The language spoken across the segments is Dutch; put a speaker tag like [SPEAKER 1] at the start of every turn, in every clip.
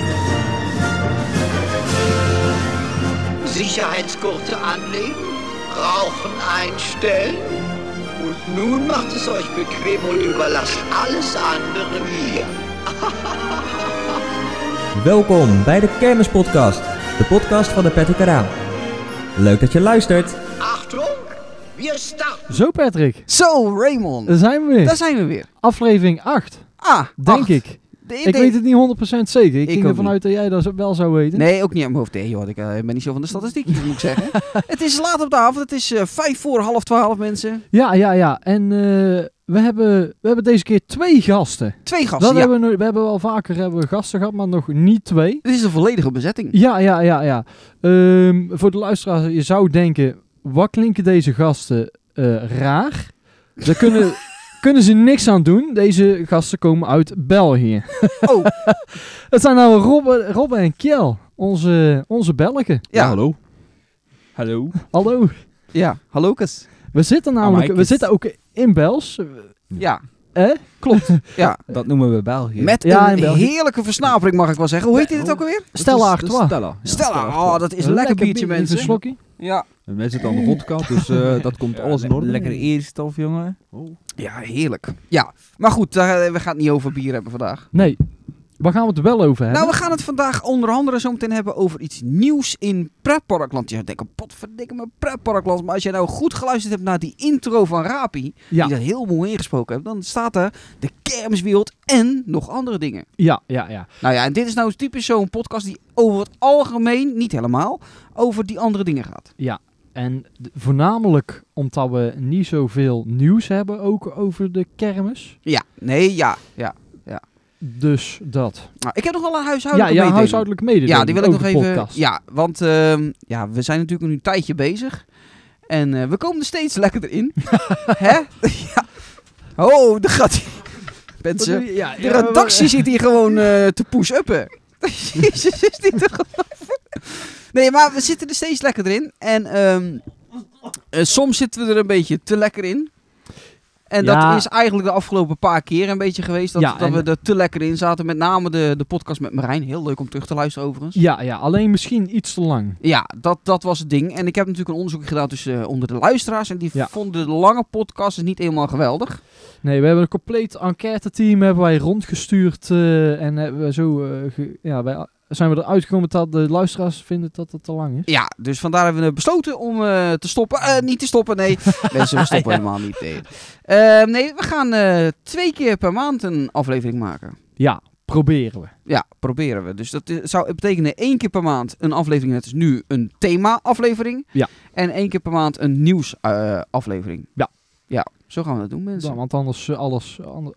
[SPEAKER 1] Sicherheitsgurte anlegen, Rauchen einstellen. Und nun macht es euch bequem und überlasst alles andere mir.
[SPEAKER 2] Welkom bij de Kermispodcast, de podcast van de Patrick Eraan. Leuk dat je luistert.
[SPEAKER 1] Achtung, wir starten.
[SPEAKER 3] Zo Patrick,
[SPEAKER 4] Zo, Raymond.
[SPEAKER 3] daar zijn we weer.
[SPEAKER 4] Daar zijn we weer.
[SPEAKER 3] Aflevering 8,
[SPEAKER 4] Ah,
[SPEAKER 3] denk
[SPEAKER 4] acht.
[SPEAKER 3] ik.
[SPEAKER 4] De-
[SPEAKER 3] Ik
[SPEAKER 4] de-
[SPEAKER 3] weet het niet 100% zeker. Ik,
[SPEAKER 4] Ik
[SPEAKER 3] ging
[SPEAKER 4] ook
[SPEAKER 3] ervan
[SPEAKER 4] niet.
[SPEAKER 3] uit dat jij dat wel zou weten.
[SPEAKER 4] Nee, ook niet aan mijn hoofd. Nee, joh, ik eh, ben niet zo van de statistiek, moet ik zeggen. het is laat op de avond. Het is eh, vijf voor half twaalf, mensen.
[SPEAKER 3] Ja, ja, ja. En eh, we, hebben, we hebben deze keer twee gasten.
[SPEAKER 4] Twee
[SPEAKER 3] dat
[SPEAKER 4] gasten, ja.
[SPEAKER 3] hebben we, nooit- we hebben wel vaker hebben we gasten gehad, maar nog niet twee.
[SPEAKER 4] Dit is een volledige bezetting.
[SPEAKER 3] Ja, ja, ja, ja. Ehm, voor de luisteraar, je zou denken, wat klinken deze gasten eh, raar? Daar kunnen, kunnen ze niks aan doen. Deze gasten komen uit België.
[SPEAKER 4] Oh.
[SPEAKER 3] Het zijn nou Rob, Rob en Kjell, onze, onze Belgen.
[SPEAKER 4] Ja,
[SPEAKER 5] hallo. Hallo.
[SPEAKER 3] Hallo.
[SPEAKER 4] Ja, hallo, Kes.
[SPEAKER 3] We zitten
[SPEAKER 4] Ah,
[SPEAKER 3] namelijk, we
[SPEAKER 5] Amaikes.
[SPEAKER 3] zitten ook in Bels.
[SPEAKER 4] Ja,
[SPEAKER 3] Hè? Klopt.
[SPEAKER 4] ja.
[SPEAKER 5] Dat noemen we België.
[SPEAKER 4] Met
[SPEAKER 3] Ja, in
[SPEAKER 4] een
[SPEAKER 3] België.
[SPEAKER 4] heerlijke versnapering, mag ik wel zeggen. Hoe heet dit ook alweer?
[SPEAKER 3] Stella Artois.
[SPEAKER 5] Stella.
[SPEAKER 4] Stella. Oh, dat is een lekker biertje,
[SPEAKER 3] bier, even een
[SPEAKER 4] mensen.
[SPEAKER 3] slokkie.
[SPEAKER 4] Ja.
[SPEAKER 5] En wij zitten aan de rondkant, dus eh, dat komt alles in orde.
[SPEAKER 6] Lekker eerstof, jongen.
[SPEAKER 4] ja, heerlijk. Ja, maar goed, daar, we gaan het niet over bier hebben vandaag.
[SPEAKER 3] Nee. Waar gaan we het wel over hebben?
[SPEAKER 4] Nou, we gaan het vandaag onder andere zo meteen hebben over iets nieuws in pretparkland. Je zou denken, potverdikke me pretparkland. Maar als je nou goed geluisterd hebt naar die intro van Rapi,
[SPEAKER 3] ja.
[SPEAKER 4] die dat heel mooi ingesproken heeft, dan staat er de kermiswereld en nog andere dingen.
[SPEAKER 3] ja, ja, ja.
[SPEAKER 4] Nou ja, en dit is nou typisch zo'n podcast die over het algemeen, niet helemaal, over die andere dingen gaat.
[SPEAKER 3] En d- voornamelijk omdat we niet zoveel nieuws hebben ook over de kermis.
[SPEAKER 4] Ja, nee, ja, ja.
[SPEAKER 3] Dus dat.
[SPEAKER 4] Nou, ik heb nog wel een
[SPEAKER 3] Ja,
[SPEAKER 4] huishoudelijke
[SPEAKER 3] ja,
[SPEAKER 4] mededeling.
[SPEAKER 3] huishoudelijke mededeling.
[SPEAKER 4] Ja, die wil ik nog
[SPEAKER 3] over de
[SPEAKER 4] even.
[SPEAKER 3] podcast.
[SPEAKER 4] Ja, want ehm, ja, we zijn natuurlijk nu een tijdje bezig. En eh, we komen er steeds lekkerder in. Hè? ja. Oh, daar gaat ie.
[SPEAKER 3] Wat
[SPEAKER 4] Mensen,
[SPEAKER 3] doe je? Ja,
[SPEAKER 4] de redactie zit hier gewoon eh, te push-uppen. Jezus, is dit toch... Nee, maar we zitten er steeds lekkerder in. En ehm, eh, soms zitten we er een beetje te lekker in. En
[SPEAKER 3] Ja.
[SPEAKER 4] dat is eigenlijk de afgelopen paar keer een beetje geweest. Dat,
[SPEAKER 3] Ja,
[SPEAKER 4] dat
[SPEAKER 3] en-
[SPEAKER 4] we er te lekker in zaten. Met name de, de podcast met Marijn. Heel leuk om terug te luisteren overigens.
[SPEAKER 3] Ja, ja, alleen misschien iets te lang.
[SPEAKER 4] Ja, dat, dat was het ding. En ik heb natuurlijk een onderzoek gedaan tussen eh, onder de luisteraars. En die
[SPEAKER 3] Ja.
[SPEAKER 4] vonden de lange podcasts niet helemaal geweldig.
[SPEAKER 3] Nee, we hebben een compleet enquêteteam hebben wij rondgestuurd. eh, en hebben we zo eh, ge- ja, wij, zijn we eruit gekomen dat de luisteraars vinden dat het te lang is.
[SPEAKER 4] Ja, dus vandaar hebben we besloten om eh, te stoppen. Eh, niet te stoppen, nee. Mensen, we stoppen helemaal niet. Nee, Eh, nee we gaan eh, twee keer per maand een aflevering maken.
[SPEAKER 3] Ja, proberen we.
[SPEAKER 4] Ja, proberen we. Dus dat i- zou betekenen één keer per maand een aflevering. Dat is nu een thema-aflevering.
[SPEAKER 3] Ja.
[SPEAKER 4] En één keer per maand een nieuws-aflevering.
[SPEAKER 3] Ja.
[SPEAKER 4] Ja, zo gaan we dat doen, mensen.
[SPEAKER 3] Ja, want anders eh, alles, ander-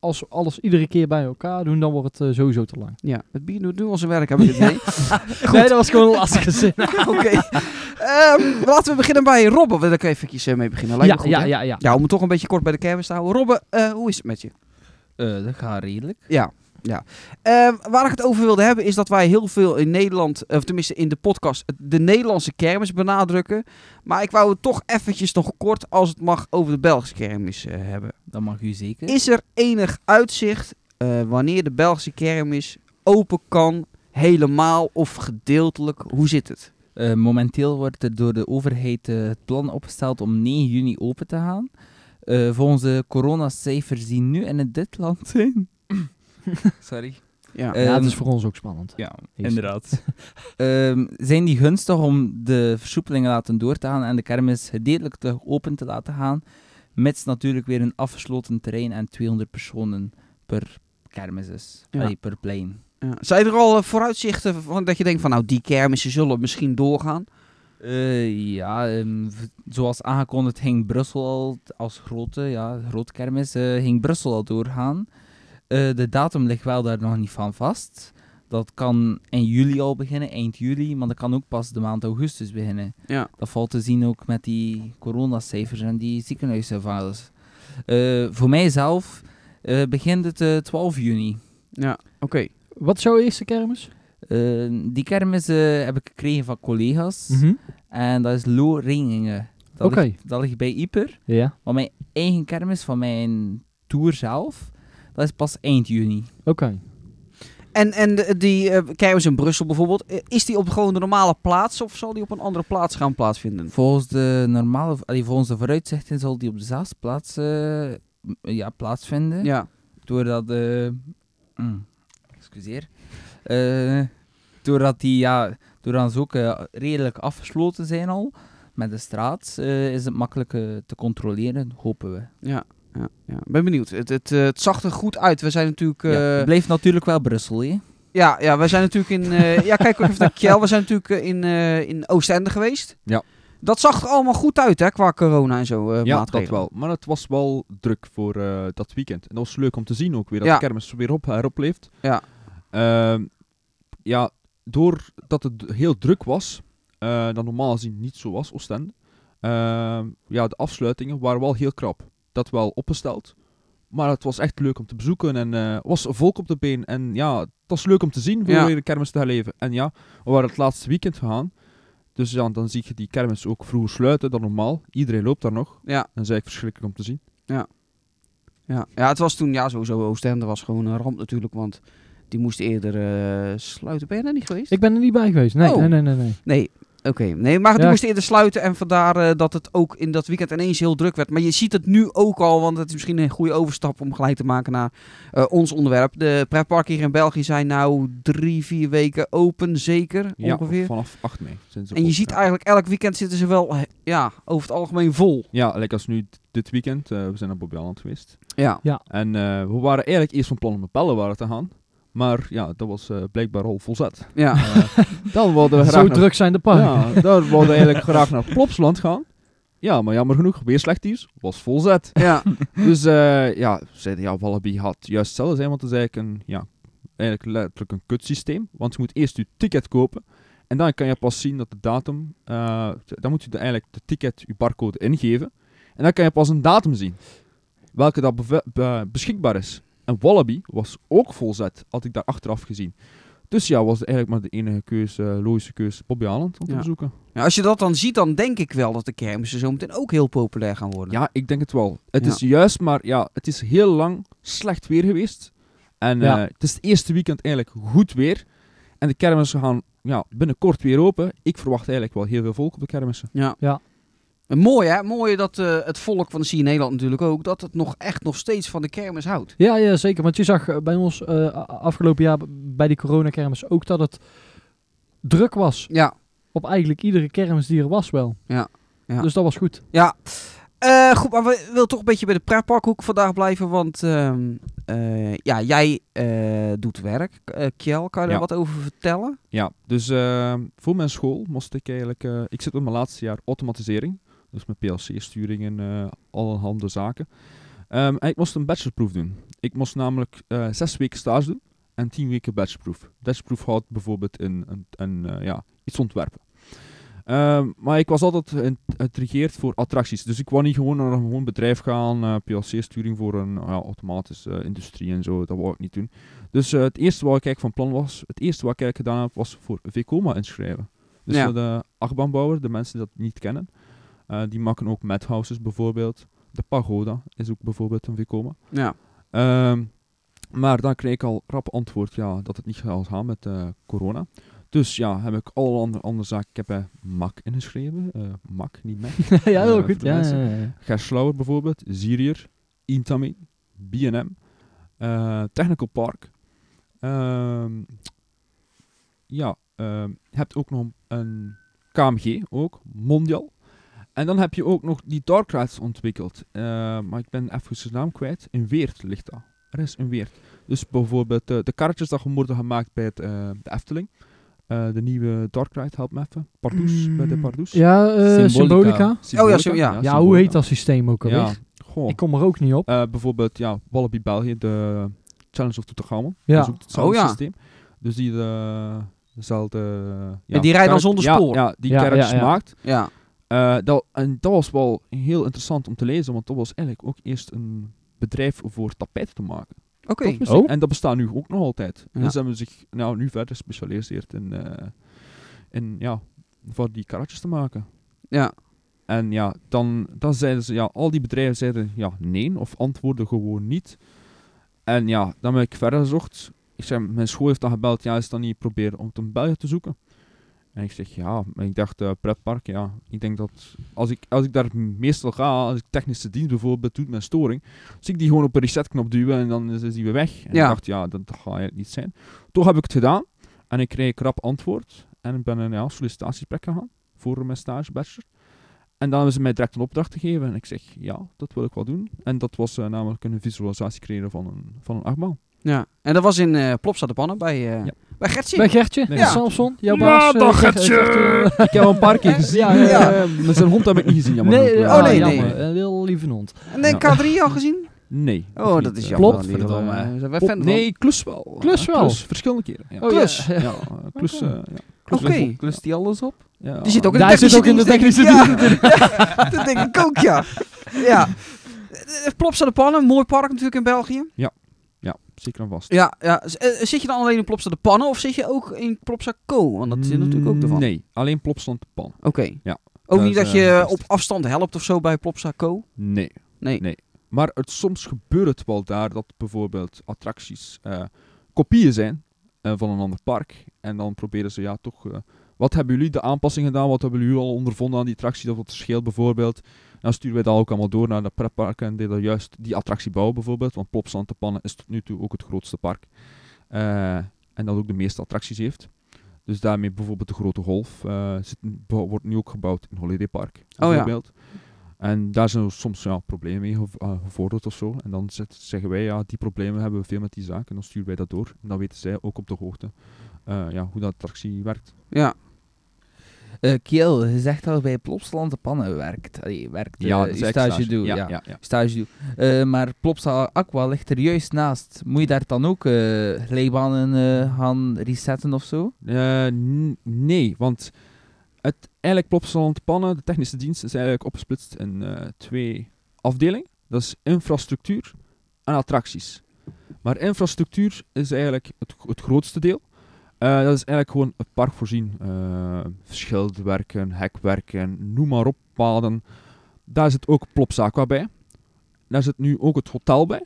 [SPEAKER 3] als we alles iedere keer bij elkaar doen, dan wordt het eh, sowieso te lang.
[SPEAKER 4] Ja, het bier doet nu al zijn werk, hebben we het idee.
[SPEAKER 3] Nee, dat was gewoon een lastige zin.
[SPEAKER 4] Oké. Ehm, laten we beginnen bij Robben. Wil ik even eh, mee beginnen? Lijkt
[SPEAKER 3] ja,
[SPEAKER 4] me goed,
[SPEAKER 3] ja,
[SPEAKER 4] hè?
[SPEAKER 3] ja, ja.
[SPEAKER 4] Ja, om het toch een beetje kort bij de kermis te houden. Robben, eh, hoe is het met je?
[SPEAKER 6] Eh, dat gaat redelijk.
[SPEAKER 4] Ja. Ja. Ehm, waar ik het over wilde hebben is dat wij heel veel in Nederland, eh, of tenminste in de podcast, de Nederlandse kermis benadrukken. Maar ik wou het toch eventjes nog kort, als het mag, over de Belgische kermis eh, hebben.
[SPEAKER 6] Dat mag u zeker.
[SPEAKER 4] Is er enig uitzicht eh, wanneer de Belgische kermis open kan, helemaal of gedeeltelijk? Hoe zit het?
[SPEAKER 6] Eh, momenteel wordt er door de overheid eh, het plan opgesteld om 9 juni open te gaan. Eh, volgens de coronacijfers die nu in dit land zijn. Sorry.
[SPEAKER 4] Ja.
[SPEAKER 6] Ehm,
[SPEAKER 3] ja, het is voor ons ook spannend.
[SPEAKER 6] ja,
[SPEAKER 3] Is-
[SPEAKER 6] inderdaad. Ehm, zijn die gunstig om de versoepelingen laten door te gaan en de kermis gedeeltelijk terug open te laten gaan? Mits natuurlijk weer een afgesloten terrein en 200 personen per kermis is.
[SPEAKER 4] Ja.
[SPEAKER 6] Allee, per plein.
[SPEAKER 4] Ja. Zijn er al eh, vooruitzichten van dat je denkt van nou die kermissen zullen misschien doorgaan?
[SPEAKER 6] Eh, ja, ehm, v- zoals aangekondigd ging Brussel al t- als grote, ja, grote kermis, eh, ging Brussel al doorgaan. Eh, de datum ligt wel daar nog niet van vast. Dat kan in juli al beginnen, eind juli, maar dat kan ook pas de maand augustus beginnen.
[SPEAKER 4] Ja.
[SPEAKER 6] Dat valt te zien ook met die coronacijfers en die ziekenhuisservares. Eh voor mijzelf eh, begint het eh, 12 juni.
[SPEAKER 4] Ja, oké.
[SPEAKER 3] Wat is jouw eerste kermis?
[SPEAKER 6] Eh, die kermis eh, heb ik gekregen van collega's.
[SPEAKER 3] Mhm.
[SPEAKER 6] En dat is Loringen. Dat,
[SPEAKER 3] Oké.
[SPEAKER 6] ligt, dat ligt bij Ieper.
[SPEAKER 3] Ja,
[SPEAKER 6] Maar mijn eigen kermis van mijn tour zelf, dat is pas eind juni.
[SPEAKER 3] oké.
[SPEAKER 4] En, en de- die eh kermis in Brussel bijvoorbeeld, eh, is die op gewoon de normale plaats of zal die op een andere plaats gaan plaatsvinden?
[SPEAKER 6] Volgens de normale, allee, volgens de vooruitzichten zal die op de zesde plaats eh, m- ja, plaatsvinden.
[SPEAKER 4] Ja.
[SPEAKER 6] Doordat, eh, mm, excuseer. Eh, doordat die, ja, doordat ze ook eh, redelijk afgesloten zijn al met de straat, eh, is het makkelijk eh, te controleren, hopen we.
[SPEAKER 4] Ja, ja, ja. ben benieuwd. Het, het, eh, het zag er goed uit. We zijn natuurlijk... eh,
[SPEAKER 6] Ja, het
[SPEAKER 4] ja.
[SPEAKER 6] blijft natuurlijk wel Brussel, hè?
[SPEAKER 4] Ja, we zijn natuurlijk in... eh, ja, kijk ook even naar Kjell. We zijn natuurlijk eh, in, eh, in Oostende geweest.
[SPEAKER 5] Ja.
[SPEAKER 4] Dat zag er allemaal goed uit, hè, qua corona en zo eh
[SPEAKER 5] ja, dat
[SPEAKER 4] maatregelen.
[SPEAKER 5] wel. Maar het was wel druk voor eh, dat weekend. En dat was leuk om te zien ook weer, dat
[SPEAKER 4] Ja.
[SPEAKER 5] de kermis weer op, heropleeft.
[SPEAKER 4] Ja.
[SPEAKER 5] Ehm, ja, doordat het d- heel druk was, eh, dat normaal gezien niet zo was, Oostende, ehm, ja, de afsluitingen waren wel heel krap. Dat wel opgesteld. Maar het was echt leuk om te bezoeken en eh, was volk op de been. En ja, het was leuk om te zien hoe
[SPEAKER 4] Ja.
[SPEAKER 5] weer de kermis te herleven. En ja, we waren het laatste weekend gegaan. Dus ja, dan zie je die kermis ook vroeger sluiten dan normaal. Iedereen loopt daar nog.
[SPEAKER 4] Ja,
[SPEAKER 5] Dat is eigenlijk verschrikkelijk om te zien.
[SPEAKER 4] ja. ja, het was toen... Ja, sowieso Oostende was gewoon een ramp natuurlijk, want... Die moest eerder eh, sluiten. Ben je daar niet geweest?
[SPEAKER 3] Ik ben er niet bij geweest. Nee,
[SPEAKER 4] Oh.
[SPEAKER 3] nee, nee, nee. nee.
[SPEAKER 4] Nee, oké. Nee, maar het
[SPEAKER 3] Ja,
[SPEAKER 4] moest eerder sluiten en vandaar eh, dat het ook in dat weekend ineens heel druk werd. Maar je ziet het nu ook al, want het is misschien een goede overstap om gelijk te maken naar eh, ons onderwerp. De pretparken hier in België zijn nou drie, vier weken open, zeker ongeveer.
[SPEAKER 5] vanaf 8 mei. zijn ze
[SPEAKER 4] En je
[SPEAKER 5] open,
[SPEAKER 4] ziet
[SPEAKER 5] ja.
[SPEAKER 4] eigenlijk elk weekend zitten ze wel, eh, ja, over het algemeen vol.
[SPEAKER 5] Ja, like als nu d- dit weekend. eh, we zijn naar Bobby Island geweest.
[SPEAKER 4] Ja.
[SPEAKER 5] En eh, we waren eigenlijk eerst van plan om naar Bellenwaren te gaan. Maar ja, dat was eh, blijkbaar al volzet.
[SPEAKER 4] Ja,
[SPEAKER 5] Eh, dan wilden we graag
[SPEAKER 3] Zo
[SPEAKER 5] naar-
[SPEAKER 3] druk zijn de parken.
[SPEAKER 5] Ja, dan wilden we eigenlijk graag naar Plopsland gaan. Ja, maar jammer genoeg, weer slecht nieuws. Was volzet.
[SPEAKER 4] ja,
[SPEAKER 5] Dus eh, ja, we zeiden ja, Wallaby had juist hetzelfde zijn, want het is eigenlijk een, ja, eigenlijk letterlijk een kutsysteem. Want je moet eerst je ticket kopen en dan kan je pas zien dat de datum, eh, dan moet je de, eigenlijk de ticket, je barcode ingeven. En dan kan je pas een datum zien, welke dat beve- be- beschikbaar is. En Wallaby was ook volzet, had ik daar achteraf gezien. Dus ja, was eigenlijk maar de enige keuze, eh, logische keuze, Bobby Haaland om te
[SPEAKER 4] Ja.
[SPEAKER 5] bezoeken.
[SPEAKER 4] Ja, Als je dat dan ziet, dan denk ik wel dat de kermissen zo meteen ook heel populair gaan worden.
[SPEAKER 5] Ja, ik denk het wel. Het
[SPEAKER 4] Ja.
[SPEAKER 5] is juist, maar ja, het is heel lang slecht weer geweest. En
[SPEAKER 3] Ja.
[SPEAKER 5] eh, het is het eerste weekend eigenlijk goed weer. En de kermissen gaan ja, binnenkort weer open. Ik verwacht eigenlijk wel heel veel volk op de kermissen.
[SPEAKER 4] Ja.
[SPEAKER 3] Ja.
[SPEAKER 4] En mooi hè, mooi dat eh, het volk van de zie je in Nederland natuurlijk ook, dat het nog echt nog steeds van de kermis houdt.
[SPEAKER 3] Ja, ja, zeker. Want je zag eh, bij ons eh, a- afgelopen jaar b- bij die coronakermis ook dat het druk was.
[SPEAKER 4] Ja,
[SPEAKER 3] Op eigenlijk iedere kermis die er was wel.
[SPEAKER 4] Ja, ja.
[SPEAKER 3] Dus dat was goed.
[SPEAKER 4] ja. Eh, goed, maar we willen toch een beetje bij de pretparkhoek vandaag blijven, want ehm, eh, ja, jij eh, doet werk. Eh Kjell, kan je daar
[SPEAKER 5] Ja.
[SPEAKER 4] wat over vertellen?
[SPEAKER 5] Ja, dus eh, voor mijn school moest ik eigenlijk... eh, ik zit op mijn laatste jaar automatisering. Dus met PLC-sturing en eh allerhande zaken. Ehm, en ik moest een bachelorproef doen. Ik moest namelijk eh, zes weken stage doen en tien weken bachelorproef. Bachelorproef houdt bijvoorbeeld in, een een, eh, ja, iets ontwerpen. Ehm, maar ik was altijd geïntrigeerd voor attracties. Dus ik wou niet gewoon naar een gewoon bedrijf gaan, eh, PLC-sturing voor een ja, automatische eh, industrie en zo. Dat wou ik niet doen. Dus eh, het eerste wat ik eigenlijk van plan was, het eerste wat ik eigenlijk gedaan heb, was voor VCOMA inschrijven. Dus
[SPEAKER 4] Ja.
[SPEAKER 5] voor de achtbaanbouwer, de mensen die dat niet kennen, eh, die maken ook madhouses bijvoorbeeld. De pagoda is ook bijvoorbeeld een VCOMA.
[SPEAKER 4] Ja.
[SPEAKER 5] Ehm, maar dan kreeg ik al rap antwoord ja, dat het niet gaat gaan met eh, corona. Dus ja, heb ik alle andere, andere zaken. Ik heb bij MAC ingeschreven. eh MAC, niet MAC.
[SPEAKER 3] ja, heel
[SPEAKER 5] Ja, voor
[SPEAKER 3] goed.
[SPEAKER 5] de
[SPEAKER 3] Ja,
[SPEAKER 5] mensen.
[SPEAKER 3] ja, ja.
[SPEAKER 5] Gerslauer bijvoorbeeld, Zirier, Intami, BNM, eh, Technical Park. Ehm, ja, ehm, je hebt ook nog een KMG, ook, Mondial. En dan heb je ook nog die Dark Rides ontwikkeld. Eh, maar ik ben even zijn naam kwijt. In Weert ligt dat. Er is een Weert. Dus bijvoorbeeld eh, de karretjes dat worden gemaakt bij het, eh, de Efteling. Eh, de nieuwe Dark Ride, help me even. Pardoes, bij de
[SPEAKER 4] Mm.
[SPEAKER 5] Pardoes.
[SPEAKER 3] Ja, eh,
[SPEAKER 6] Symbolica.
[SPEAKER 3] Symbolica.
[SPEAKER 5] Symbolica.
[SPEAKER 4] zo- Oh ja.
[SPEAKER 3] Ja, hoe
[SPEAKER 5] Symbolica.
[SPEAKER 3] heet dat systeem ook alweer?
[SPEAKER 5] Ja. Goh.
[SPEAKER 3] Ik kom er ook niet op.
[SPEAKER 5] Eh, bijvoorbeeld, ja, Wallaby België, de Challenge of Toetegame.
[SPEAKER 3] Ja.
[SPEAKER 5] Dat is ook hetzelfde
[SPEAKER 4] Oh, ja.
[SPEAKER 5] systeem. Dus die eh, dezelfde... eh, ja,
[SPEAKER 4] En die rijden dan
[SPEAKER 5] carrot-
[SPEAKER 4] zonder
[SPEAKER 5] ja,
[SPEAKER 4] spoor.
[SPEAKER 5] Ja, die
[SPEAKER 3] Ja, ja,
[SPEAKER 5] carriages
[SPEAKER 3] ja.
[SPEAKER 5] maakt.
[SPEAKER 4] Ja.
[SPEAKER 5] Eh, dat, en dat was wel heel interessant om te lezen, want dat was eigenlijk ook eerst een bedrijf voor tapijt te maken.
[SPEAKER 4] Oké.
[SPEAKER 5] Dat wist
[SPEAKER 3] Oh.
[SPEAKER 5] ik. En dat bestaat nu ook nog altijd.
[SPEAKER 4] Ja.
[SPEAKER 5] En ze hebben zich nou, nu verder gespecialiseerd in, eh, in ja, voor die karretjes te maken.
[SPEAKER 4] Ja.
[SPEAKER 5] En ja, dan, dan zeiden ze, ja, al die bedrijven zeiden ja, nee, of antwoorden gewoon niet. En ja, dan heb ik verder gezocht. Ik zei, mijn school heeft dan gebeld, ja, is dan niet proberen om het in België te zoeken? En ik zeg, ja, maar ik dacht, eh, pretpark, ja. Ik denk dat, als ik, als ik daar meestal ga, als ik technische dienst bijvoorbeeld doet mijn storing, zie ik die gewoon op een resetknop duwen en dan is, is die weer weg. En
[SPEAKER 4] Ja.
[SPEAKER 5] ik dacht, ja, dat gaat eigenlijk niet zijn. Toch heb ik het gedaan en ik kreeg een krap antwoord. En ik ben een ja, sollicitatiegesprek gegaan voor mijn stage bachelor. En dan hebben ze mij direct een opdracht gegeven. En ik zeg, ja, dat wil ik wel doen. En dat was eh, namelijk een visualisatie creëren van een, van een achtbaan.
[SPEAKER 4] Ja. En dat was in eh Plopsa de Pannen bij, eh,
[SPEAKER 5] Ja.
[SPEAKER 4] bij Gertje.
[SPEAKER 3] Bij Gertje,
[SPEAKER 5] Nee,
[SPEAKER 3] ja.
[SPEAKER 5] ja.
[SPEAKER 3] Samson, jouw
[SPEAKER 5] Ja,
[SPEAKER 3] baas. eh,
[SPEAKER 5] dag,
[SPEAKER 3] Ger-
[SPEAKER 5] Gertje.
[SPEAKER 3] Gertje, eh,
[SPEAKER 5] Ik heb hem een paar keer gezien.
[SPEAKER 3] Ja, ja, ja.
[SPEAKER 5] eh, maar zijn hond heb ik niet gezien, jammer
[SPEAKER 3] Nee,
[SPEAKER 5] genoeg.
[SPEAKER 3] eh,
[SPEAKER 4] Oh,
[SPEAKER 3] oh,
[SPEAKER 4] nee,
[SPEAKER 3] nee,
[SPEAKER 4] nee.
[SPEAKER 3] jammer. Een heel lieve hond.
[SPEAKER 4] En de K3 al gezien?
[SPEAKER 5] Nee.
[SPEAKER 4] Oh,
[SPEAKER 5] nog
[SPEAKER 4] dat
[SPEAKER 5] niet,
[SPEAKER 4] is
[SPEAKER 5] eh,
[SPEAKER 4] jammer.
[SPEAKER 5] klopt,
[SPEAKER 4] Niet,
[SPEAKER 5] verdomme.
[SPEAKER 4] eh, we zijn
[SPEAKER 5] Op-
[SPEAKER 4] fan van-
[SPEAKER 5] nee, klus wel.
[SPEAKER 3] Klus
[SPEAKER 5] Eh,
[SPEAKER 3] wel?
[SPEAKER 5] verschillende keren. Ja.
[SPEAKER 3] Oh, ja.
[SPEAKER 5] klus. Ja, eh, klus.
[SPEAKER 3] Oké.
[SPEAKER 5] eh, ja.
[SPEAKER 4] Oké.
[SPEAKER 6] Klust die alles op?
[SPEAKER 5] Ja.
[SPEAKER 4] Die zit ook in
[SPEAKER 3] Daar
[SPEAKER 4] de
[SPEAKER 3] zit
[SPEAKER 4] technische
[SPEAKER 3] ook in de
[SPEAKER 4] dienst,
[SPEAKER 3] technische
[SPEAKER 4] denk ik. Ja. Ja, dat denk ik ook, ja. Ja. Eh, Plopsa de Pannen, mooi park natuurlijk in België.
[SPEAKER 5] Ja, zeker en vast.
[SPEAKER 4] Ja, ja. Z- eh, Zit je dan alleen in Plopsa de Pannen of zit je ook in Plopsa Co? Want dat is natuurlijk ook ervan.
[SPEAKER 5] Nee, alleen plopstand de pan.
[SPEAKER 4] Oké.
[SPEAKER 5] Ja.
[SPEAKER 4] Ook
[SPEAKER 5] Dat
[SPEAKER 4] niet
[SPEAKER 5] is,
[SPEAKER 4] dat
[SPEAKER 5] eh,
[SPEAKER 4] je op
[SPEAKER 5] bevestigd.
[SPEAKER 4] afstand helpt of zo bij Plopsa Co?
[SPEAKER 5] Nee.
[SPEAKER 4] Nee.
[SPEAKER 5] Nee. Maar het, soms gebeurt het wel daar dat bijvoorbeeld attracties eh, kopieën zijn eh, van een ander park. En dan proberen ze, ja, toch... eh, wat hebben jullie de aanpassing gedaan? Wat hebben jullie al ondervonden aan die attractie? Dat wat verschil bijvoorbeeld. Dan sturen wij dat ook allemaal door naar de pretpark en die dat juist die attractie bouwen bijvoorbeeld. Want Plopsand te Pannen is tot nu toe ook het grootste park. Eh, en dat ook de meeste attracties heeft. Dus daarmee bijvoorbeeld de Grote Golf eh, zit, wordt nu ook gebouwd in Holiday Park.
[SPEAKER 4] ja.
[SPEAKER 5] bijvoorbeeld. En daar zijn we soms ja, problemen mee gev- eh, gevorderd of zo. En dan zet- zeggen wij, ja, die problemen hebben we veel met die zaak. En dan sturen wij dat door. En dan weten zij ook op de hoogte eh, ja, hoe dat attractie werkt.
[SPEAKER 4] Ja.
[SPEAKER 6] Eh, Kiel, je zegt al bij Plopsaland de pannen werkt. Allee, werkt eh,
[SPEAKER 5] dat
[SPEAKER 6] je
[SPEAKER 5] is
[SPEAKER 6] stage,
[SPEAKER 5] extra.
[SPEAKER 6] doet. Ja,
[SPEAKER 5] ja, ja.
[SPEAKER 6] Stage doet. Eh, maar Plopsa Aqua ligt er juist naast. Moet je daar dan ook eh glijbanen eh, gaan resetten of zo?
[SPEAKER 5] Eh, n- nee, want het, eigenlijk Plopsaland Pannen, de technische dienst, is eigenlijk opgesplitst in eh, twee afdelingen. Dat is infrastructuur en attracties. Maar infrastructuur is eigenlijk het, gro- het grootste deel. Eh, dat is eigenlijk gewoon het park voorzien. Eh, schildwerken, hekwerken, noem maar op, paden. Daar zit ook Plopsa Aqua bij. Daar zit nu ook het hotel bij.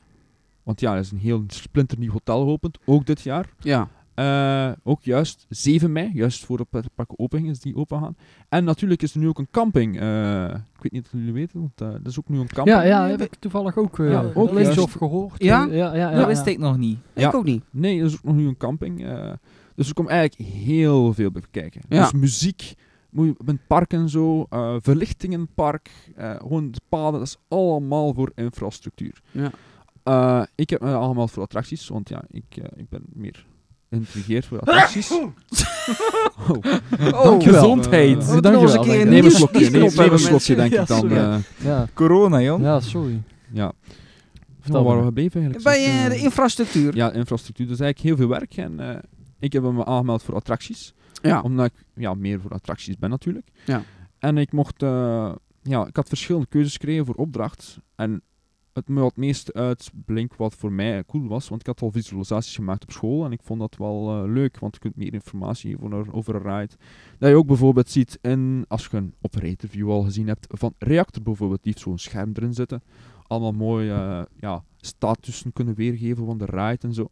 [SPEAKER 5] Want ja, er is een heel splinternieuw hotel geopend, ook dit jaar.
[SPEAKER 4] Ja.
[SPEAKER 5] Eh, ook juist 7 mei, juist voor de pretparken open gingen, is die open gaan. En natuurlijk is er nu ook een camping. eh, ik weet niet of jullie weten, want eh, er is ook nu een camping.
[SPEAKER 3] Ja, ja, heb ik toevallig ook, eh
[SPEAKER 5] Ja, Nou, ook
[SPEAKER 3] gelezen
[SPEAKER 5] juist.
[SPEAKER 3] of gehoord.
[SPEAKER 4] Ja?
[SPEAKER 3] Eh, ja, ja, ja,
[SPEAKER 6] dat wist
[SPEAKER 3] ja.
[SPEAKER 6] ik nog niet.
[SPEAKER 4] Ik
[SPEAKER 5] Ja.
[SPEAKER 4] ook niet.
[SPEAKER 5] Nee, er is ook nog nu een camping. eh, dus er komt eigenlijk heel veel bij kijken.
[SPEAKER 4] Ja.
[SPEAKER 5] Dus muziek, moet je, met park en zo, eh, verlichting in het park, eh, gewoon de paden, dat is allemaal voor infrastructuur.
[SPEAKER 4] Ja.
[SPEAKER 5] Eh, ik heb me allemaal voor attracties, want ja, ik, eh, ik ben meer geïntrigeerd voor attracties. oh.
[SPEAKER 4] Oh,
[SPEAKER 5] Dankjewel.
[SPEAKER 6] Gezondheid.
[SPEAKER 3] Oh,
[SPEAKER 4] We moeten nog eens een keer een
[SPEAKER 5] Neem een
[SPEAKER 4] nieuws-
[SPEAKER 5] slokje, neem,
[SPEAKER 4] nieuwsknop
[SPEAKER 5] neem
[SPEAKER 4] hebben,
[SPEAKER 5] een slokje
[SPEAKER 4] mensen.
[SPEAKER 5] denk ik dan.
[SPEAKER 3] sorry.
[SPEAKER 5] eh,
[SPEAKER 3] Ja.
[SPEAKER 6] Corona, joh.
[SPEAKER 3] ja, sorry.
[SPEAKER 5] ja. Vertel waar we bleven eigenlijk.
[SPEAKER 4] Bij
[SPEAKER 5] Zeg,
[SPEAKER 4] eh,
[SPEAKER 5] eh,
[SPEAKER 4] de infrastructuur.
[SPEAKER 5] ja, infrastructuur. Dat is eigenlijk heel veel werk. En eh, ik heb me aangemeld voor attracties.
[SPEAKER 4] Ja.
[SPEAKER 5] Omdat ik ja, meer voor attracties ben natuurlijk.
[SPEAKER 4] Ja.
[SPEAKER 5] En ik mocht... eh, ja, ik had verschillende keuzes gekregen voor opdracht. En het me wat meest uitblink wat voor mij cool was. Want ik had al visualisaties gemaakt op school. En ik vond dat wel eh, leuk. Want je kunt meer informatie over, over een ride. Dat je ook bijvoorbeeld ziet in... Als je een operatorview al gezien hebt van Reactor bijvoorbeeld. Die heeft zo'n scherm erin zitten. Allemaal mooi eh, ja, statussen kunnen weergeven van de ride en zo.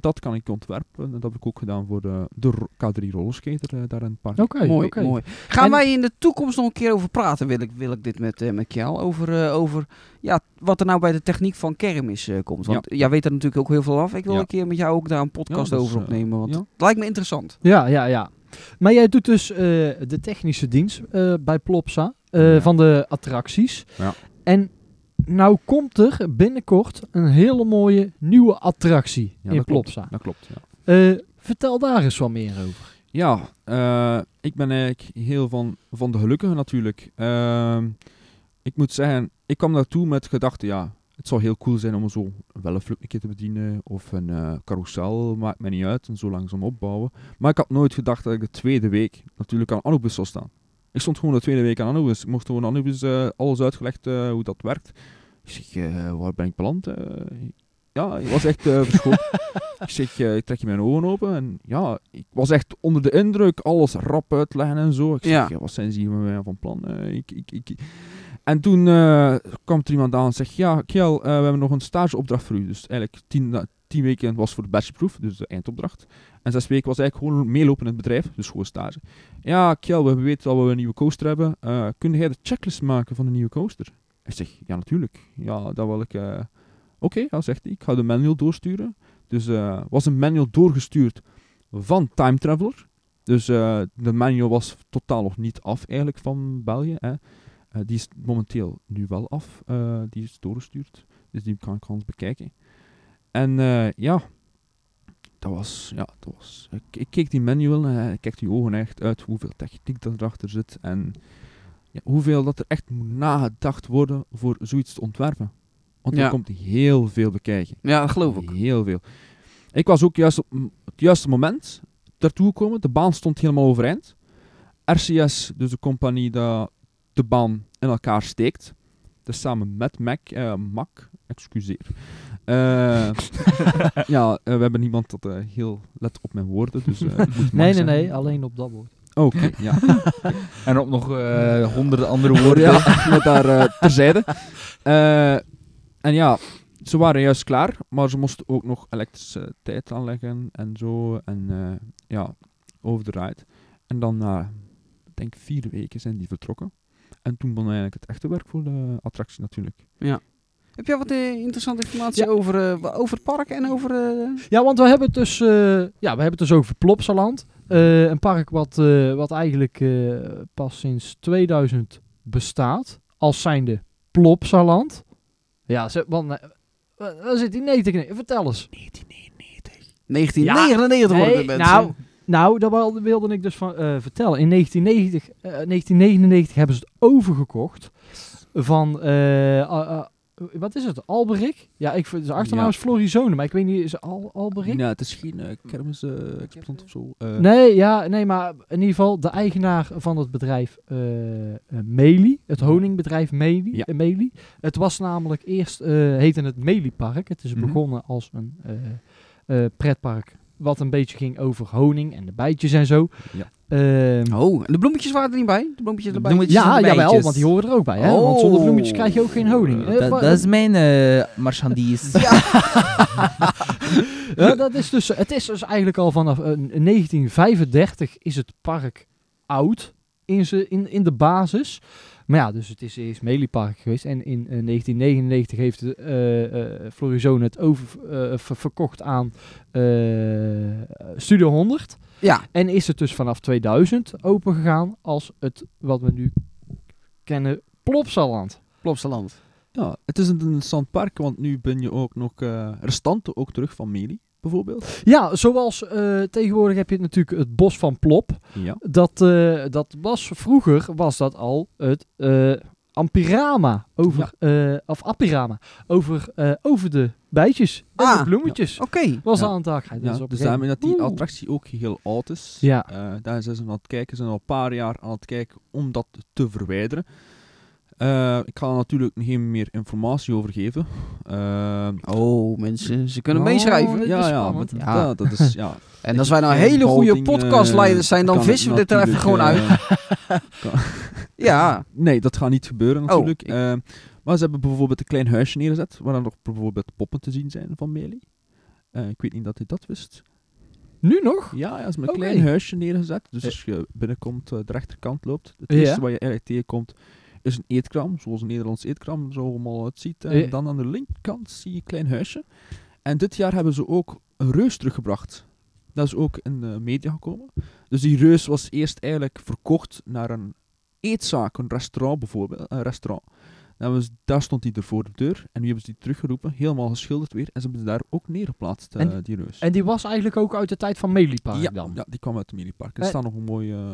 [SPEAKER 5] Dat kan ik ontwerpen. En dat heb ik ook gedaan voor de, de ro- K3 rollerskater eh, daar in het park.
[SPEAKER 3] Oké,
[SPEAKER 4] mooi,
[SPEAKER 3] oké.
[SPEAKER 4] mooi. Gaan
[SPEAKER 3] En-
[SPEAKER 4] wij in de toekomst nog een keer over praten, wil ik, wil ik dit met, eh met Kjell, over, eh, over ja, wat er nou bij de techniek van kermis eh, komt. Want jij weet er natuurlijk ook heel veel af. Ik wil
[SPEAKER 5] Ja.
[SPEAKER 4] een keer met jou ook daar een podcast
[SPEAKER 5] Ja, dat is,
[SPEAKER 4] over
[SPEAKER 5] eh,
[SPEAKER 4] opnemen, want
[SPEAKER 5] ja.
[SPEAKER 4] het lijkt me interessant.
[SPEAKER 3] Ja, ja, ja. Maar jij doet dus eh, de technische dienst eh, bij Plopsa eh,
[SPEAKER 5] Ja.
[SPEAKER 3] van de attracties.
[SPEAKER 5] Ja.
[SPEAKER 3] En nou komt er binnenkort een hele mooie nieuwe attractie
[SPEAKER 5] Ja,
[SPEAKER 3] in
[SPEAKER 5] dat klopt.
[SPEAKER 3] Plopsa.
[SPEAKER 5] Dat klopt, ja.
[SPEAKER 3] Eh, vertel daar eens wat meer over.
[SPEAKER 5] Ja, eh, ik ben eigenlijk heel van, van de gelukkigen natuurlijk. Ehm, ik moet zeggen, ik kwam daartoe met gedachten, ja, het het zou heel cool zijn om zo wel een vluchtje te bedienen of een eh carousel, maakt mij niet uit, en zo langzaam opbouwen. Maar ik had nooit gedacht dat ik de tweede week natuurlijk aan Anubis zou staan. Ik stond gewoon de tweede week aan Anubis. Ik mocht gewoon Anubis eh, alles uitgelegd eh, hoe dat werkt. Ik zeg, eh, waar ben ik beland? Eh, ja, ik was echt eh verschoten. ik zeg, eh, ik trek je mijn ogen open. En ja, ik was echt onder de indruk. Alles rap uitleggen en zo. Ik zeg,
[SPEAKER 4] Ja.
[SPEAKER 5] ja. wat zijn ze hier met mij van plan? Eh, ik, ik, ik, En toen eh, kwam er iemand aan en zegt, ja, Kjell, eh, we hebben nog een stageopdracht voor u. Dus eigenlijk tien, da- tien weken was voor de bachelorproef, dus de eindopdracht. En zes weken was eigenlijk gewoon meelopen in het bedrijf, dus gewoon stage. Ja, Kjell, we weten dat we een nieuwe coaster hebben. Eh kun jij de checklist maken van de nieuwe coaster? Ik zeg, ja, natuurlijk. Ja, dat wil ik... eh, Oké, ja, zegt hij. Ik ga de manual doorsturen. Dus eh, was een manual doorgestuurd van Time Traveler. Dus eh, de manual was totaal nog niet af eigenlijk van België. Hè. Eh, die is momenteel nu wel af. Eh, die is doorgestuurd. Dus die kan ik eens bekijken. En eh, ja, dat was... Ja, dat was ik, ik keek die manual en ik keek die ogen echt uit hoeveel techniek dat erachter zit. En ja, hoeveel dat er echt moet nagedacht worden voor zoiets te ontwerpen. Want
[SPEAKER 4] Ja.
[SPEAKER 5] er komt heel veel bekijken.
[SPEAKER 4] Ja, dat geloof ik.
[SPEAKER 5] Heel veel. Ik was ook juist op m- het juiste moment daartoe gekomen. De baan stond helemaal overeind. RCS, dus de compagnie die de baan in elkaar steekt. Dus samen met Mac, eh Mac, excuseer. Eh, ja, eh, we hebben niemand dat eh, heel let op mijn woorden. Dus, eh, het moet
[SPEAKER 3] Nee,
[SPEAKER 5] Mac
[SPEAKER 3] nee,
[SPEAKER 5] zijn.
[SPEAKER 3] nee. Alleen op dat woord.
[SPEAKER 5] Oké, ja.
[SPEAKER 6] En op nog eh, honderden andere woorden.
[SPEAKER 5] Ja, met daar eh, terzijde. Eh, en ja, ze waren juist klaar, maar ze moesten ook nog elektriciteit aanleggen en zo. En eh, ja, over de ride. En dan na, ik denk vier weken zijn die vertrokken. En toen begon eigenlijk het echte werk voor de attractie natuurlijk.
[SPEAKER 4] Heb jij wat eh, interessante informatie over, eh, wa- over het park en over... eh,
[SPEAKER 3] Ja, want we hebben het dus, eh, ja, we hebben het dus over Plopsaland. Eh, een park wat, eh, wat eigenlijk eh, pas sinds 2000 bestaat. Als zijnde Plopsaland. Ja, ze, want, eh, wa- waar zit die nee te knikken? Vertel eens.
[SPEAKER 4] 1999 worden de
[SPEAKER 3] Nee,
[SPEAKER 4] mensen.
[SPEAKER 3] nou, nou, dat wil- wilde ik dus van, eh, vertellen. In 1990, eh, 1999 hebben ze het overgekocht van, eh, a- a- wat is het, Alberik? Ja, ik, vind- zijn achternaam
[SPEAKER 5] Ja.
[SPEAKER 3] is Florizone, maar ik weet niet, is het Al, Alberik?
[SPEAKER 5] Nou, het is geen kermis exponent of zo. eh,
[SPEAKER 3] Nee, ja, nee, maar in ieder geval de eigenaar van het bedrijf eh eh, Meli, het honingbedrijf Meli.
[SPEAKER 5] Ja.
[SPEAKER 3] eh, Meli. Het was namelijk eerst, eh heette het Melipark. Het is
[SPEAKER 5] Mhm.
[SPEAKER 3] begonnen als een eh, eh, pretpark wat een beetje ging over honing en de bijtjes en zo.
[SPEAKER 5] Ja.
[SPEAKER 3] Ehm,
[SPEAKER 4] Oh, en de bloemetjes waren er niet bij? De bloemetjes erbij?
[SPEAKER 6] bloemetjes
[SPEAKER 3] ja,
[SPEAKER 6] en de
[SPEAKER 3] jawel,
[SPEAKER 6] bijtjes.
[SPEAKER 3] want die horen er ook bij. Hè? Want zonder
[SPEAKER 5] Oh.
[SPEAKER 3] bloemetjes krijg je ook geen honing. Eh,
[SPEAKER 6] Dat,
[SPEAKER 3] wa-
[SPEAKER 6] dat is mijn eh marchandise.
[SPEAKER 3] Ja, dat is dus, het is dus eigenlijk al vanaf eh, 1935 is het park oud in, ze, in, in de basis. Maar ja, dus het is eerst Meliepark geweest. En in eh, 1999 heeft eh eh, Florizone het over, eh, ver- verkocht aan eh, Studio 100.
[SPEAKER 4] Ja.
[SPEAKER 3] En is het dus vanaf 2000 opengegaan als het wat we nu kennen Plopsaland.
[SPEAKER 4] Plopsaland.
[SPEAKER 5] Ja, het is een interessant park, want nu ben je ook nog eh restanten ook terug van Meli, bijvoorbeeld.
[SPEAKER 3] Ja, zoals eh, tegenwoordig heb je natuurlijk het bos van Plop.
[SPEAKER 5] Ja.
[SPEAKER 3] Dat, eh, dat was vroeger was dat al het eh, Ampirama over eh, of Apirama over, eh, over de bijtjes en
[SPEAKER 4] Ah,
[SPEAKER 3] de bloemetjes.
[SPEAKER 4] Oké.
[SPEAKER 3] Was
[SPEAKER 5] Ja.
[SPEAKER 3] dat aan het haak? Ja, dat is
[SPEAKER 5] Ja,
[SPEAKER 3] op een
[SPEAKER 5] dus
[SPEAKER 3] gegeven
[SPEAKER 5] daarmee dat die
[SPEAKER 3] Oeh.
[SPEAKER 5] attractie ook heel oud is.
[SPEAKER 3] Ja.
[SPEAKER 5] Eh, daar zijn ze aan het kijken, ze zijn al een paar jaar aan het kijken om dat te verwijderen. Eh, ik ga er natuurlijk geen meer informatie over geven. Eh,
[SPEAKER 4] Oh, mensen, ze kunnen
[SPEAKER 3] Oh,
[SPEAKER 4] meeschrijven.
[SPEAKER 3] dit
[SPEAKER 5] ja,
[SPEAKER 3] is
[SPEAKER 5] ja,
[SPEAKER 3] spannend.
[SPEAKER 5] want
[SPEAKER 4] Ja.
[SPEAKER 5] dat- dat is, ja.
[SPEAKER 4] En als wij nou
[SPEAKER 5] Eh,
[SPEAKER 4] hele goede
[SPEAKER 5] Balding, eh,
[SPEAKER 4] podcastleiders zijn, dan
[SPEAKER 5] kan het
[SPEAKER 4] vissen we dit er even gewoon
[SPEAKER 5] natuurlijk,
[SPEAKER 4] uit.
[SPEAKER 5] eh,
[SPEAKER 4] Ja.
[SPEAKER 5] Nee, dat gaat niet gebeuren natuurlijk.
[SPEAKER 4] Oh, ik-
[SPEAKER 5] Eh, maar ze hebben bijvoorbeeld een klein huisje neergezet, waar dan nog bijvoorbeeld poppen te zien zijn van Meli. Eh, ik weet niet dat hij dat wist.
[SPEAKER 3] moment. Nu nog?
[SPEAKER 5] Ja, ja, ze hebben een
[SPEAKER 3] Oké.
[SPEAKER 5] klein huisje neergezet. Dus
[SPEAKER 3] Eh.
[SPEAKER 5] als je binnenkomt, eh, de rechterkant loopt. Het
[SPEAKER 3] Ja.
[SPEAKER 5] eerste waar je eigenlijk tegenkomt is een eetkraam, zoals een Nederlands eetkraam er zo allemaal uitziet. En
[SPEAKER 3] Eh.
[SPEAKER 5] dan aan de linkerkant zie je een klein huisje. En dit jaar hebben ze ook een reus teruggebracht. Dat is ook in de media gekomen. Dus die reus was eerst eigenlijk verkocht naar een eetzaak, een restaurant bijvoorbeeld. Een restaurant. Dan hebben ze- daar stond die er voor de deur. En nu hebben ze die teruggeroepen, helemaal geschilderd weer. En ze hebben ze daar ook neergeplaatst, eh,
[SPEAKER 3] En-
[SPEAKER 5] die reus.
[SPEAKER 3] En die was eigenlijk ook uit de tijd van Meliepark
[SPEAKER 5] Ja,
[SPEAKER 3] dan.
[SPEAKER 5] ja, die kwam uit het minipark. Er
[SPEAKER 3] Eh,
[SPEAKER 5] staat nog een mooi eh,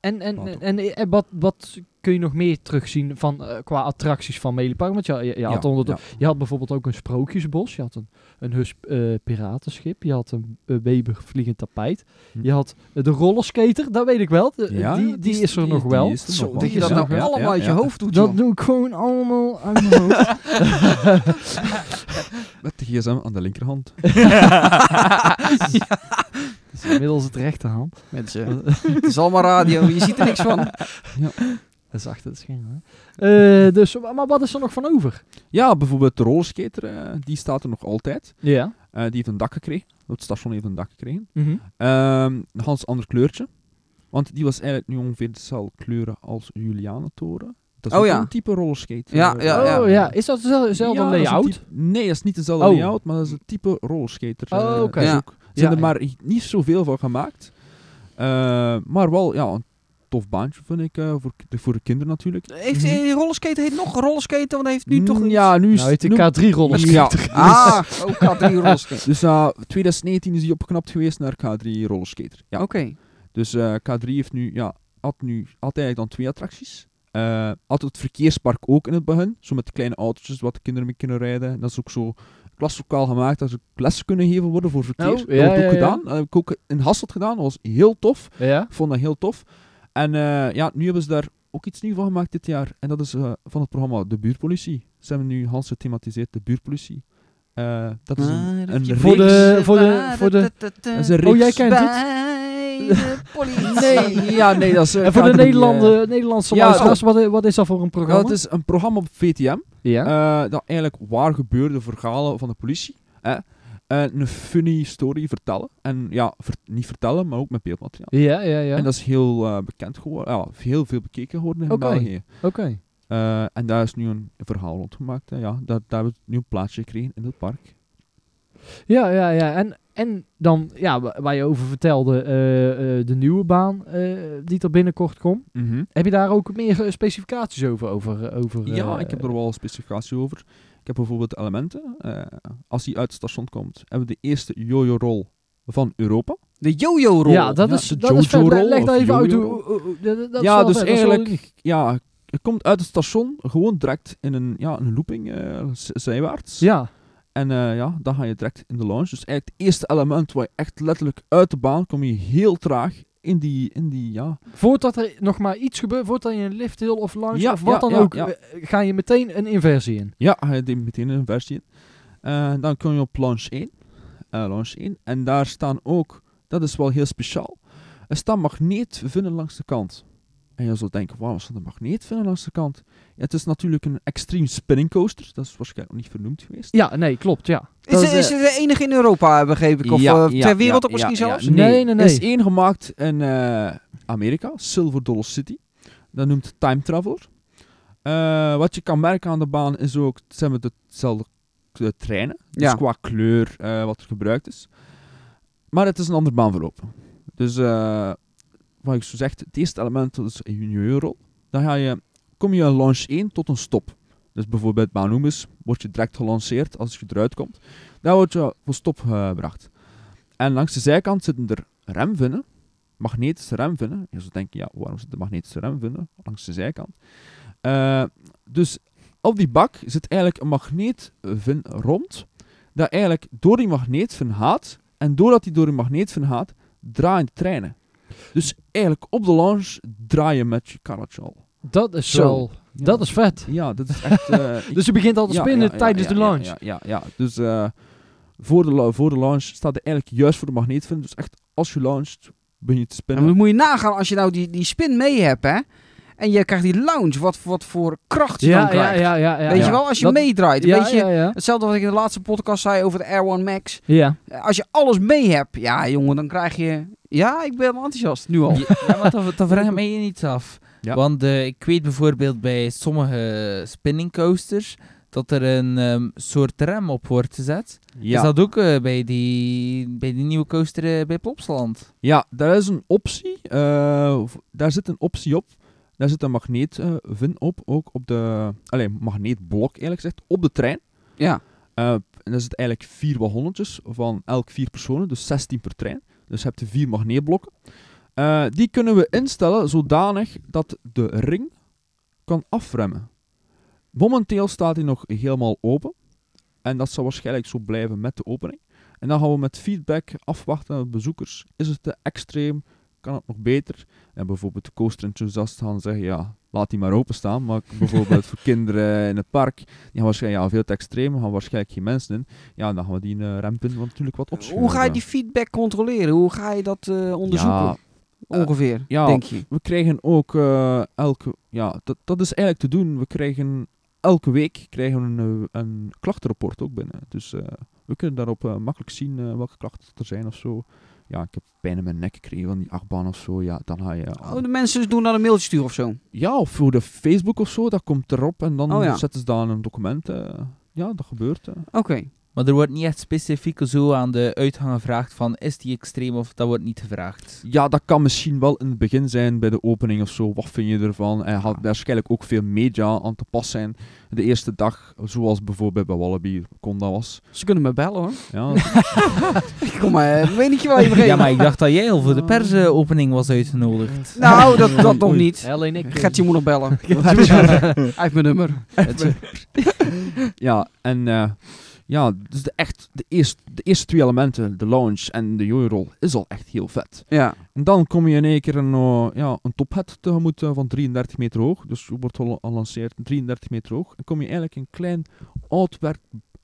[SPEAKER 3] En, en,
[SPEAKER 5] Wat
[SPEAKER 3] en, en, eh, wat, wat kun je nog meer terugzien van, eh, qua attracties van Melipar? Want je, je, je had onder de- je had bijvoorbeeld ook een sprookjesbos. Je had een, een hus eh, piratenschip. Je had een eh, Weber vliegend tapijt.
[SPEAKER 5] Hm.
[SPEAKER 3] Je had eh, de rollerskater, dat weet ik wel. De-
[SPEAKER 5] Ja,
[SPEAKER 3] die, die, is er nog wel.
[SPEAKER 5] Die is er nog
[SPEAKER 4] Zo,
[SPEAKER 5] wel.
[SPEAKER 4] dat je
[SPEAKER 3] is
[SPEAKER 4] dat
[SPEAKER 3] er
[SPEAKER 4] nou
[SPEAKER 3] nog wel.
[SPEAKER 4] allemaal uit je hoofd doet,
[SPEAKER 3] Dat
[SPEAKER 4] joh.
[SPEAKER 3] doe ik gewoon allemaal uit mijn hoofd.
[SPEAKER 5] Met de gsm aan de linkerhand.
[SPEAKER 3] Dat is inmiddels het rechterhand.
[SPEAKER 4] Mensen, het is allemaal radio, je ziet er niks van.
[SPEAKER 3] Dat is achter het scherm. hè. Eh, dus, maar wat is er nog van over?
[SPEAKER 5] Ja, bijvoorbeeld de rollerskater, eh, die staat er nog altijd.
[SPEAKER 3] Ja.
[SPEAKER 5] Eh, die heeft een dak gekregen. Het station heeft een dak gekregen.
[SPEAKER 4] Mhm.
[SPEAKER 5] Ehm een hans ander kleurtje. Want die was eigenlijk nu ongeveer dezelfde kleuren als Julianentoren. Dat is
[SPEAKER 4] Oh
[SPEAKER 5] ook
[SPEAKER 4] ja.
[SPEAKER 5] een type rollerskater.
[SPEAKER 4] Ja,
[SPEAKER 5] eh,
[SPEAKER 4] ja,
[SPEAKER 3] Oh ja, is dat dezelfde, dezelfde
[SPEAKER 5] Ja, dat is een
[SPEAKER 3] layout?
[SPEAKER 5] type- nee, dat is niet dezelfde
[SPEAKER 3] Oh.
[SPEAKER 5] layout, maar dat is een type rollerskater. eh,
[SPEAKER 3] Oh, oké.
[SPEAKER 5] Er
[SPEAKER 4] Ja.
[SPEAKER 5] zijn
[SPEAKER 3] Ja,
[SPEAKER 5] er
[SPEAKER 3] ja.
[SPEAKER 5] maar niet zoveel van gemaakt. Eh, maar wel, ja, een tof baantje vind ik eh, voor, de- voor de kinderen natuurlijk.
[SPEAKER 4] Heeft, die rollerskater heet nog rollerskater, want hij heeft nu toch
[SPEAKER 5] Mm,
[SPEAKER 4] niet...
[SPEAKER 5] Ja, nu is
[SPEAKER 3] Nou, heet
[SPEAKER 5] nu-
[SPEAKER 3] die K3-rollers.
[SPEAKER 5] Ja.
[SPEAKER 4] Ah, ook K3 rollerskater.
[SPEAKER 5] Dus eh 2019 is die opgeknapt geweest naar K3 rollerskater. Ja.
[SPEAKER 4] Oké.
[SPEAKER 5] Dus eh, K3 heeft nu, ja, had, nu, had eigenlijk dan twee attracties. Eh, had het verkeerspark ook in het begin. Zo met de kleine autootjes wat de kinderen mee kunnen rijden. En dat is ook zo klaslokaal gemaakt. Dat ze lessen kunnen gegeven worden voor verkeer.
[SPEAKER 3] Oh,
[SPEAKER 5] dat
[SPEAKER 3] ja,
[SPEAKER 5] wordt ook
[SPEAKER 3] ja, ja.
[SPEAKER 5] gedaan. Dat heb ik ook in Hasselt gedaan. Dat was heel tof.
[SPEAKER 3] Ja.
[SPEAKER 5] Ik vond dat heel tof. En eh, ja, nu hebben ze daar ook iets nieuws van gemaakt dit jaar. En dat is eh, van het programma De Buurpolitie. Ze hebben nu Hans gethematiseerd, De Buurpolitie. Eh, dat is
[SPEAKER 4] Ah,
[SPEAKER 5] een, een
[SPEAKER 3] Voor
[SPEAKER 5] reeks-
[SPEAKER 3] de- voor de- voor de-
[SPEAKER 5] dat is een
[SPEAKER 3] Oh, jij
[SPEAKER 5] reeks-
[SPEAKER 3] kent het?
[SPEAKER 4] Bij de politie.
[SPEAKER 5] Nee, ja, nee, dat is... eh,
[SPEAKER 3] En voor de
[SPEAKER 5] K3, eh,
[SPEAKER 3] Nederlanden, Nederlandse
[SPEAKER 5] Ja,
[SPEAKER 3] luisteraars, wat, wat is dat voor een programma?
[SPEAKER 5] Dat is een programma op VTM.
[SPEAKER 3] ja.
[SPEAKER 5] eh, dat eigenlijk waar gebeurde verhalen van de politie. Hè, en een funny story vertellen. En ja, ver- niet vertellen, maar ook met beeldmateriaal.
[SPEAKER 3] ja, ja, ja.
[SPEAKER 5] En dat is heel eh, bekend geworden. Ja, heel veel bekeken geworden in
[SPEAKER 3] Oké.
[SPEAKER 5] België.
[SPEAKER 3] Oké.
[SPEAKER 5] Eh, en daar is nu een verhaal rondgemaakt. hè, Ja, daar, daar hebben we nu een plaatsje gekregen in het park.
[SPEAKER 3] Ja, ja, ja. En, en dan, ja, wa- waar je over vertelde, eh, eh, de nieuwe baan eh, die er binnenkort komt. Heb je daar ook meer eh, specificaties over? over, eh, over eh,
[SPEAKER 5] Ja, ik heb er wel specificatie over. Ik heb bijvoorbeeld elementen. eh, als die uit het station komt, hebben we de eerste jojo-rol van Europa.
[SPEAKER 4] De jojo-rol.
[SPEAKER 3] Ja, dat
[SPEAKER 5] Ja,
[SPEAKER 3] is,
[SPEAKER 5] de
[SPEAKER 3] dat is vet.
[SPEAKER 5] Jojo-rol
[SPEAKER 3] Leg- Leg
[SPEAKER 5] of
[SPEAKER 3] dat even uit.
[SPEAKER 5] Jojo-rol.
[SPEAKER 3] hoe- hoe- hoe- dat- dat is
[SPEAKER 5] ja,
[SPEAKER 3] wel
[SPEAKER 5] dus
[SPEAKER 3] vet, dat is wel uniek.
[SPEAKER 5] eigenlijk, ja, het komt uit het station gewoon direct in een, ja, een looping eh, z- zijwaarts.
[SPEAKER 3] Ja,
[SPEAKER 5] En eh, ja, dan ga je direct in de lounge. Dus eigenlijk het eerste element waar je echt letterlijk uit de baan kom je heel traag in die, in die ja,
[SPEAKER 3] voordat er nog maar iets gebeurt, voordat je een lift hill of lounge
[SPEAKER 5] Ja,
[SPEAKER 3] of wat
[SPEAKER 5] ja,
[SPEAKER 3] dan
[SPEAKER 5] ja,
[SPEAKER 3] ook,
[SPEAKER 5] ja.
[SPEAKER 3] eh, ga je meteen een inversie in.
[SPEAKER 5] Ja, hij deed meteen een versie in. Eh, dan kom je op launch 1. Eh, launch 1. En daar staan ook, dat is wel heel speciaal, er staan magneetvinnen langs de kant. En je zult denken, wauw, er staat een magneetvinnen langs de kant. Ja, het is natuurlijk een extreme spinning coaster. Dat is waarschijnlijk nog niet vernoemd geweest.
[SPEAKER 3] Ja, nee, klopt, ja.
[SPEAKER 4] Is,
[SPEAKER 3] Dat is,
[SPEAKER 4] het- is
[SPEAKER 3] eh,
[SPEAKER 4] het de enige in Europa, begreep ik? Of eh, ter wereld ook misschien zelfs?
[SPEAKER 3] Nee, nee, nee.
[SPEAKER 5] Er is één gemaakt in eh, Amerika, Silver Dollar City. Dat noemt Time Traveler. Eh, wat je kan merken aan de baan is ook, het zijn met hetzelfde eh, treinen. Dus
[SPEAKER 4] Ja.
[SPEAKER 5] qua kleur eh, wat er gebruikt is. Maar het is een ander baanverloop. Dus eh, wat ik zo zeg, het eerste element dat is een juniorrol. Dan ga je, kom je aan launch 1 tot een stop. Dus bijvoorbeeld bij Anubis word je direct gelanceerd als je eruit komt. Daar word je voor stop gebracht. En langs de zijkant zitten er remvinnen, magnetische remvinnen. Je zou denken, ja, waarom zitten magnetische remvinnen langs de zijkant? Eh, dus op die bak zit eigenlijk een magneetvin rond dat eigenlijk door die magneet van haat, en doordat die door die magneet van haat, draaien de treinen. Dus eigenlijk op de launch draai je met je karretje al.
[SPEAKER 3] dat is
[SPEAKER 5] Zo.
[SPEAKER 3] wel...
[SPEAKER 5] Ja.
[SPEAKER 3] Dat is vet.
[SPEAKER 5] Ja, dat is echt... eh, ik-
[SPEAKER 3] Dus je begint al te
[SPEAKER 5] ja,
[SPEAKER 3] spinnen
[SPEAKER 5] ja, ja,
[SPEAKER 3] tijdens
[SPEAKER 5] ja,
[SPEAKER 3] de
[SPEAKER 5] ja,
[SPEAKER 3] launch.
[SPEAKER 5] Ja, ja, ja. Dus eh, voor, de, la- voor de launch staat hij eigenlijk juist voor de magneetvin. Dus echt, als je launcht, ben je te
[SPEAKER 4] Ja,
[SPEAKER 5] spinnen.
[SPEAKER 4] maar dan moet je nagaan, als je nou die, die spin mee hebt, hè. En je krijgt die lounge, wat, wat voor kracht je dan krijgt.
[SPEAKER 3] ja, ja, ja.
[SPEAKER 4] Weet
[SPEAKER 3] ja.
[SPEAKER 4] je wel, als je
[SPEAKER 3] Dat-
[SPEAKER 4] meedraait.
[SPEAKER 3] ja,
[SPEAKER 4] weet je,
[SPEAKER 3] ja, ja.
[SPEAKER 4] Hetzelfde wat ik in de laatste podcast zei over de Air One Max.
[SPEAKER 3] Ja.
[SPEAKER 4] Eh, Als je alles mee hebt, ja jongen, dan krijg je... Ja, ik ben wel enthousiast, nu al.
[SPEAKER 6] Ja, maar dan, dan vraag ik mij hier iets af.
[SPEAKER 5] Ja.
[SPEAKER 6] Want eh, ik weet bijvoorbeeld bij sommige spinning coasters dat er een ehm, soort rem op wordt gezet.
[SPEAKER 5] ja.
[SPEAKER 6] Is dat ook eh, bij, die, bij die nieuwe coaster eh, bij Plopsaland?
[SPEAKER 5] Ja, daar is een optie. eh, v- daar zit een optie op. Daar zit een magneetvin op, ook op de... Allee, magneetblok eerlijk gezegd, op de trein.
[SPEAKER 4] Ja.
[SPEAKER 5] Eh, en er zitten eigenlijk vier wagonnetjes van elk vier personen, dus 16 per trein. Dus je hebt de vier magneetblokken. Eh, die kunnen we instellen zodanig dat de ring kan afremmen. Momenteel staat hij nog helemaal open. En dat zal waarschijnlijk zo blijven met de opening. En dan gaan we met feedback afwachten aan de bezoekers. Is het te extreem? Kan het nog beter? En bijvoorbeeld de coaster-enthousiasten gaan zeggen, ja, laat die maar openstaan. Maar bijvoorbeeld voor kinderen in het park, die gaan waarschijnlijk ja, veel te extreem, gaan waarschijnlijk geen mensen in. Ja, dan gaan we die eh, rempunt natuurlijk wat opschuiven.
[SPEAKER 4] Hoe ga je die feedback controleren? Hoe ga je dat eh, onderzoeken?
[SPEAKER 5] Ja,
[SPEAKER 4] Ongeveer,
[SPEAKER 5] ja.
[SPEAKER 4] denk je.
[SPEAKER 5] we krijgen ook eh, elke... Ja, dat, dat is eigenlijk te doen. We krijgen elke week krijgen we een, eh, een klachtenrapport ook binnen. Dus eh, we kunnen daarop eh, makkelijk zien eh, welke klachten er zijn of zo. Ja, ik heb pijn in mijn nek gekregen van die achtbaan of zo. Ja, dan ga je... aan-
[SPEAKER 4] Oh, de mensen doen dan een mailtje sturen of zo.
[SPEAKER 5] Ja, of voor de Facebook of zo, dat komt erop. En dan
[SPEAKER 4] Oh, ja.
[SPEAKER 5] zetten ze daar een document. eh, ja, dat gebeurt. eh.
[SPEAKER 4] Oké.
[SPEAKER 6] Maar er wordt niet echt specifiek zo aan de uitgang gevraagd van is die extreem of dat wordt niet gevraagd.
[SPEAKER 5] Ja, dat kan misschien wel in het begin zijn bij de opening of zo. Wat vind je ervan? Er gaat waarschijnlijk ook veel media aan te pas zijn. De eerste dag, zoals bijvoorbeeld bij Wallaby Conda was.
[SPEAKER 4] Ze kunnen me bellen hoor.
[SPEAKER 5] Ja,
[SPEAKER 4] Ik kom maar eh, een menetje wel even geven.
[SPEAKER 6] Ja, maar ik dacht dat jij al voor de persopening was uitgenodigd.
[SPEAKER 4] Nou, dat, dat nog niet.
[SPEAKER 3] Alleen ik. eh,
[SPEAKER 4] Gert, je moet nog bellen. Hij heeft mijn nummer.
[SPEAKER 5] ja en eh, ja, dus de, echt, de, eerste, de eerste twee elementen, de launch en de joyrol, is al echt heel vet.
[SPEAKER 4] Ja.
[SPEAKER 5] En dan kom je in één keer een, eh, ja, een tophead tegemoet eh, van 33 meter hoog. Dus je wordt al gelanceerd 33 meter hoog. En kom je eigenlijk een klein outwerk,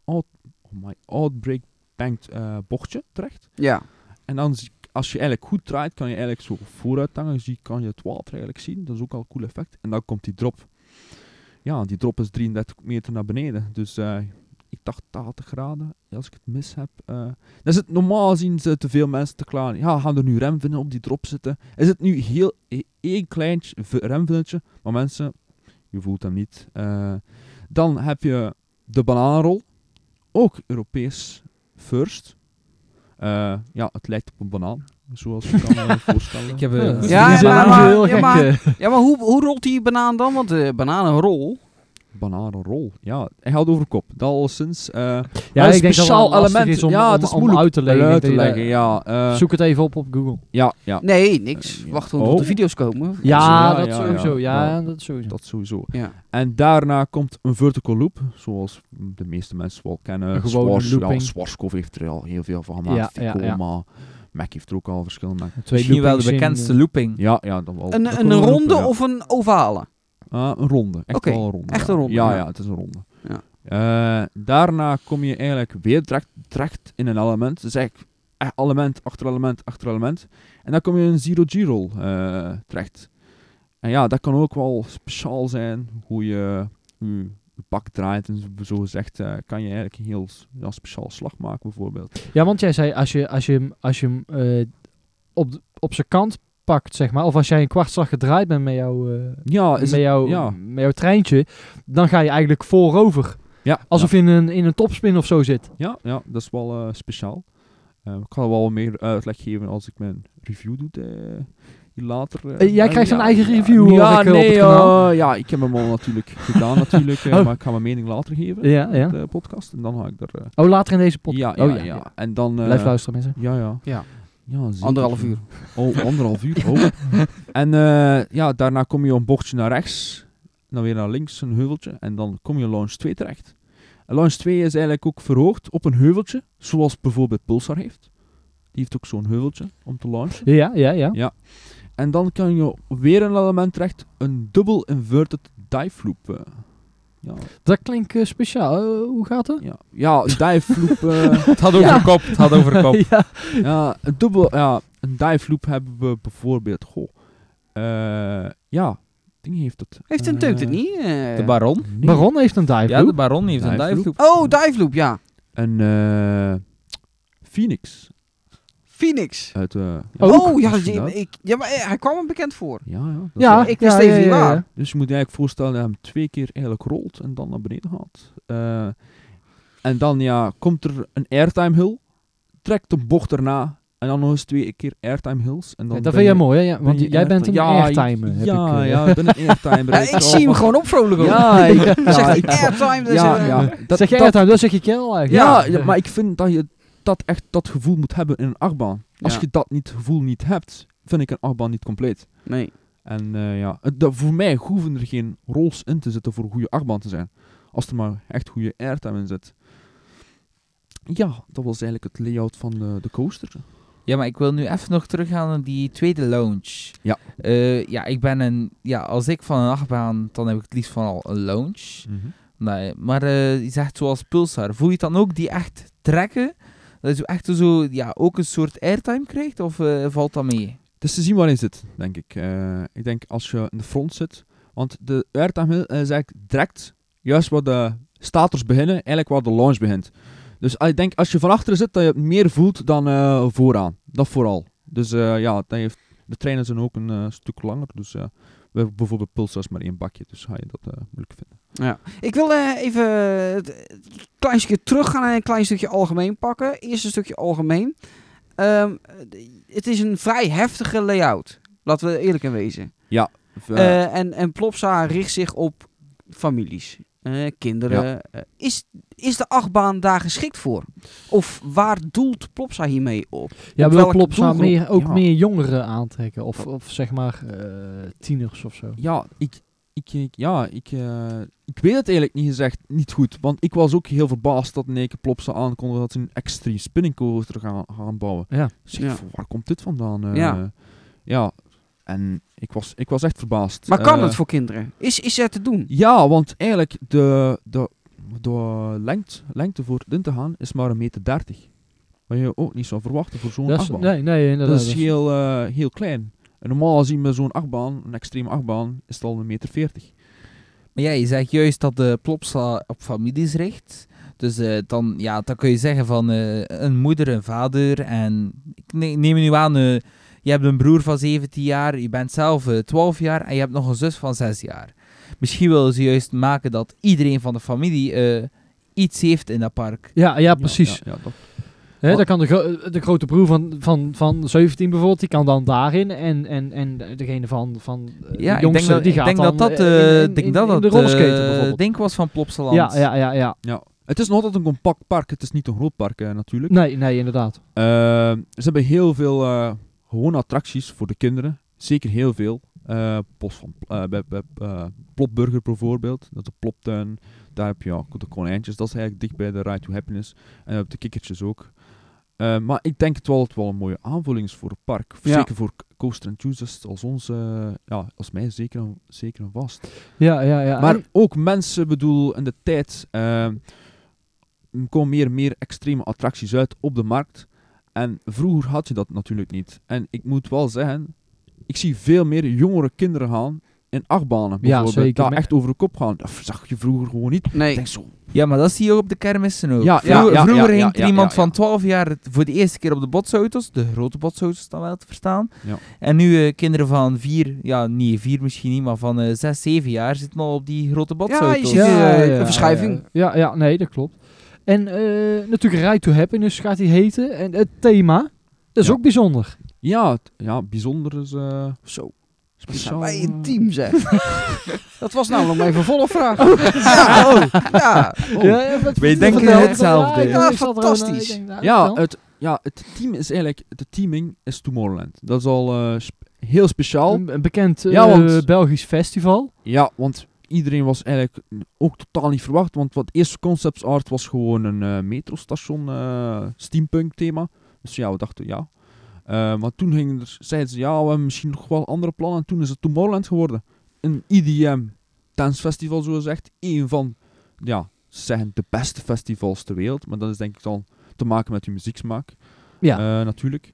[SPEAKER 5] out, oh my, outbreak banked eh, bochtje terecht.
[SPEAKER 4] Ja.
[SPEAKER 5] En dan zie- als je eigenlijk goed draait, kan je eigenlijk zo vooruit hangen. Dus die kan je het water eigenlijk zien. Dat is ook al een cool effect. En dan komt die drop. Ja, die drop is 33 meter naar beneden. Dus eh, ik dacht 80 graden. Ja, Als ik het mis heb. eh dan zit, normaal zien ze te veel mensen te klaar. Ja, gaan er nu remvinnen op die drop zitten. Is het nu heel e- één klein v- remvinnetje. Maar mensen, je voelt hem niet. Eh, dan heb je de bananenrol. Ook Europees first. Eh, ja, het lijkt op een banaan. Zoals je kan eh, voorstellen.
[SPEAKER 6] Ik heb
[SPEAKER 3] Ja,
[SPEAKER 6] eh,
[SPEAKER 3] die
[SPEAKER 4] Ja,
[SPEAKER 3] zijn
[SPEAKER 4] maar-
[SPEAKER 3] nou zo
[SPEAKER 4] maar-
[SPEAKER 3] heel
[SPEAKER 4] ja,
[SPEAKER 3] gek.
[SPEAKER 4] maar-
[SPEAKER 3] eh.
[SPEAKER 4] Ja, maar hoe, hoe rolt die banaan dan? Want de bananenrol.
[SPEAKER 5] Bananenrol. Ja, hij gaat over kop. Dat al sinds. eh,
[SPEAKER 3] Ja,
[SPEAKER 5] een
[SPEAKER 3] ik denk dat het
[SPEAKER 5] speciaal
[SPEAKER 3] wel lastig
[SPEAKER 5] element.
[SPEAKER 3] is om,
[SPEAKER 5] Ja,
[SPEAKER 3] om-
[SPEAKER 5] het is
[SPEAKER 3] om
[SPEAKER 5] moeilijk
[SPEAKER 3] uit te leggen.
[SPEAKER 5] uit te
[SPEAKER 3] Ik denk dat
[SPEAKER 5] leggen.
[SPEAKER 3] je-
[SPEAKER 5] Ja, eh,
[SPEAKER 3] Zoek het even op op Google.
[SPEAKER 5] ja, ja.
[SPEAKER 4] Nee, niks.
[SPEAKER 5] Eh,
[SPEAKER 4] Wachten tot
[SPEAKER 5] oh.
[SPEAKER 4] de video's komen.
[SPEAKER 3] Ja, dat
[SPEAKER 5] ja,
[SPEAKER 3] sowieso.
[SPEAKER 5] ja.
[SPEAKER 3] Ja, dat sowieso.
[SPEAKER 5] Dat sowieso.
[SPEAKER 4] Ja.
[SPEAKER 5] En daarna komt een vertical loop, zoals de meeste mensen wel
[SPEAKER 3] Een
[SPEAKER 5] kennen.
[SPEAKER 3] gewone
[SPEAKER 5] Swars, ja,
[SPEAKER 3] looping.
[SPEAKER 5] Schwarzkopf heeft er al heel veel van gemaakt.
[SPEAKER 3] Ja, ja,
[SPEAKER 5] Fico,
[SPEAKER 3] ja.
[SPEAKER 5] maar Mac heeft er ook al verschillende. Mac-
[SPEAKER 3] Twee
[SPEAKER 6] misschien wel de
[SPEAKER 3] loopings in,
[SPEAKER 6] bekendste
[SPEAKER 3] eh,
[SPEAKER 6] looping.
[SPEAKER 5] Ja, ja, dan wel.
[SPEAKER 4] Een,
[SPEAKER 5] Dat
[SPEAKER 4] een
[SPEAKER 5] kunnen we
[SPEAKER 4] ronde
[SPEAKER 5] roepen, ja.
[SPEAKER 4] of een ovale?
[SPEAKER 5] Ah, een ronde. Echt
[SPEAKER 4] Oké,
[SPEAKER 5] wel een ronde.
[SPEAKER 4] echt
[SPEAKER 5] ja.
[SPEAKER 4] een ronde,
[SPEAKER 5] Ja,
[SPEAKER 4] ja.
[SPEAKER 5] ja, het is een ronde.
[SPEAKER 4] Ja.
[SPEAKER 5] Eh, daarna kom je eigenlijk weer terecht, terecht in een element. Dus eigenlijk echt element achter element achter element. En dan kom je in een zero G-roll eh, terecht. En ja, dat kan ook wel speciaal zijn. Hoe je je bak draait en zo- zo gezegd. eh, kan je eigenlijk een heel s- ja, speciaal slag maken bijvoorbeeld.
[SPEAKER 3] eh. Ja, want jij zei als je, als je hem, als je hem eh, op, de- op zijn kant pakt, zeg maar, of als jij een kwartslag gedraaid bent met jouw, eh,
[SPEAKER 5] Ja, Oh, is
[SPEAKER 3] met,
[SPEAKER 5] het-
[SPEAKER 3] jouw
[SPEAKER 5] ja.
[SPEAKER 3] met jouw treintje, dan ga je eigenlijk voorover.
[SPEAKER 5] ja,
[SPEAKER 3] Alsof je in een, in een topspin of zo zit.
[SPEAKER 5] Ja, ja dat is wel eh, speciaal. Eh, ik kan er wel meer uitleg geven als ik mijn review doe eh, hier later. eh.
[SPEAKER 3] Eh, jij
[SPEAKER 5] Eh,
[SPEAKER 3] krijgt
[SPEAKER 5] ja,
[SPEAKER 3] een eigen
[SPEAKER 5] ja.
[SPEAKER 3] review,
[SPEAKER 5] ja,
[SPEAKER 3] hoor ik, eh, op
[SPEAKER 5] nee,
[SPEAKER 3] het kanaal.
[SPEAKER 5] eh, ja, ik heb hem al natuurlijk gedaan, natuurlijk, eh,
[SPEAKER 3] Oh.
[SPEAKER 5] maar ik ga mijn mening later geven
[SPEAKER 3] Ja, ja.
[SPEAKER 5] in de podcast. En dan ga ik er... eh,
[SPEAKER 3] Oh, later in deze podcast.
[SPEAKER 5] ja, ja,
[SPEAKER 3] oh,
[SPEAKER 5] ja, En dan... eh,
[SPEAKER 3] Blijf luisteren, mensen.
[SPEAKER 5] Ja, ja.
[SPEAKER 4] Ja.
[SPEAKER 5] ja zeker.
[SPEAKER 4] Anderhalf uur.
[SPEAKER 5] Oh, anderhalf uur. Oh. en eh, ja, daarna kom je een bochtje naar rechts. Dan weer naar links, een heuveltje. En dan kom je in launch 2 terecht. En launch 2 is eigenlijk ook verhoogd op een heuveltje. Zoals bijvoorbeeld Pulsar heeft. Die heeft ook zo'n heuveltje om te launchen.
[SPEAKER 3] Ja, ja, ja.
[SPEAKER 5] En dan kan je weer een element terecht. Een dubbel inverted dive loop. eh. ja,
[SPEAKER 3] Dat klinkt eh, speciaal. Eh, hoe gaat dat?
[SPEAKER 5] ja. ja, een dive loop. eh,
[SPEAKER 6] Het had over kop, het had over kop.
[SPEAKER 3] ja.
[SPEAKER 5] ja, een dubbel, ja, een dive loop hebben we bijvoorbeeld. Goh, eh, ja, ding heeft het.
[SPEAKER 4] Heeft een teut het
[SPEAKER 5] eh,
[SPEAKER 4] niet? eh?
[SPEAKER 6] De baron?
[SPEAKER 5] nee.
[SPEAKER 3] Baron heeft een dive
[SPEAKER 6] Ja, de
[SPEAKER 3] loop.
[SPEAKER 6] baron heeft een
[SPEAKER 5] Dive
[SPEAKER 6] dive
[SPEAKER 5] loop.
[SPEAKER 6] loop.
[SPEAKER 4] Oh, Dive Loop, ja.
[SPEAKER 5] Een eh, Phoenix
[SPEAKER 4] Phoenix.
[SPEAKER 5] uit. eh, ja,
[SPEAKER 3] Ook?
[SPEAKER 4] oh, ja,
[SPEAKER 5] als je
[SPEAKER 4] je-
[SPEAKER 5] dat-
[SPEAKER 4] ik, ja, maar eh, hij kwam me bekend voor.
[SPEAKER 5] Ja, ja. dat is
[SPEAKER 3] Ja,
[SPEAKER 5] wel-
[SPEAKER 4] Ik wist even niet waar.
[SPEAKER 5] Dus je moet je eigenlijk voorstellen dat hij hem twee keer eigenlijk rolt en dan naar beneden gaat. Eh, en dan ja, komt er een airtime hill, trekt een bocht erna en dan nog eens twee keer airtime hills. En dan
[SPEAKER 3] Ja,
[SPEAKER 5] ben
[SPEAKER 3] dat vind
[SPEAKER 5] je-
[SPEAKER 3] jij mooi, hè? Ja, want
[SPEAKER 5] je
[SPEAKER 3] jij bent een
[SPEAKER 5] airtime- Ja,
[SPEAKER 3] airtimer,
[SPEAKER 5] ik-
[SPEAKER 3] heb
[SPEAKER 5] ja,
[SPEAKER 3] ik, eh.
[SPEAKER 5] ja, ik ben een airtimer.
[SPEAKER 4] Eh, ik zie hem gewoon opvrolijken.
[SPEAKER 5] Ja, ik, ja,
[SPEAKER 4] Hij zegt
[SPEAKER 5] ik-
[SPEAKER 4] airtime. dus,
[SPEAKER 5] ja,
[SPEAKER 4] eh,
[SPEAKER 5] ja. Dat,
[SPEAKER 3] zeg jij
[SPEAKER 5] nou? dat-
[SPEAKER 3] dat, dat zeg je kel eigenlijk.
[SPEAKER 5] ja, ja, maar ik vind dat je dat echt dat gevoel moet hebben in een achtbaan. Als
[SPEAKER 4] Ja.
[SPEAKER 5] je dat niet, gevoel niet hebt, vind ik een achtbaan niet compleet.
[SPEAKER 4] Nee.
[SPEAKER 5] En eh, ja, het- dat- voor mij hoeven er geen rolls in te zitten voor een goede achtbaan te zijn. Als er maar echt goede airtime in zit. Ja, dat was eigenlijk het layout van de, de coaster.
[SPEAKER 6] Ja, maar ik wil nu even nog teruggaan naar die tweede lounge.
[SPEAKER 5] Ja.
[SPEAKER 6] Eh, ja, ik ben een... Ja, als ik van een achtbaan, dan heb ik het liefst van al een lounge. Nee, maar eh je zegt zoals Pulsar. Voel je het dan ook die echt trekken? Dat je echt zo, ja, ook een soort airtime krijgt? Of eh, valt dat mee?
[SPEAKER 5] Het is te zien waarin zit, denk ik. Eh, ik denk als je in de front zit. Want de airtime is eigenlijk direct juist waar de stators beginnen, eigenlijk waar de launch begint. Dus ik denk als je van achteren zit, dat je het meer voelt dan eh, vooraan. Dat vooral. Dus eh, ja, dat heeft, de treinen zijn ook een eh, stuk langer. Dus eh, we hebben bijvoorbeeld Pulsars maar één bakje. Dus ga je dat eh, moeilijk vinden.
[SPEAKER 4] Ja. Ik wil eh, even eh, het- een klein stukje teruggaan en een klein stukje algemeen pakken. Eerst een stukje algemeen. Ehm, d- het is een vrij heftige layout. Laten we er eerlijk in wezen.
[SPEAKER 5] Of, eh,
[SPEAKER 4] Eh, en, en Plopsa richt zich op families, eh, kinderen. Eh, is, is de achtbaan daar geschikt voor? Of waar doelt Plopsa hiermee op?
[SPEAKER 3] Ja,
[SPEAKER 4] Op
[SPEAKER 3] wil
[SPEAKER 4] welke
[SPEAKER 3] Plopsa
[SPEAKER 4] doelgroep?
[SPEAKER 3] meer, ook
[SPEAKER 5] Ja.
[SPEAKER 3] meer jongeren aantrekken? Of, of zeg maar eh, tieners of zo?
[SPEAKER 5] Ja, ik, ik, ik- ja, ik, eh, ik weet het eigenlijk niet gezegd niet goed. Want ik was ook heel verbaasd dat Nike Plopsa aankondigde dat ze een extreme spinning coaster gaan, gaan bouwen. Dus
[SPEAKER 3] Ja.
[SPEAKER 5] Ik Zeg,
[SPEAKER 4] Ja.
[SPEAKER 5] van waar komt dit vandaan? Eh,
[SPEAKER 4] Ja.
[SPEAKER 5] ja, en ik was, ik was echt verbaasd.
[SPEAKER 4] Maar kan
[SPEAKER 5] Eh,
[SPEAKER 4] het voor kinderen? Is, is er te doen?
[SPEAKER 5] Ja, want eigenlijk de, de, de lengte, lengte voor in te gaan is maar een meter dertig. Wat je ook niet zou verwachten voor zo'n
[SPEAKER 3] Dat is,
[SPEAKER 5] achtbaan.
[SPEAKER 3] nee, nee, inderdaad.
[SPEAKER 5] Dat is heel, eh, heel klein. En normaal zien we zo'n achtbaan, een extreme achtbaan, is het al een meter veertig.
[SPEAKER 6] Maar ja, je zegt juist dat de Plopsa op families richt. Dus eh, dan, ja, dan kun je zeggen van eh, een moeder, een vader. En ik ne- neem nu aan, eh, je hebt een broer van 17 jaar, je bent zelf eh, 12 jaar en je hebt nog een zus van 6 jaar. Misschien willen ze juist maken dat iedereen van de familie eh, iets heeft in dat park.
[SPEAKER 3] ja, ja, precies.
[SPEAKER 5] Ja, ja, dat-
[SPEAKER 3] Hè, dan kan de, gro- de grote broer van, van, van 17 bijvoorbeeld, die kan dan daarin. En, en, en degene van, van eh, de
[SPEAKER 6] Ja, ik denk
[SPEAKER 3] jongste,
[SPEAKER 6] dat
[SPEAKER 3] die
[SPEAKER 6] ik
[SPEAKER 3] gaat
[SPEAKER 6] denk
[SPEAKER 3] dan
[SPEAKER 6] dat, dat,
[SPEAKER 3] eh,
[SPEAKER 6] eh,
[SPEAKER 3] in-
[SPEAKER 6] ik denk
[SPEAKER 3] in-
[SPEAKER 6] dat
[SPEAKER 3] in
[SPEAKER 6] dat
[SPEAKER 3] de rollerskater
[SPEAKER 6] eh,
[SPEAKER 3] bijvoorbeeld.
[SPEAKER 6] denk was van Plopsaland.
[SPEAKER 3] Ja, ja, ja, ja.
[SPEAKER 5] Ja. Het is nog altijd een compact park. Het is niet een groot park eh, natuurlijk.
[SPEAKER 3] Nee, nee, inderdaad.
[SPEAKER 5] Eh, ze hebben heel veel eh, gewone attracties voor de kinderen. Zeker heel veel. Eh Bos van eh, bij, bij, eh, Plopburger bijvoorbeeld. Dat is een ploptuin. Daar heb je ja, de konijntjes. Dat is eigenlijk dicht bij de Ride to Happiness. En je hebt de kikkertjes ook. Eh, maar ik denk het wel, het wel een mooie aanvulling is voor het park.
[SPEAKER 4] Ja.
[SPEAKER 5] Zeker voor coaster enthusiasts als ons. eh, ja, als mij zeker en, zeker en vast.
[SPEAKER 3] Ja, ja, ja.
[SPEAKER 5] Maar
[SPEAKER 3] En-
[SPEAKER 5] ook mensen, bedoel, in de tijd ehm, er komen meer en meer extreme attracties uit op de markt. En vroeger had je dat natuurlijk niet. En ik moet wel zeggen, ik zie veel meer jongere kinderen gaan in achtbanen. Bijvoorbeeld,
[SPEAKER 3] zeker.
[SPEAKER 5] Daar
[SPEAKER 3] Maar-
[SPEAKER 5] echt over de kop gaan. Dat zag je vroeger gewoon niet. Ik
[SPEAKER 4] Nee.
[SPEAKER 5] denk zo,
[SPEAKER 6] Ja, maar dat zie je ook op de kermissen ook.
[SPEAKER 5] Ja, ja,
[SPEAKER 6] Vroeger,
[SPEAKER 5] ja,
[SPEAKER 6] vroeger
[SPEAKER 5] ja,
[SPEAKER 6] ging
[SPEAKER 5] ja,
[SPEAKER 6] er
[SPEAKER 5] ja,
[SPEAKER 6] iemand
[SPEAKER 5] ja,
[SPEAKER 6] van
[SPEAKER 5] ja.
[SPEAKER 6] 12 jaar voor de eerste keer op de botsauto's, de grote botsauto's dan wel te verstaan.
[SPEAKER 5] Ja.
[SPEAKER 6] En nu eh, kinderen van 4, ja, niet 4 misschien niet, maar van eh 6, 7 jaar zitten al op die grote botsauto's.
[SPEAKER 4] ziet het eh, een verschuiving.
[SPEAKER 3] Ja, ja, ja, nee, dat klopt. En eh, natuurlijk Ride to Happiness gaat die heten. En het thema, dat is
[SPEAKER 5] Ja.
[SPEAKER 3] ook bijzonder.
[SPEAKER 5] ja, het- ja bijzonder is eh,
[SPEAKER 4] Zo.
[SPEAKER 5] speciaal.
[SPEAKER 4] Wij
[SPEAKER 5] eh,
[SPEAKER 4] een team zeg. Dat was namelijk mijn vervolgvraag. ja.
[SPEAKER 5] oh.
[SPEAKER 3] Ja, ja, wat-
[SPEAKER 6] Wij
[SPEAKER 3] wat-
[SPEAKER 6] denken
[SPEAKER 3] vertel-
[SPEAKER 6] hetzelfde.
[SPEAKER 3] Ja, ik-
[SPEAKER 4] Ja,
[SPEAKER 3] ik zat er
[SPEAKER 4] fantastisch.
[SPEAKER 3] aan, eh, ik denk, nou,
[SPEAKER 5] Ja,
[SPEAKER 3] vertel.
[SPEAKER 5] het, ja, het team is eigenlijk, de teaming is Tomorrowland. Dat is al eh, sp- heel speciaal.
[SPEAKER 3] Een- een bekend eh,
[SPEAKER 5] Ja, want-
[SPEAKER 3] Belgisch festival.
[SPEAKER 5] Ja, want iedereen was eigenlijk ook totaal niet verwacht. Want wat eerste concept art was gewoon een eh, metrostation, eh, steampunk thema. Dus ja, we dachten ja. Eh, maar toen gingen er, zeiden ze ja, we hebben misschien nog wel andere plannen. En toen is het Tomorrowland geworden. Een E IDM dance festival, zo gezegd. Eén van, ja, ze zeggen de beste festivals ter wereld. Maar dat is denk ik dan te maken met je muzieksmaak.
[SPEAKER 3] Ja.
[SPEAKER 5] Eh, natuurlijk.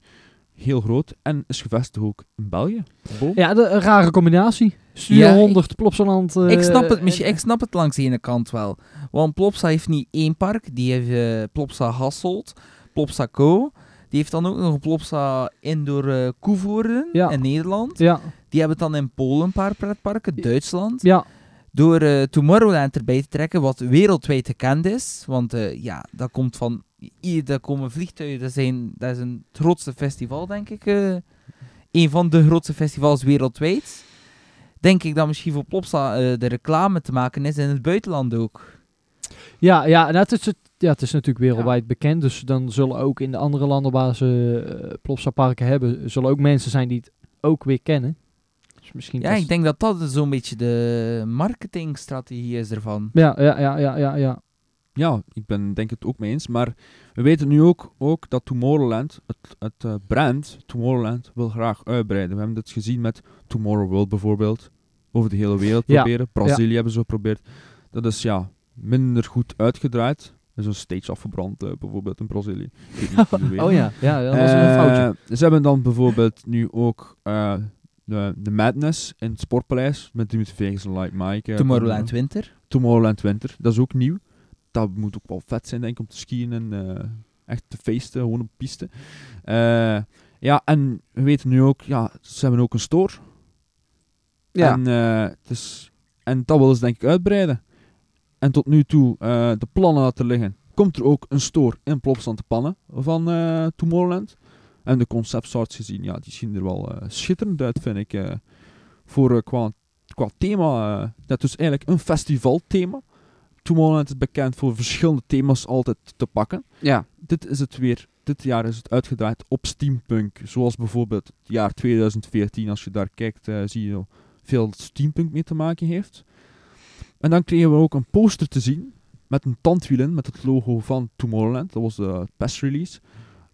[SPEAKER 5] Heel groot. En is gevestigd ook in België. Bo.
[SPEAKER 3] Ja, de, een rare combinatie. Studio
[SPEAKER 6] Ja, ik-
[SPEAKER 3] 100, Plopsaland. eh,
[SPEAKER 6] ik, snap het, misschien,
[SPEAKER 3] en-
[SPEAKER 6] ik snap het langs de ene kant wel. Want Plopsa heeft niet één park, die heeft eh, Plopsa Hasselt, Plopsa Co. Die heeft dan ook nog een Plopsa Indoor eh Koevoorden
[SPEAKER 3] Ja.
[SPEAKER 6] in Nederland.
[SPEAKER 3] Ja,
[SPEAKER 6] Die hebben het dan in Polen een paar pretparken, Duitsland.
[SPEAKER 3] ja,
[SPEAKER 6] Door eh, Tomorrowland erbij te trekken, wat wereldwijd gekend is. Want eh, ja, dat komt van... Hier daar komen vliegtuigen, dat, zijn, dat is een het grootste festival, denk ik. eh een van de grootste festivals wereldwijd. Denk ik dat misschien voor Plopsa eh, de reclame te maken is in het buitenland ook.
[SPEAKER 3] ja, ja, nou, het, is, het- ja, het is natuurlijk wereldwijd bekend. Dus dan zullen ook in de andere landen waar ze eh, Plopsa-parken hebben, zullen ook mensen zijn die het ook weer kennen. Dus misschien
[SPEAKER 6] Ja,
[SPEAKER 3] is-
[SPEAKER 6] ik denk dat dat dus zo'n beetje de marketingstrategie is ervan.
[SPEAKER 3] Ja, ja, ja, ja, ja, ja.
[SPEAKER 5] Ja, ik ben denk het ook mee eens. Maar we weten nu ook, ook dat Tomorrowland, het, het eh, brand Tomorrowland, wil graag uitbreiden. We hebben dit gezien met Tomorrow World bijvoorbeeld. Over de hele wereld
[SPEAKER 3] Ja,
[SPEAKER 5] proberen. Brazilië hebben ze geprobeerd. Dat is ja, minder goed uitgedraaid. Er is een stage afgebrand eh, bijvoorbeeld in Brazilië. Ik weet niet hoe je weet.
[SPEAKER 3] Oh ja, ja, dat was een foutje.
[SPEAKER 5] Eh, ze hebben dan bijvoorbeeld nu ook eh, de, de Madness in het Sportpaleis. Met Dimitri Vegas en Like Mike. eh,
[SPEAKER 6] Tomorrowland Winter.
[SPEAKER 5] Tomorrowland Winter. Dat is ook nieuw. Dat moet ook wel vet zijn, denk ik, om te skiën en eh, echt te feesten, gewoon op piste. Eh, ja, en we weten nu ook, ja, ze hebben ook een store.
[SPEAKER 4] Ja.
[SPEAKER 5] En, eh, het is- en dat willen ze denk ik uitbreiden. En tot nu toe, eh, de plannen laten liggen, komt er ook een store in Plopsland te pannen van eh, Tomorrowland. En de conceptarts gezien, ja, die zien er wel eh, schitterend uit, vind ik. eh, voor eh, qua, qua thema, eh, dat is eigenlijk een festivalthema. Tomorrowland is bekend voor verschillende thema's altijd te pakken
[SPEAKER 4] ja.
[SPEAKER 5] dit is het weer. Dit jaar is het uitgedraaid op steampunk. Zoals bijvoorbeeld het jaar 2014. Als je daar kijkt, eh, zie je veel steampunk mee te maken heeft. En dan kregen we ook een poster te zien. Met een tandwiel in, met het logo van Tomorrowland. Dat was de press release.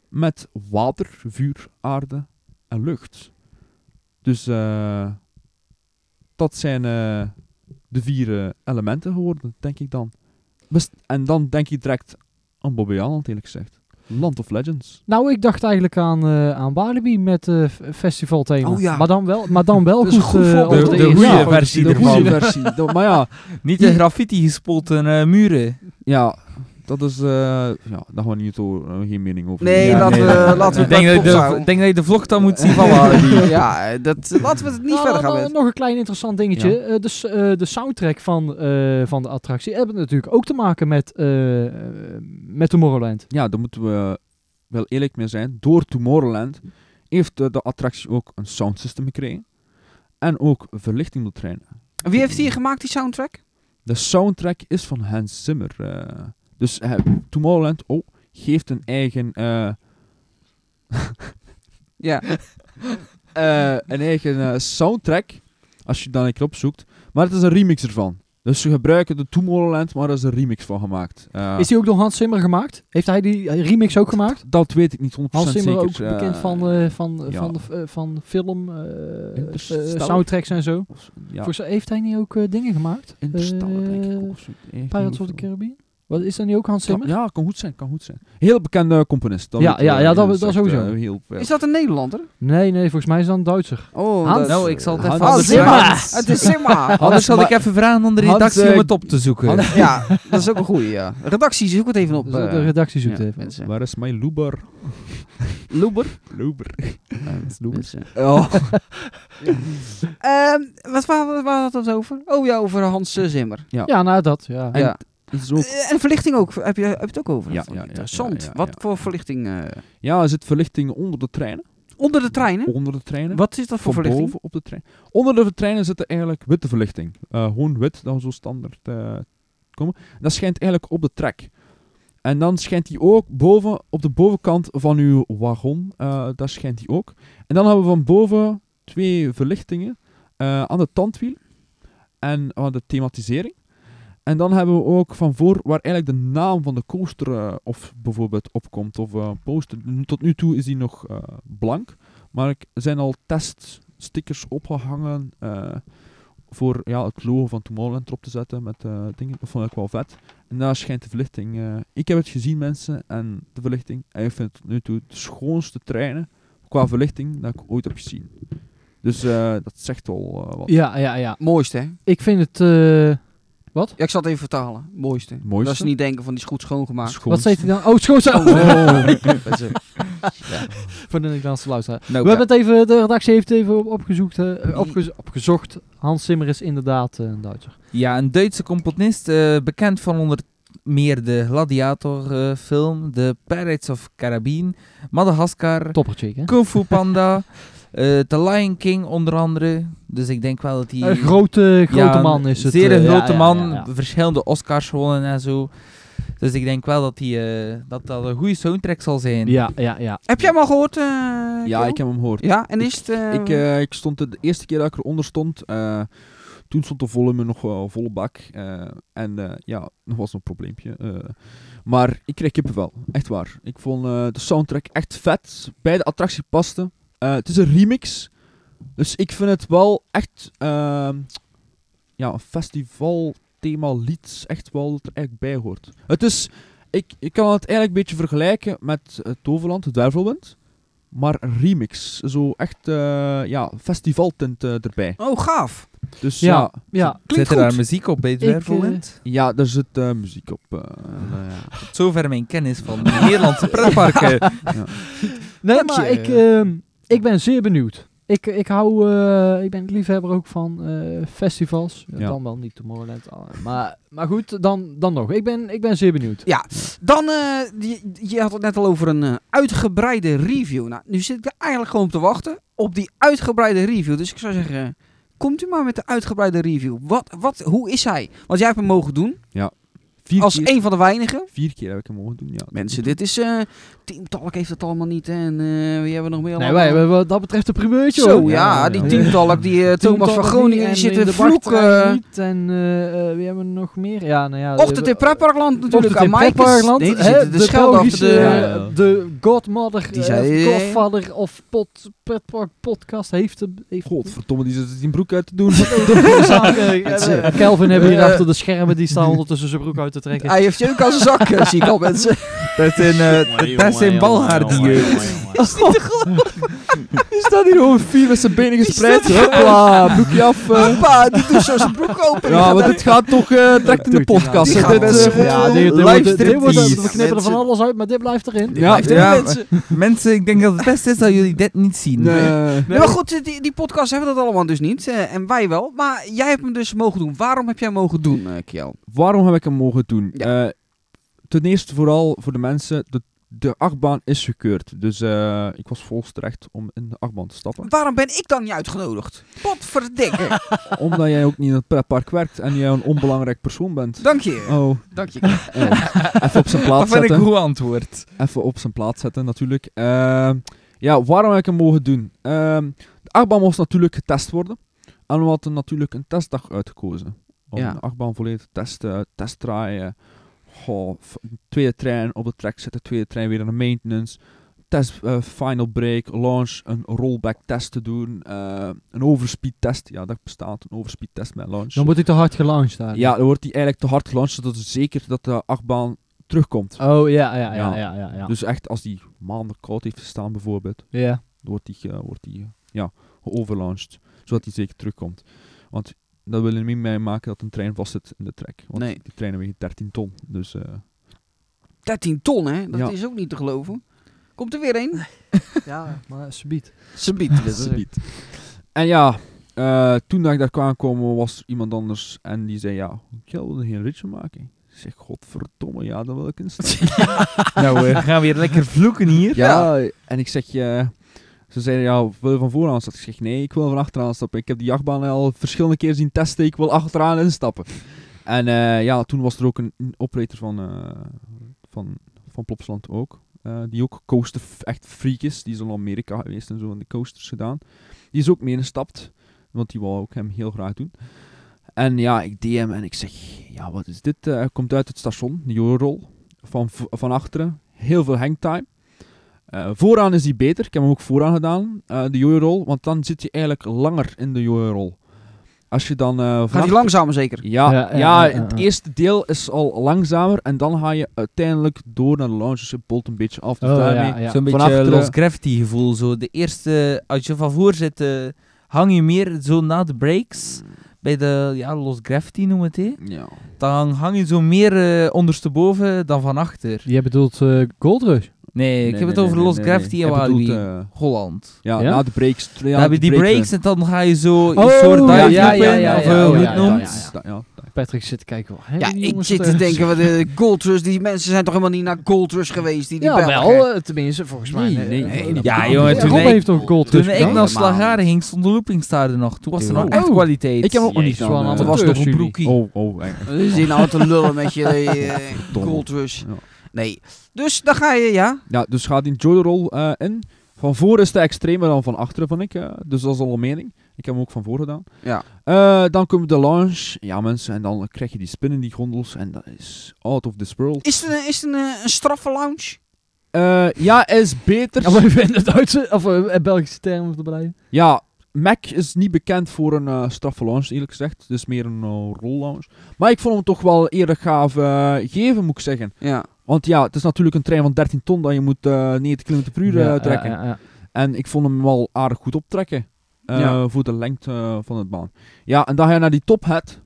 [SPEAKER 5] Met water, vuur, aarde en lucht. Dus eh, dat zijn eh, de vier eh, elementen geworden, denk ik dan. Best- en dan denk ik direct aan Bobby Alland, eerlijk gezegd. Land of Legends.
[SPEAKER 3] Nou, ik dacht eigenlijk aan, eh aan Walibi met eh, f- festivalthema.
[SPEAKER 4] Oh ja.
[SPEAKER 3] Maar dan wel, maar dan wel
[SPEAKER 4] Dat is
[SPEAKER 3] goed,
[SPEAKER 4] een goed
[SPEAKER 3] eh,
[SPEAKER 4] voorbeeld.
[SPEAKER 3] op
[SPEAKER 6] De-
[SPEAKER 3] de
[SPEAKER 6] de
[SPEAKER 3] eerste
[SPEAKER 6] goede
[SPEAKER 3] plaats.
[SPEAKER 6] versie
[SPEAKER 3] De
[SPEAKER 6] ervan.
[SPEAKER 3] goede-
[SPEAKER 5] Goede versie. Dat- maar ja,
[SPEAKER 6] Niet de graffiti gespoten eh, muren.
[SPEAKER 5] ja, dat is... eh ja, daar gaan we niet over, eh, geen mening over
[SPEAKER 4] Nee,
[SPEAKER 5] Ja,
[SPEAKER 4] laten
[SPEAKER 6] nee,
[SPEAKER 4] we,
[SPEAKER 6] nee.
[SPEAKER 4] laten we
[SPEAKER 6] Ik denk,
[SPEAKER 4] het
[SPEAKER 6] dat je
[SPEAKER 4] bij
[SPEAKER 6] de-
[SPEAKER 4] het
[SPEAKER 6] ik denk dat je de vlog dan moet zien van
[SPEAKER 4] ophouden.
[SPEAKER 6] Walibi.
[SPEAKER 4] ja, dat, laten we het niet
[SPEAKER 3] Nou,
[SPEAKER 4] verder gaan
[SPEAKER 3] nog-
[SPEAKER 4] met.
[SPEAKER 3] Nog een klein interessant dingetje. Eh, de, s- eh, de soundtrack van, eh, van de attractie hebben natuurlijk ook te maken met, eh eh, met Tomorrowland.
[SPEAKER 5] ja, daar moeten we wel eerlijk mee zijn. Door Tomorrowland heeft eh, de attractie ook een soundsystem gekregen. En ook verlichting op de trein.
[SPEAKER 4] Wie heeft die gemaakt, die soundtrack?
[SPEAKER 5] De soundtrack is van Hans Zimmer. eh. dus eh, Tomorrowland oh, geeft een eigen... eh,
[SPEAKER 4] Ja.
[SPEAKER 5] eh, een eigen eh, soundtrack. Als je dan een keer opzoekt. Maar het is een remix ervan. Dus ze gebruiken de Tomorrowland, maar er is een remix van gemaakt. Eh,
[SPEAKER 3] Is die ook door Hans Zimmer gemaakt? Heeft hij die remix ook gemaakt?
[SPEAKER 5] Dat weet ik niet 100%
[SPEAKER 3] Hans Zimmer ook
[SPEAKER 5] zeker.
[SPEAKER 3] bekend
[SPEAKER 5] Eh,
[SPEAKER 3] van, eh, van,
[SPEAKER 5] ja.
[SPEAKER 3] van, eh, van film, eh,
[SPEAKER 5] Interstellar?
[SPEAKER 3] eh, soundtracks en zo.
[SPEAKER 5] of- ja,
[SPEAKER 3] Volgens mij heeft hij niet ook eh, dingen gemaakt?
[SPEAKER 5] Interstellar denk ik
[SPEAKER 3] Eh,
[SPEAKER 5] ook. of zo. Echt
[SPEAKER 3] Pirates
[SPEAKER 5] niet
[SPEAKER 3] of the
[SPEAKER 5] veel.
[SPEAKER 3] Caribbean? Wat, is dat nu ook Hans Zimmer?
[SPEAKER 5] Kan- ja, kan goed zijn, kan goed zijn. Heel bekende componist.
[SPEAKER 3] Ja,
[SPEAKER 5] weten
[SPEAKER 3] ja,
[SPEAKER 5] we,
[SPEAKER 3] ja,
[SPEAKER 5] eh,
[SPEAKER 3] dat-
[SPEAKER 5] is
[SPEAKER 3] dat
[SPEAKER 5] echt,
[SPEAKER 3] sowieso.
[SPEAKER 5] eh, heel, ja.
[SPEAKER 4] Is dat een Nederlander?
[SPEAKER 3] Nee, nee, volgens mij is dat een Duitser.
[SPEAKER 4] Oh,
[SPEAKER 3] Hans?
[SPEAKER 4] dat-
[SPEAKER 6] Nou, ik zal het even...
[SPEAKER 5] Hans
[SPEAKER 4] Hans
[SPEAKER 6] anders vragen.
[SPEAKER 4] Zimmer. Het is Zimmer.
[SPEAKER 6] Anders zal
[SPEAKER 5] maar-
[SPEAKER 6] ik even vragen aan de
[SPEAKER 5] Hans,
[SPEAKER 6] redactie
[SPEAKER 5] eh,
[SPEAKER 6] om het op te zoeken.
[SPEAKER 4] Ja, dat is ook een goeie, ja. Redactie, zoek het even op.
[SPEAKER 3] Dus, eh,
[SPEAKER 4] eh,
[SPEAKER 3] de redactie zoekt
[SPEAKER 4] ja,
[SPEAKER 3] even.
[SPEAKER 4] mensen.
[SPEAKER 5] Waar is mijn Luber?
[SPEAKER 4] Loeber.
[SPEAKER 5] Luber.
[SPEAKER 4] Mensen.
[SPEAKER 5] Oh.
[SPEAKER 4] Ehm, wat waar, waar had het over? Oh ja, over Hans eh, Zimmer.
[SPEAKER 3] Ja, nou dat, ja.
[SPEAKER 4] ja.
[SPEAKER 5] Dat is ook
[SPEAKER 4] Eh, en verlichting ook. Heb je, heb je het ook over?
[SPEAKER 5] Ja,
[SPEAKER 4] Dat vond
[SPEAKER 5] ja,
[SPEAKER 4] ik
[SPEAKER 5] ja,
[SPEAKER 4] Interessant.
[SPEAKER 5] ja, ja,
[SPEAKER 4] Wat
[SPEAKER 5] ja.
[SPEAKER 4] voor verlichting? eh,
[SPEAKER 5] Ja, er zit verlichting onder de treinen.
[SPEAKER 4] onder de treinen?
[SPEAKER 5] Onder de treinen.
[SPEAKER 4] Wat is dat voor
[SPEAKER 5] van
[SPEAKER 4] verlichting?
[SPEAKER 5] boven op de trein. Onder de treinen zit er eigenlijk witte verlichting. Eh, gewoon wit, dat we zo standaard eh, komen. Dat schijnt eigenlijk op de trek. En dan schijnt die ook boven, op de bovenkant van uw wagon. eh daar schijnt die ook. En dan hebben we van boven twee verlichtingen eh, aan de tandwiel en aan de thematisering. En dan hebben we ook van voor waar eigenlijk de naam van de coaster eh, of bijvoorbeeld opkomt of eh, poster. Tot nu toe is die nog eh, blank, maar ik- er zijn al teststickers opgehangen eh, voor ja, het logo van Tomorrowland erop te zetten met eh, dingen. Dat vond ik wel vet. En daar schijnt de verlichting. eh, ik heb het gezien mensen en de verlichting. En ik vind het tot nu toe de schoonste treinen qua verlichting dat ik ooit heb gezien. Dus eh, dat zegt al wat.
[SPEAKER 3] Ja, ja, ja.
[SPEAKER 4] Mooiste, hè?
[SPEAKER 3] Ik vind het... eh,
[SPEAKER 4] Ja, ik zal het even vertalen. Mooiste.
[SPEAKER 5] Mooiste?
[SPEAKER 4] Dat ze niet denken van die is goed schoongemaakt.
[SPEAKER 5] Schoonste.
[SPEAKER 3] wat zegt hij dan? Oh, schoon zo.
[SPEAKER 4] Dat is, eh,
[SPEAKER 3] Voor de Nederlandse luisteraar.
[SPEAKER 6] Nou,
[SPEAKER 3] We hebben het even, de redactie heeft even op- opgezoekt, eh, eh, opgezo- opgezocht. Hans Zimmer is inderdaad eh, een Duitser.
[SPEAKER 6] Ja, een Duitse componist, eh, bekend van onder meer de Gladiator-film, The Pirates of Caribbean, Madagascar,
[SPEAKER 3] Toppertje, hè?
[SPEAKER 6] Kung Fu Panda, eh, The Lion King onder andere. Dus ik denk wel dat hij...
[SPEAKER 3] Een grote, grote
[SPEAKER 6] Ja,
[SPEAKER 3] man is het.
[SPEAKER 6] Zeer een
[SPEAKER 3] eh, ja,
[SPEAKER 6] grote
[SPEAKER 3] ja,
[SPEAKER 6] man,
[SPEAKER 3] ja, ja.
[SPEAKER 6] verschillende Oscars gewonnen en zo. Dus ik denk wel dat, die, eh, dat dat een goede soundtrack zal zijn.
[SPEAKER 3] Ja, ja, ja.
[SPEAKER 4] Heb jij hem al gehoord, eh eh,
[SPEAKER 5] Ja,
[SPEAKER 4] Kjell?
[SPEAKER 5] ik heb hem gehoord.
[SPEAKER 4] Ja, en is het... eh,
[SPEAKER 5] Ik, eh, ik stond er de eerste keer dat ik eronder stond, eh, toen stond de volume nog wel volle bak. eh, en eh, ja, nog was een probleempje. eh. maar ik kreeg kippenvel, echt waar. Ik vond eh, de soundtrack echt vet. Bij de attractie paste. Eh, het is een remix, dus ik vind het wel echt ehm, ja, een festival thema lied. Echt wel dat er eigenlijk bij hoort. Het is, ik, ik kan het eigenlijk een beetje vergelijken met eh, Toverland, de Duivelwind. Maar een remix. Zo echt, eh ja, festivaltint eh, erbij.
[SPEAKER 4] Oh, gaaf.
[SPEAKER 5] Dus
[SPEAKER 3] Ja.
[SPEAKER 5] ja,
[SPEAKER 3] Ja,
[SPEAKER 6] Zit
[SPEAKER 3] klinkt
[SPEAKER 6] er
[SPEAKER 3] goed.
[SPEAKER 6] daar muziek op bij het
[SPEAKER 3] Ik, eh,
[SPEAKER 6] Wervelwind?
[SPEAKER 5] ja, daar zit eh, muziek op. eh, en, eh, ja.
[SPEAKER 6] Tot zover mijn kennis van Nederlandse pretparken.
[SPEAKER 3] Nee,
[SPEAKER 4] Dank
[SPEAKER 3] maar
[SPEAKER 4] je.
[SPEAKER 3] ik, ehm, ik ben zeer benieuwd. Ik, ik hou, eh, ik ben het liefhebber ook van eh, festivals.
[SPEAKER 5] Ja.
[SPEAKER 3] Dan wel niet Tomorrowland. ah, Maar, maar goed, dan, dan nog. Ik ben, ik ben zeer benieuwd.
[SPEAKER 4] Dan, eh, je, je had het net al over een eh, uitgebreide review. Nou, nu zit ik er eigenlijk gewoon op te wachten op die uitgebreide review. Dus ik zou zeggen, eh, komt u maar met de uitgebreide review. Wat, wat, hoe is hij? Want jij hebt hem mogen doen,
[SPEAKER 5] Vier,
[SPEAKER 4] als
[SPEAKER 5] keer,
[SPEAKER 4] een van de weinigen.
[SPEAKER 5] vier keer heb ik hem mogen doen, ja.
[SPEAKER 4] Mensen, dit is... eh Team Talk heeft het allemaal niet en eh wie hebben we nog meer?
[SPEAKER 3] Nee,
[SPEAKER 4] allemaal?
[SPEAKER 3] wij hebben wat dat betreft een primeurtje.
[SPEAKER 4] Zo,
[SPEAKER 3] hoor.
[SPEAKER 4] ja,
[SPEAKER 5] Ja, ja,
[SPEAKER 4] die
[SPEAKER 5] ja.
[SPEAKER 4] Team Talk, die eh,
[SPEAKER 3] Toen
[SPEAKER 4] Thomas van
[SPEAKER 3] Tommy
[SPEAKER 4] Groningen,
[SPEAKER 3] en
[SPEAKER 4] die zit
[SPEAKER 3] in
[SPEAKER 4] te
[SPEAKER 3] de wachtrij
[SPEAKER 4] vloeken.
[SPEAKER 3] niet En eh, eh, wie hebben we nog meer? Ja, nou ja.
[SPEAKER 4] Ochtend in Pretparkland natuurlijk.
[SPEAKER 3] Ochtend in
[SPEAKER 4] aan Mike is-
[SPEAKER 3] Pretparkland.
[SPEAKER 4] Nee, die
[SPEAKER 3] hè,
[SPEAKER 4] zitten de schelde achter
[SPEAKER 3] Belgische,
[SPEAKER 4] de...
[SPEAKER 5] Ja, ja.
[SPEAKER 3] eh, de godmother,
[SPEAKER 4] Die
[SPEAKER 3] eh,
[SPEAKER 4] zei-
[SPEAKER 3] of godfather of pot, Pretpark podcast heeft... de- heeft
[SPEAKER 5] Godverdomme, die zit het in broek uit te doen.
[SPEAKER 3] Eh, eh, Kelvin hebben hier achter de schermen, die staan ondertussen zijn broek uit te trekken.
[SPEAKER 4] Hij heeft je ook aan zijn zak, eh, zie ik al mensen.
[SPEAKER 6] Dat zijn,
[SPEAKER 5] Eh,
[SPEAKER 6] uh, dat zijn balhaar die jeukt.
[SPEAKER 5] Die staat hier gewoon vier met zijn benen gespreid. Hopla, broekje af. eh.
[SPEAKER 4] Hoppa, die doet zo zijn broek open. Ah, Die
[SPEAKER 5] Ja,
[SPEAKER 4] gaat
[SPEAKER 5] want
[SPEAKER 4] uit.
[SPEAKER 5] dit gaat toch eh, direct in de
[SPEAKER 3] Doet hij nou?
[SPEAKER 5] podcast.
[SPEAKER 4] Die
[SPEAKER 5] hè.
[SPEAKER 4] gaat
[SPEAKER 5] Dit,
[SPEAKER 4] mensen
[SPEAKER 5] eh,
[SPEAKER 4] goed.
[SPEAKER 3] ja, dit,
[SPEAKER 4] Ja,
[SPEAKER 3] dit wordt, dit wordt-
[SPEAKER 4] striptease.
[SPEAKER 3] we knippen er van
[SPEAKER 4] Mensen.
[SPEAKER 3] alles uit, maar dit blijft erin.
[SPEAKER 5] Ja,
[SPEAKER 4] Blijft erin,
[SPEAKER 6] ja.
[SPEAKER 4] mensen.
[SPEAKER 6] eh, Mensen, ik denk dat het beste is dat jullie dit niet zien.
[SPEAKER 5] nee.
[SPEAKER 4] Nee, maar goed, eh, die, die podcast hebben dat allemaal dus niet. eh, en wij wel. Maar jij hebt hem dus mogen doen. Waarom heb jij hem mogen doen, eh Kjell?
[SPEAKER 5] Waarom heb ik hem mogen doen? Eh, ten eerste vooral voor de mensen, de, de achtbaan is gekeurd. Dus eh, ik was volgens terecht om in de achtbaan te stappen.
[SPEAKER 4] Waarom ben ik dan niet uitgenodigd? Potverdikke.
[SPEAKER 5] Omdat jij ook niet in het pretpark werkt en jij een onbelangrijk persoon bent.
[SPEAKER 4] Dank je.
[SPEAKER 5] Oh,
[SPEAKER 4] Dank je.
[SPEAKER 5] eh, even op
[SPEAKER 6] Dat
[SPEAKER 5] zijn plaats
[SPEAKER 6] vind ik
[SPEAKER 5] zetten.
[SPEAKER 6] een goed antwoord.
[SPEAKER 5] even op zijn plaats zetten natuurlijk. Ehm, ja, waarom heb ik hem mogen doen? Ehm, de achtbaan moest natuurlijk getest worden. En we hadden natuurlijk een testdag uitgekozen. Om
[SPEAKER 4] Ja.
[SPEAKER 5] de achtbaan volledig te testen, test draaien. Goh, f- tweede trein op de track zetten, tweede trein weer aan de maintenance. Test, eh, final break, launch, een rollback test te doen. eh, een overspeed test. Ja, dat bestaat, een overspeed test met launch.
[SPEAKER 3] Dan moet ik te hard gelaunched daar.
[SPEAKER 5] Ja, dan wordt die eigenlijk te hard gelanceerd, zodat het zeker dat de achtbaan terugkomt.
[SPEAKER 3] Oh, ja, ja, ja,
[SPEAKER 5] Ja.
[SPEAKER 3] ja, ja. ja.
[SPEAKER 5] Dus echt als die maanden koud heeft gestaan bijvoorbeeld,
[SPEAKER 3] ja.
[SPEAKER 5] dan wordt die, eh, wordt die eh, ja, geoverlaunched. Zodat die zeker terugkomt. Want dat wil je niet meemaken dat een trein vastzit in de trek. Want
[SPEAKER 4] Nee.
[SPEAKER 5] die treinen wegen 13 ton. Dus eh,
[SPEAKER 4] 13 ton, hè? Dat
[SPEAKER 5] Ja.
[SPEAKER 4] is ook niet te geloven. Komt er weer een?
[SPEAKER 3] ja, maar subiet.
[SPEAKER 4] Subiet.
[SPEAKER 5] dat is niet. En ja, eh, toen dat ik daar kwam komen was er iemand anders en die zei ja, ik wilde geen ritje maken. Ik zeg, godverdomme, ja, dan wil ik een stuk.
[SPEAKER 6] Nou, we gaan weer lekker vloeken hier.
[SPEAKER 5] Ja, en ik zeg je. Ze zeiden ja, wil je van vooraan stappen? Ik zeg nee, ik wil van achteraan stappen. Ik heb die jachtbaan al verschillende keer zien testen. Ik wil achteraan instappen. En eh, ja, toen was er ook een, een operator van, eh, van, van Plopsland ook. eh, die ook coaster f- echt freak is. Die is al in Amerika geweest en zo en de coasters gedaan. Die is ook meegestapt. Want die wou ook hem heel graag doen. En ja, ik DM en ik zeg, ja wat is dit? Eh, Hij komt uit het station, de Jorol. Van, v- van achteren. Heel veel hangtime. Eh, vooraan is die beter. Ik heb hem ook vooraan gedaan, eh, de jojo-rol. Want dan zit je eigenlijk langer in de jojo-rol. Als je dan... eh,
[SPEAKER 4] Gaat
[SPEAKER 5] vanaf-
[SPEAKER 4] hij langzamer zeker?
[SPEAKER 5] ja,
[SPEAKER 3] Ja,
[SPEAKER 5] ja,
[SPEAKER 3] ja, ja, ja,
[SPEAKER 5] het
[SPEAKER 3] ja.
[SPEAKER 5] eerste deel is al langzamer. En dan ga je uiteindelijk door naar de lounge. Dus je bolt een beetje af. Dus
[SPEAKER 3] Oh,
[SPEAKER 5] daarmee...
[SPEAKER 3] ja, ja.
[SPEAKER 6] Zo'n beetje
[SPEAKER 5] Van achteren.
[SPEAKER 6] Lost Gravity gevoel. Zo. De eerste, als je van voor zit, eh, hang je meer zo na de breaks. Bij de ja, Lost Gravity noemen we het. hè.
[SPEAKER 5] Ja.
[SPEAKER 6] Dan hang je zo meer eh, ondersteboven dan van achter.
[SPEAKER 3] Jij bedoelt eh Gold Rush?
[SPEAKER 6] Nee, ik
[SPEAKER 5] Nee,
[SPEAKER 6] heb het
[SPEAKER 5] nee,
[SPEAKER 6] over
[SPEAKER 5] nee,
[SPEAKER 6] Lost
[SPEAKER 5] nee,
[SPEAKER 6] Gravity
[SPEAKER 5] nee.
[SPEAKER 6] en
[SPEAKER 5] Ik bedoel,
[SPEAKER 6] Walibi.
[SPEAKER 5] eh,
[SPEAKER 6] Holland.
[SPEAKER 5] ja,
[SPEAKER 3] Ja?
[SPEAKER 5] na de breaks. Ja,
[SPEAKER 6] Dan
[SPEAKER 5] na
[SPEAKER 6] heb je
[SPEAKER 5] de
[SPEAKER 6] die
[SPEAKER 5] breaks
[SPEAKER 6] breaks en dan ga je zo een
[SPEAKER 3] Oh,
[SPEAKER 6] soort dive
[SPEAKER 3] ja,
[SPEAKER 5] ja,
[SPEAKER 6] loop
[SPEAKER 5] ja,
[SPEAKER 6] in,
[SPEAKER 5] ja,
[SPEAKER 6] of
[SPEAKER 5] ja,
[SPEAKER 6] eh,
[SPEAKER 5] ja,
[SPEAKER 6] hoe
[SPEAKER 5] ja,
[SPEAKER 6] het
[SPEAKER 5] ja,
[SPEAKER 6] noemt.
[SPEAKER 3] ja.
[SPEAKER 5] Ja, ja.
[SPEAKER 3] Patrick zit te kijken. wat hebben
[SPEAKER 4] Ja,
[SPEAKER 3] die
[SPEAKER 4] ik
[SPEAKER 3] jongens
[SPEAKER 4] zit
[SPEAKER 3] het
[SPEAKER 4] te
[SPEAKER 3] ergens?
[SPEAKER 4] denken, wat, eh, Gold Rush, die mensen zijn toch helemaal niet naar Gold Rush geweest? Die, die
[SPEAKER 3] Ja,
[SPEAKER 4] Belgen?
[SPEAKER 3] wel. eh, Tenminste, volgens mij.
[SPEAKER 5] Nee, nee, nee,
[SPEAKER 3] eh,
[SPEAKER 5] ja,
[SPEAKER 3] Rob
[SPEAKER 6] jongen, toen ik-
[SPEAKER 3] heeft toch Gold
[SPEAKER 5] Dus
[SPEAKER 3] Rush
[SPEAKER 6] Toen ik
[SPEAKER 3] gedaan?
[SPEAKER 6] naar
[SPEAKER 4] Helemaal
[SPEAKER 6] Slagaren
[SPEAKER 4] niet.
[SPEAKER 6] ging, stond de looping star er nog. Toen was er nog
[SPEAKER 5] Oh.
[SPEAKER 6] echt kwaliteit.
[SPEAKER 5] Ik heb hem ook nog niet
[SPEAKER 3] Jezus, wel een
[SPEAKER 5] gedaan. eh.
[SPEAKER 4] Het was
[SPEAKER 3] Amateurs,
[SPEAKER 4] toch
[SPEAKER 6] nog een
[SPEAKER 3] jullie.
[SPEAKER 6] broekie.
[SPEAKER 5] Oh, oh. eh,
[SPEAKER 4] Wat is die nou te lullen met je eh, Gold Rush?
[SPEAKER 5] Ja.
[SPEAKER 4] Nee. Dus dan ga je, ja.
[SPEAKER 5] Ja, dus gaat die Jojo-rol in. Van voren is de extremer dan van achteren, vond ik. hè. Dus dat is al een mening. Ik heb hem ook van voren gedaan.
[SPEAKER 4] Ja.
[SPEAKER 5] Eh, dan komt de lounge. Ja, mensen. En dan krijg je die spin in die gondels. En dat is out of this world.
[SPEAKER 4] Is het een, is het een, eh, een straffe lounge?
[SPEAKER 5] Eh, ja, is beter.
[SPEAKER 3] Ja, maar even in de Duitse, of eh, Belgische termen te blijven.
[SPEAKER 5] Ja, Mac is niet bekend voor een eh straffe lounge, eerlijk gezegd. Het is meer een eh, roll lounge. Maar ik vond hem toch wel eerder gaaf eh, geven, moet ik zeggen.
[SPEAKER 4] Ja.
[SPEAKER 5] Want ja, het is natuurlijk een trein van 13 ton dat je moet eh 90 km per uur eh,
[SPEAKER 3] Ja,
[SPEAKER 5] trekken.
[SPEAKER 3] ja, ja.
[SPEAKER 5] En ik vond hem wel aardig goed optrekken. eh,
[SPEAKER 4] Ja.
[SPEAKER 5] Voor de lengte eh, van het baan. Ja, en dan ga je naar die top hat.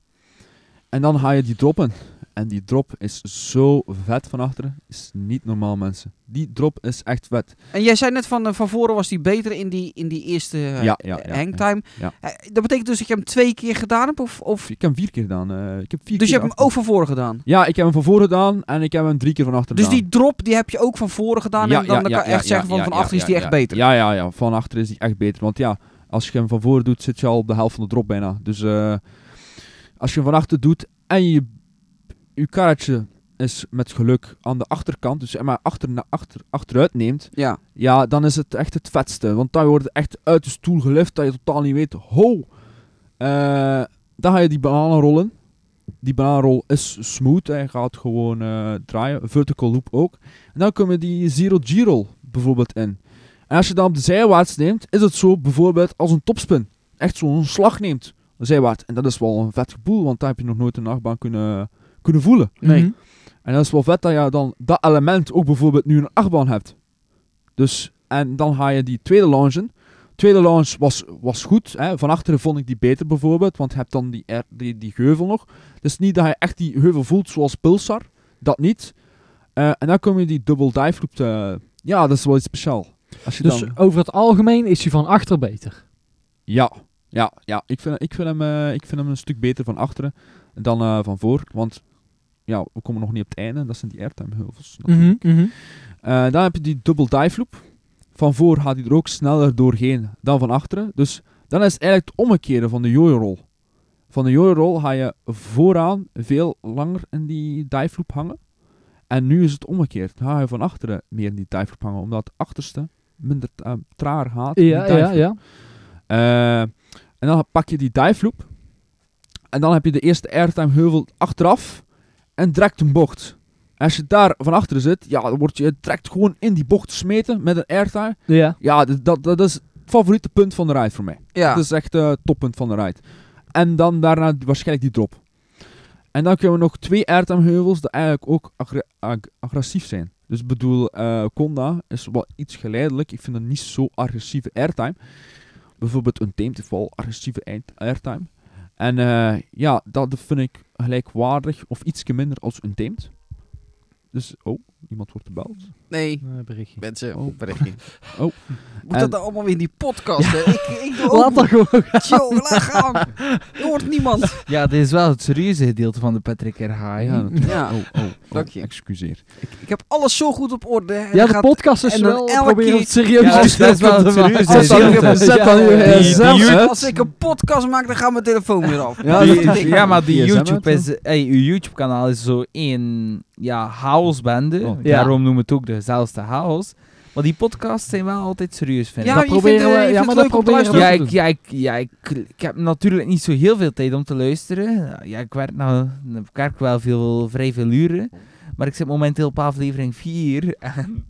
[SPEAKER 5] En dan ga je die droppen. En die drop is zo vet van achteren. Is niet normaal, mensen. Die drop is echt vet.
[SPEAKER 4] En jij zei net van, eh, van voren was die beter in die, in die eerste eh,
[SPEAKER 5] Ja, ja, ja,
[SPEAKER 4] hangtime.
[SPEAKER 5] ja.
[SPEAKER 4] Eh, dat betekent dus dat je hem twee keer gedaan hebt? Of, of,
[SPEAKER 5] Ik heb hem vier keer gedaan. eh, ik heb vier
[SPEAKER 4] dus je hebt
[SPEAKER 5] keer
[SPEAKER 4] hem
[SPEAKER 5] achter-
[SPEAKER 4] ook van voren gedaan?
[SPEAKER 5] Ja, ik heb hem van voren gedaan en ik heb hem drie keer van achter
[SPEAKER 4] Dus
[SPEAKER 5] gedaan.
[SPEAKER 4] die drop die heb je ook van voren gedaan en dan kan je echt zeggen van
[SPEAKER 5] ja,
[SPEAKER 4] van
[SPEAKER 5] ja,
[SPEAKER 4] achter is
[SPEAKER 5] ja,
[SPEAKER 4] die echt
[SPEAKER 5] ja.
[SPEAKER 4] beter.
[SPEAKER 5] Ja, ja, ja. Van achter is die echt beter. Want ja, als je hem van voren doet, zit je al op de helft van de drop bijna. Dus eh, als je hem van achter doet en je, je karretje is met geluk aan de achterkant, dus zeg maar achter, na- achter, achteruit neemt,
[SPEAKER 4] Ja.
[SPEAKER 5] ja, dan is het echt het vetste. Want dan wordt het echt uit de stoel gelift dat je totaal niet weet. Ho! Eh, dan ga je die bananen rollen. Die bananenrol is smooth. Hij gaat gewoon eh, draaien. Vertical loop ook. En dan kom je die zero G-roll bijvoorbeeld in. En als je dan op de zijwaarts neemt, is het zo bijvoorbeeld als een topspin. Echt zo'n slag neemt. Zijwaarts. En dat is wel een vet gevoel, want daar heb je nog nooit een nachtbaan kunnen, kunnen voelen.
[SPEAKER 3] Nee.
[SPEAKER 5] En dat is wel vet dat je dan dat element ook bijvoorbeeld nu in een achtbaan hebt. Dus, en dan ga je die tweede launchen. tweede launch was, was goed. Hè. Van achteren vond ik die beter bijvoorbeeld, want je hebt dan die, air- die, die heuvel nog. Dus niet dat je echt die heuvel voelt zoals Pulsar, dat niet. Eh, en dan kom je die double dive loop te... Ja, dat is wel iets speciaals. Als je
[SPEAKER 3] Dus
[SPEAKER 5] dan...
[SPEAKER 3] over het algemeen is hij van achter beter.
[SPEAKER 5] Ja, ja, ja. Ik vind, ik, vind hem, eh, ik vind hem een stuk beter van achteren dan eh, van voor. Want ja, we komen nog niet op het einde. Dat zijn die airtime heuvels.
[SPEAKER 3] Hm.
[SPEAKER 5] Eh, dan heb je die double dive loop. Van voor gaat hij er ook sneller doorheen dan van achteren. Dus dan is het eigenlijk het omgekeerde van de yo roll. Van de yo roll ga je vooraan veel langer in die dive loop hangen. En nu is het omgekeerd. Dan ga je van achteren meer in die dive loop hangen. Omdat het achterste minder eh, trager gaat. in die
[SPEAKER 3] Ja,
[SPEAKER 5] dive
[SPEAKER 3] ja,
[SPEAKER 5] loop.
[SPEAKER 3] ja.
[SPEAKER 5] Eh, en dan pak je die dive loop. En dan heb je de eerste airtime heuvel achteraf. En direct een bocht. En als je daar van achteren zit, ja, dan word je direct gewoon in die bocht gesmeten met een airtime.
[SPEAKER 3] Ja.
[SPEAKER 5] Ja, d- dat, dat is het favoriete punt van de ride voor mij.
[SPEAKER 4] Ja.
[SPEAKER 5] Dat is echt eh, het toppunt van de ride. En dan daarna d- waarschijnlijk die drop. En dan kunnen we nog twee airtime heuvels die eigenlijk ook aggra- ag- agressief zijn. Dus ik bedoel, eh Conda is wel iets geleidelijk. Ik vind het niet zo agressieve airtime. Bijvoorbeeld een Tamed heeft wel agressieve eind- airtime. En eh, ja, dat vind ik gelijkwaardig of iets minder als een Tamed. Dus, oh, iemand wordt gebeld.
[SPEAKER 4] Nee,
[SPEAKER 3] berichtje.
[SPEAKER 4] mensen,
[SPEAKER 5] Oh.
[SPEAKER 4] berichtje.
[SPEAKER 5] Oh.
[SPEAKER 4] Moet dat
[SPEAKER 5] En-
[SPEAKER 4] dan allemaal weer in die podcast? hè? Ik, ik doe
[SPEAKER 3] Laat
[SPEAKER 4] ook...
[SPEAKER 3] dat gewoon.
[SPEAKER 4] Yo, laat gaan. Er hoort niemand.
[SPEAKER 6] Ja, dit is wel het serieuze gedeelte van de Patrick R.H.
[SPEAKER 5] ja,
[SPEAKER 6] Ja.
[SPEAKER 5] natuurlijk.
[SPEAKER 4] Ja.
[SPEAKER 5] Oh, oh, oh,
[SPEAKER 4] Dank je.
[SPEAKER 5] excuseer.
[SPEAKER 4] Ik heb alles zo goed op orde. En
[SPEAKER 3] Ja,
[SPEAKER 4] dan
[SPEAKER 3] de
[SPEAKER 4] gaat-
[SPEAKER 3] podcast is
[SPEAKER 4] en dan
[SPEAKER 3] wel
[SPEAKER 4] elke
[SPEAKER 3] proberen
[SPEAKER 4] keer-
[SPEAKER 3] het serieus
[SPEAKER 6] Ja, dat is
[SPEAKER 3] gesprek
[SPEAKER 6] wel
[SPEAKER 3] te
[SPEAKER 6] het
[SPEAKER 3] maken.
[SPEAKER 6] serieuze
[SPEAKER 3] Als dat
[SPEAKER 6] gedeelte.
[SPEAKER 3] niet opzet, dan
[SPEAKER 6] Ja,
[SPEAKER 3] je
[SPEAKER 6] ja,
[SPEAKER 3] eh,
[SPEAKER 6] ja.
[SPEAKER 3] zelf
[SPEAKER 6] Die-
[SPEAKER 3] uit.
[SPEAKER 4] Als ik een podcast maak, dan gaat mijn telefoon weer af.
[SPEAKER 5] Ja,
[SPEAKER 6] Die-
[SPEAKER 5] dat is-
[SPEAKER 6] ja, maar die
[SPEAKER 5] DSM
[SPEAKER 6] YouTube
[SPEAKER 5] uit,
[SPEAKER 6] is, hey, uw YouTube kanaal is zo één ja, chaosbende.
[SPEAKER 5] Oh.
[SPEAKER 3] Ja.
[SPEAKER 6] Daarom noemen we het ook de gezelligste chaos. Maar die podcasts zijn wel altijd serieus, vind ik.
[SPEAKER 4] Ja,
[SPEAKER 3] Dat
[SPEAKER 4] je
[SPEAKER 3] proberen
[SPEAKER 4] vindt, eh,
[SPEAKER 3] we-
[SPEAKER 4] je
[SPEAKER 3] ja,
[SPEAKER 4] vindt
[SPEAKER 3] maar
[SPEAKER 4] het
[SPEAKER 3] dat
[SPEAKER 4] leuk om te
[SPEAKER 3] proberen we-
[SPEAKER 4] luisteren.
[SPEAKER 6] Ja,
[SPEAKER 3] te
[SPEAKER 6] ik,
[SPEAKER 3] doen.
[SPEAKER 6] ja, ik, ja ik, ik heb natuurlijk niet zo heel veel tijd om te luisteren. Ja, ik werk nou ik werk wel veel, vrij veel uren. Maar ik zit momenteel op aflevering 4. En...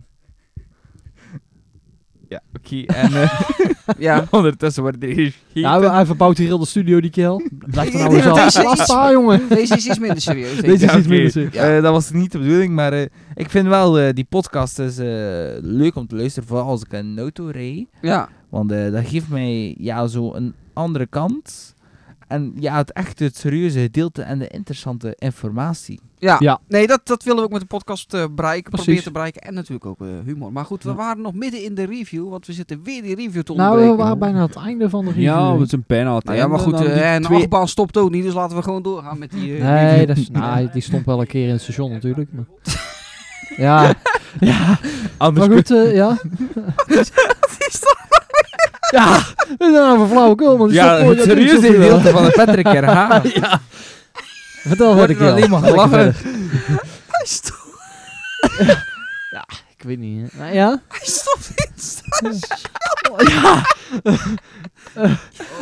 [SPEAKER 6] Ja, oké. En eh,
[SPEAKER 4] Ja.
[SPEAKER 6] ondertussen wordt er hier
[SPEAKER 3] Ja, we- hij verbouwt hier heel de studio, die kerel. Blijf er nou eens
[SPEAKER 4] Deze
[SPEAKER 3] af.
[SPEAKER 4] is-
[SPEAKER 3] Laat staan, jongen.
[SPEAKER 4] Deze is iets minder serieus. denk ik.
[SPEAKER 3] Deze is
[SPEAKER 6] Ja,
[SPEAKER 3] iets
[SPEAKER 6] oké.
[SPEAKER 3] minder serieus.
[SPEAKER 4] Ja.
[SPEAKER 6] Eh, dat was niet de bedoeling, maar eh, ik vind wel eh, die podcast is, eh, leuk om te luisteren, vooral als ik een auto rijd.
[SPEAKER 4] Ja.
[SPEAKER 6] Want eh, dat geeft mij ja, zo een andere kant. En ja, het echt het serieuze gedeelte en de interessante informatie.
[SPEAKER 4] Ja.
[SPEAKER 3] Ja.
[SPEAKER 4] nee, dat, dat willen we ook met de podcast eh, bereiken,
[SPEAKER 3] Precies.
[SPEAKER 4] proberen te bereiken. En natuurlijk ook eh, humor. Maar goed, we waren nog midden in de review, want we zitten weer die review te
[SPEAKER 3] Nou, we
[SPEAKER 4] onderbreken.
[SPEAKER 3] waren bijna aan het einde van de review.
[SPEAKER 5] Ja, we zijn bijna aan het
[SPEAKER 4] Nou ja, maar
[SPEAKER 5] einde.
[SPEAKER 4] goed,
[SPEAKER 5] Dan die
[SPEAKER 4] eh, en de
[SPEAKER 5] twee-
[SPEAKER 4] achtbaan stopt ook niet, dus laten we gewoon doorgaan met die eh,
[SPEAKER 3] Nee,
[SPEAKER 4] review.
[SPEAKER 3] dat is, nou, die stond wel een keer in het station natuurlijk. Maar. Ja, ja.
[SPEAKER 6] Anders
[SPEAKER 3] maar goed, eh, ja. Ja, we zijn nou van flauwekul, man. Die
[SPEAKER 6] ja,
[SPEAKER 3] stond
[SPEAKER 6] het
[SPEAKER 3] ooit natuurlijk
[SPEAKER 6] serieuze
[SPEAKER 3] zoveel.
[SPEAKER 6] gedeelte van de Patrick RH.
[SPEAKER 3] Vertel
[SPEAKER 6] Wordt
[SPEAKER 3] wat
[SPEAKER 6] er
[SPEAKER 3] ik wil.
[SPEAKER 6] alleen maar
[SPEAKER 3] Lekker
[SPEAKER 6] gelachen.
[SPEAKER 3] verder.
[SPEAKER 4] Stop.
[SPEAKER 3] Ik weet niet. hè. Nou, ja?
[SPEAKER 4] Hij stopt in staan.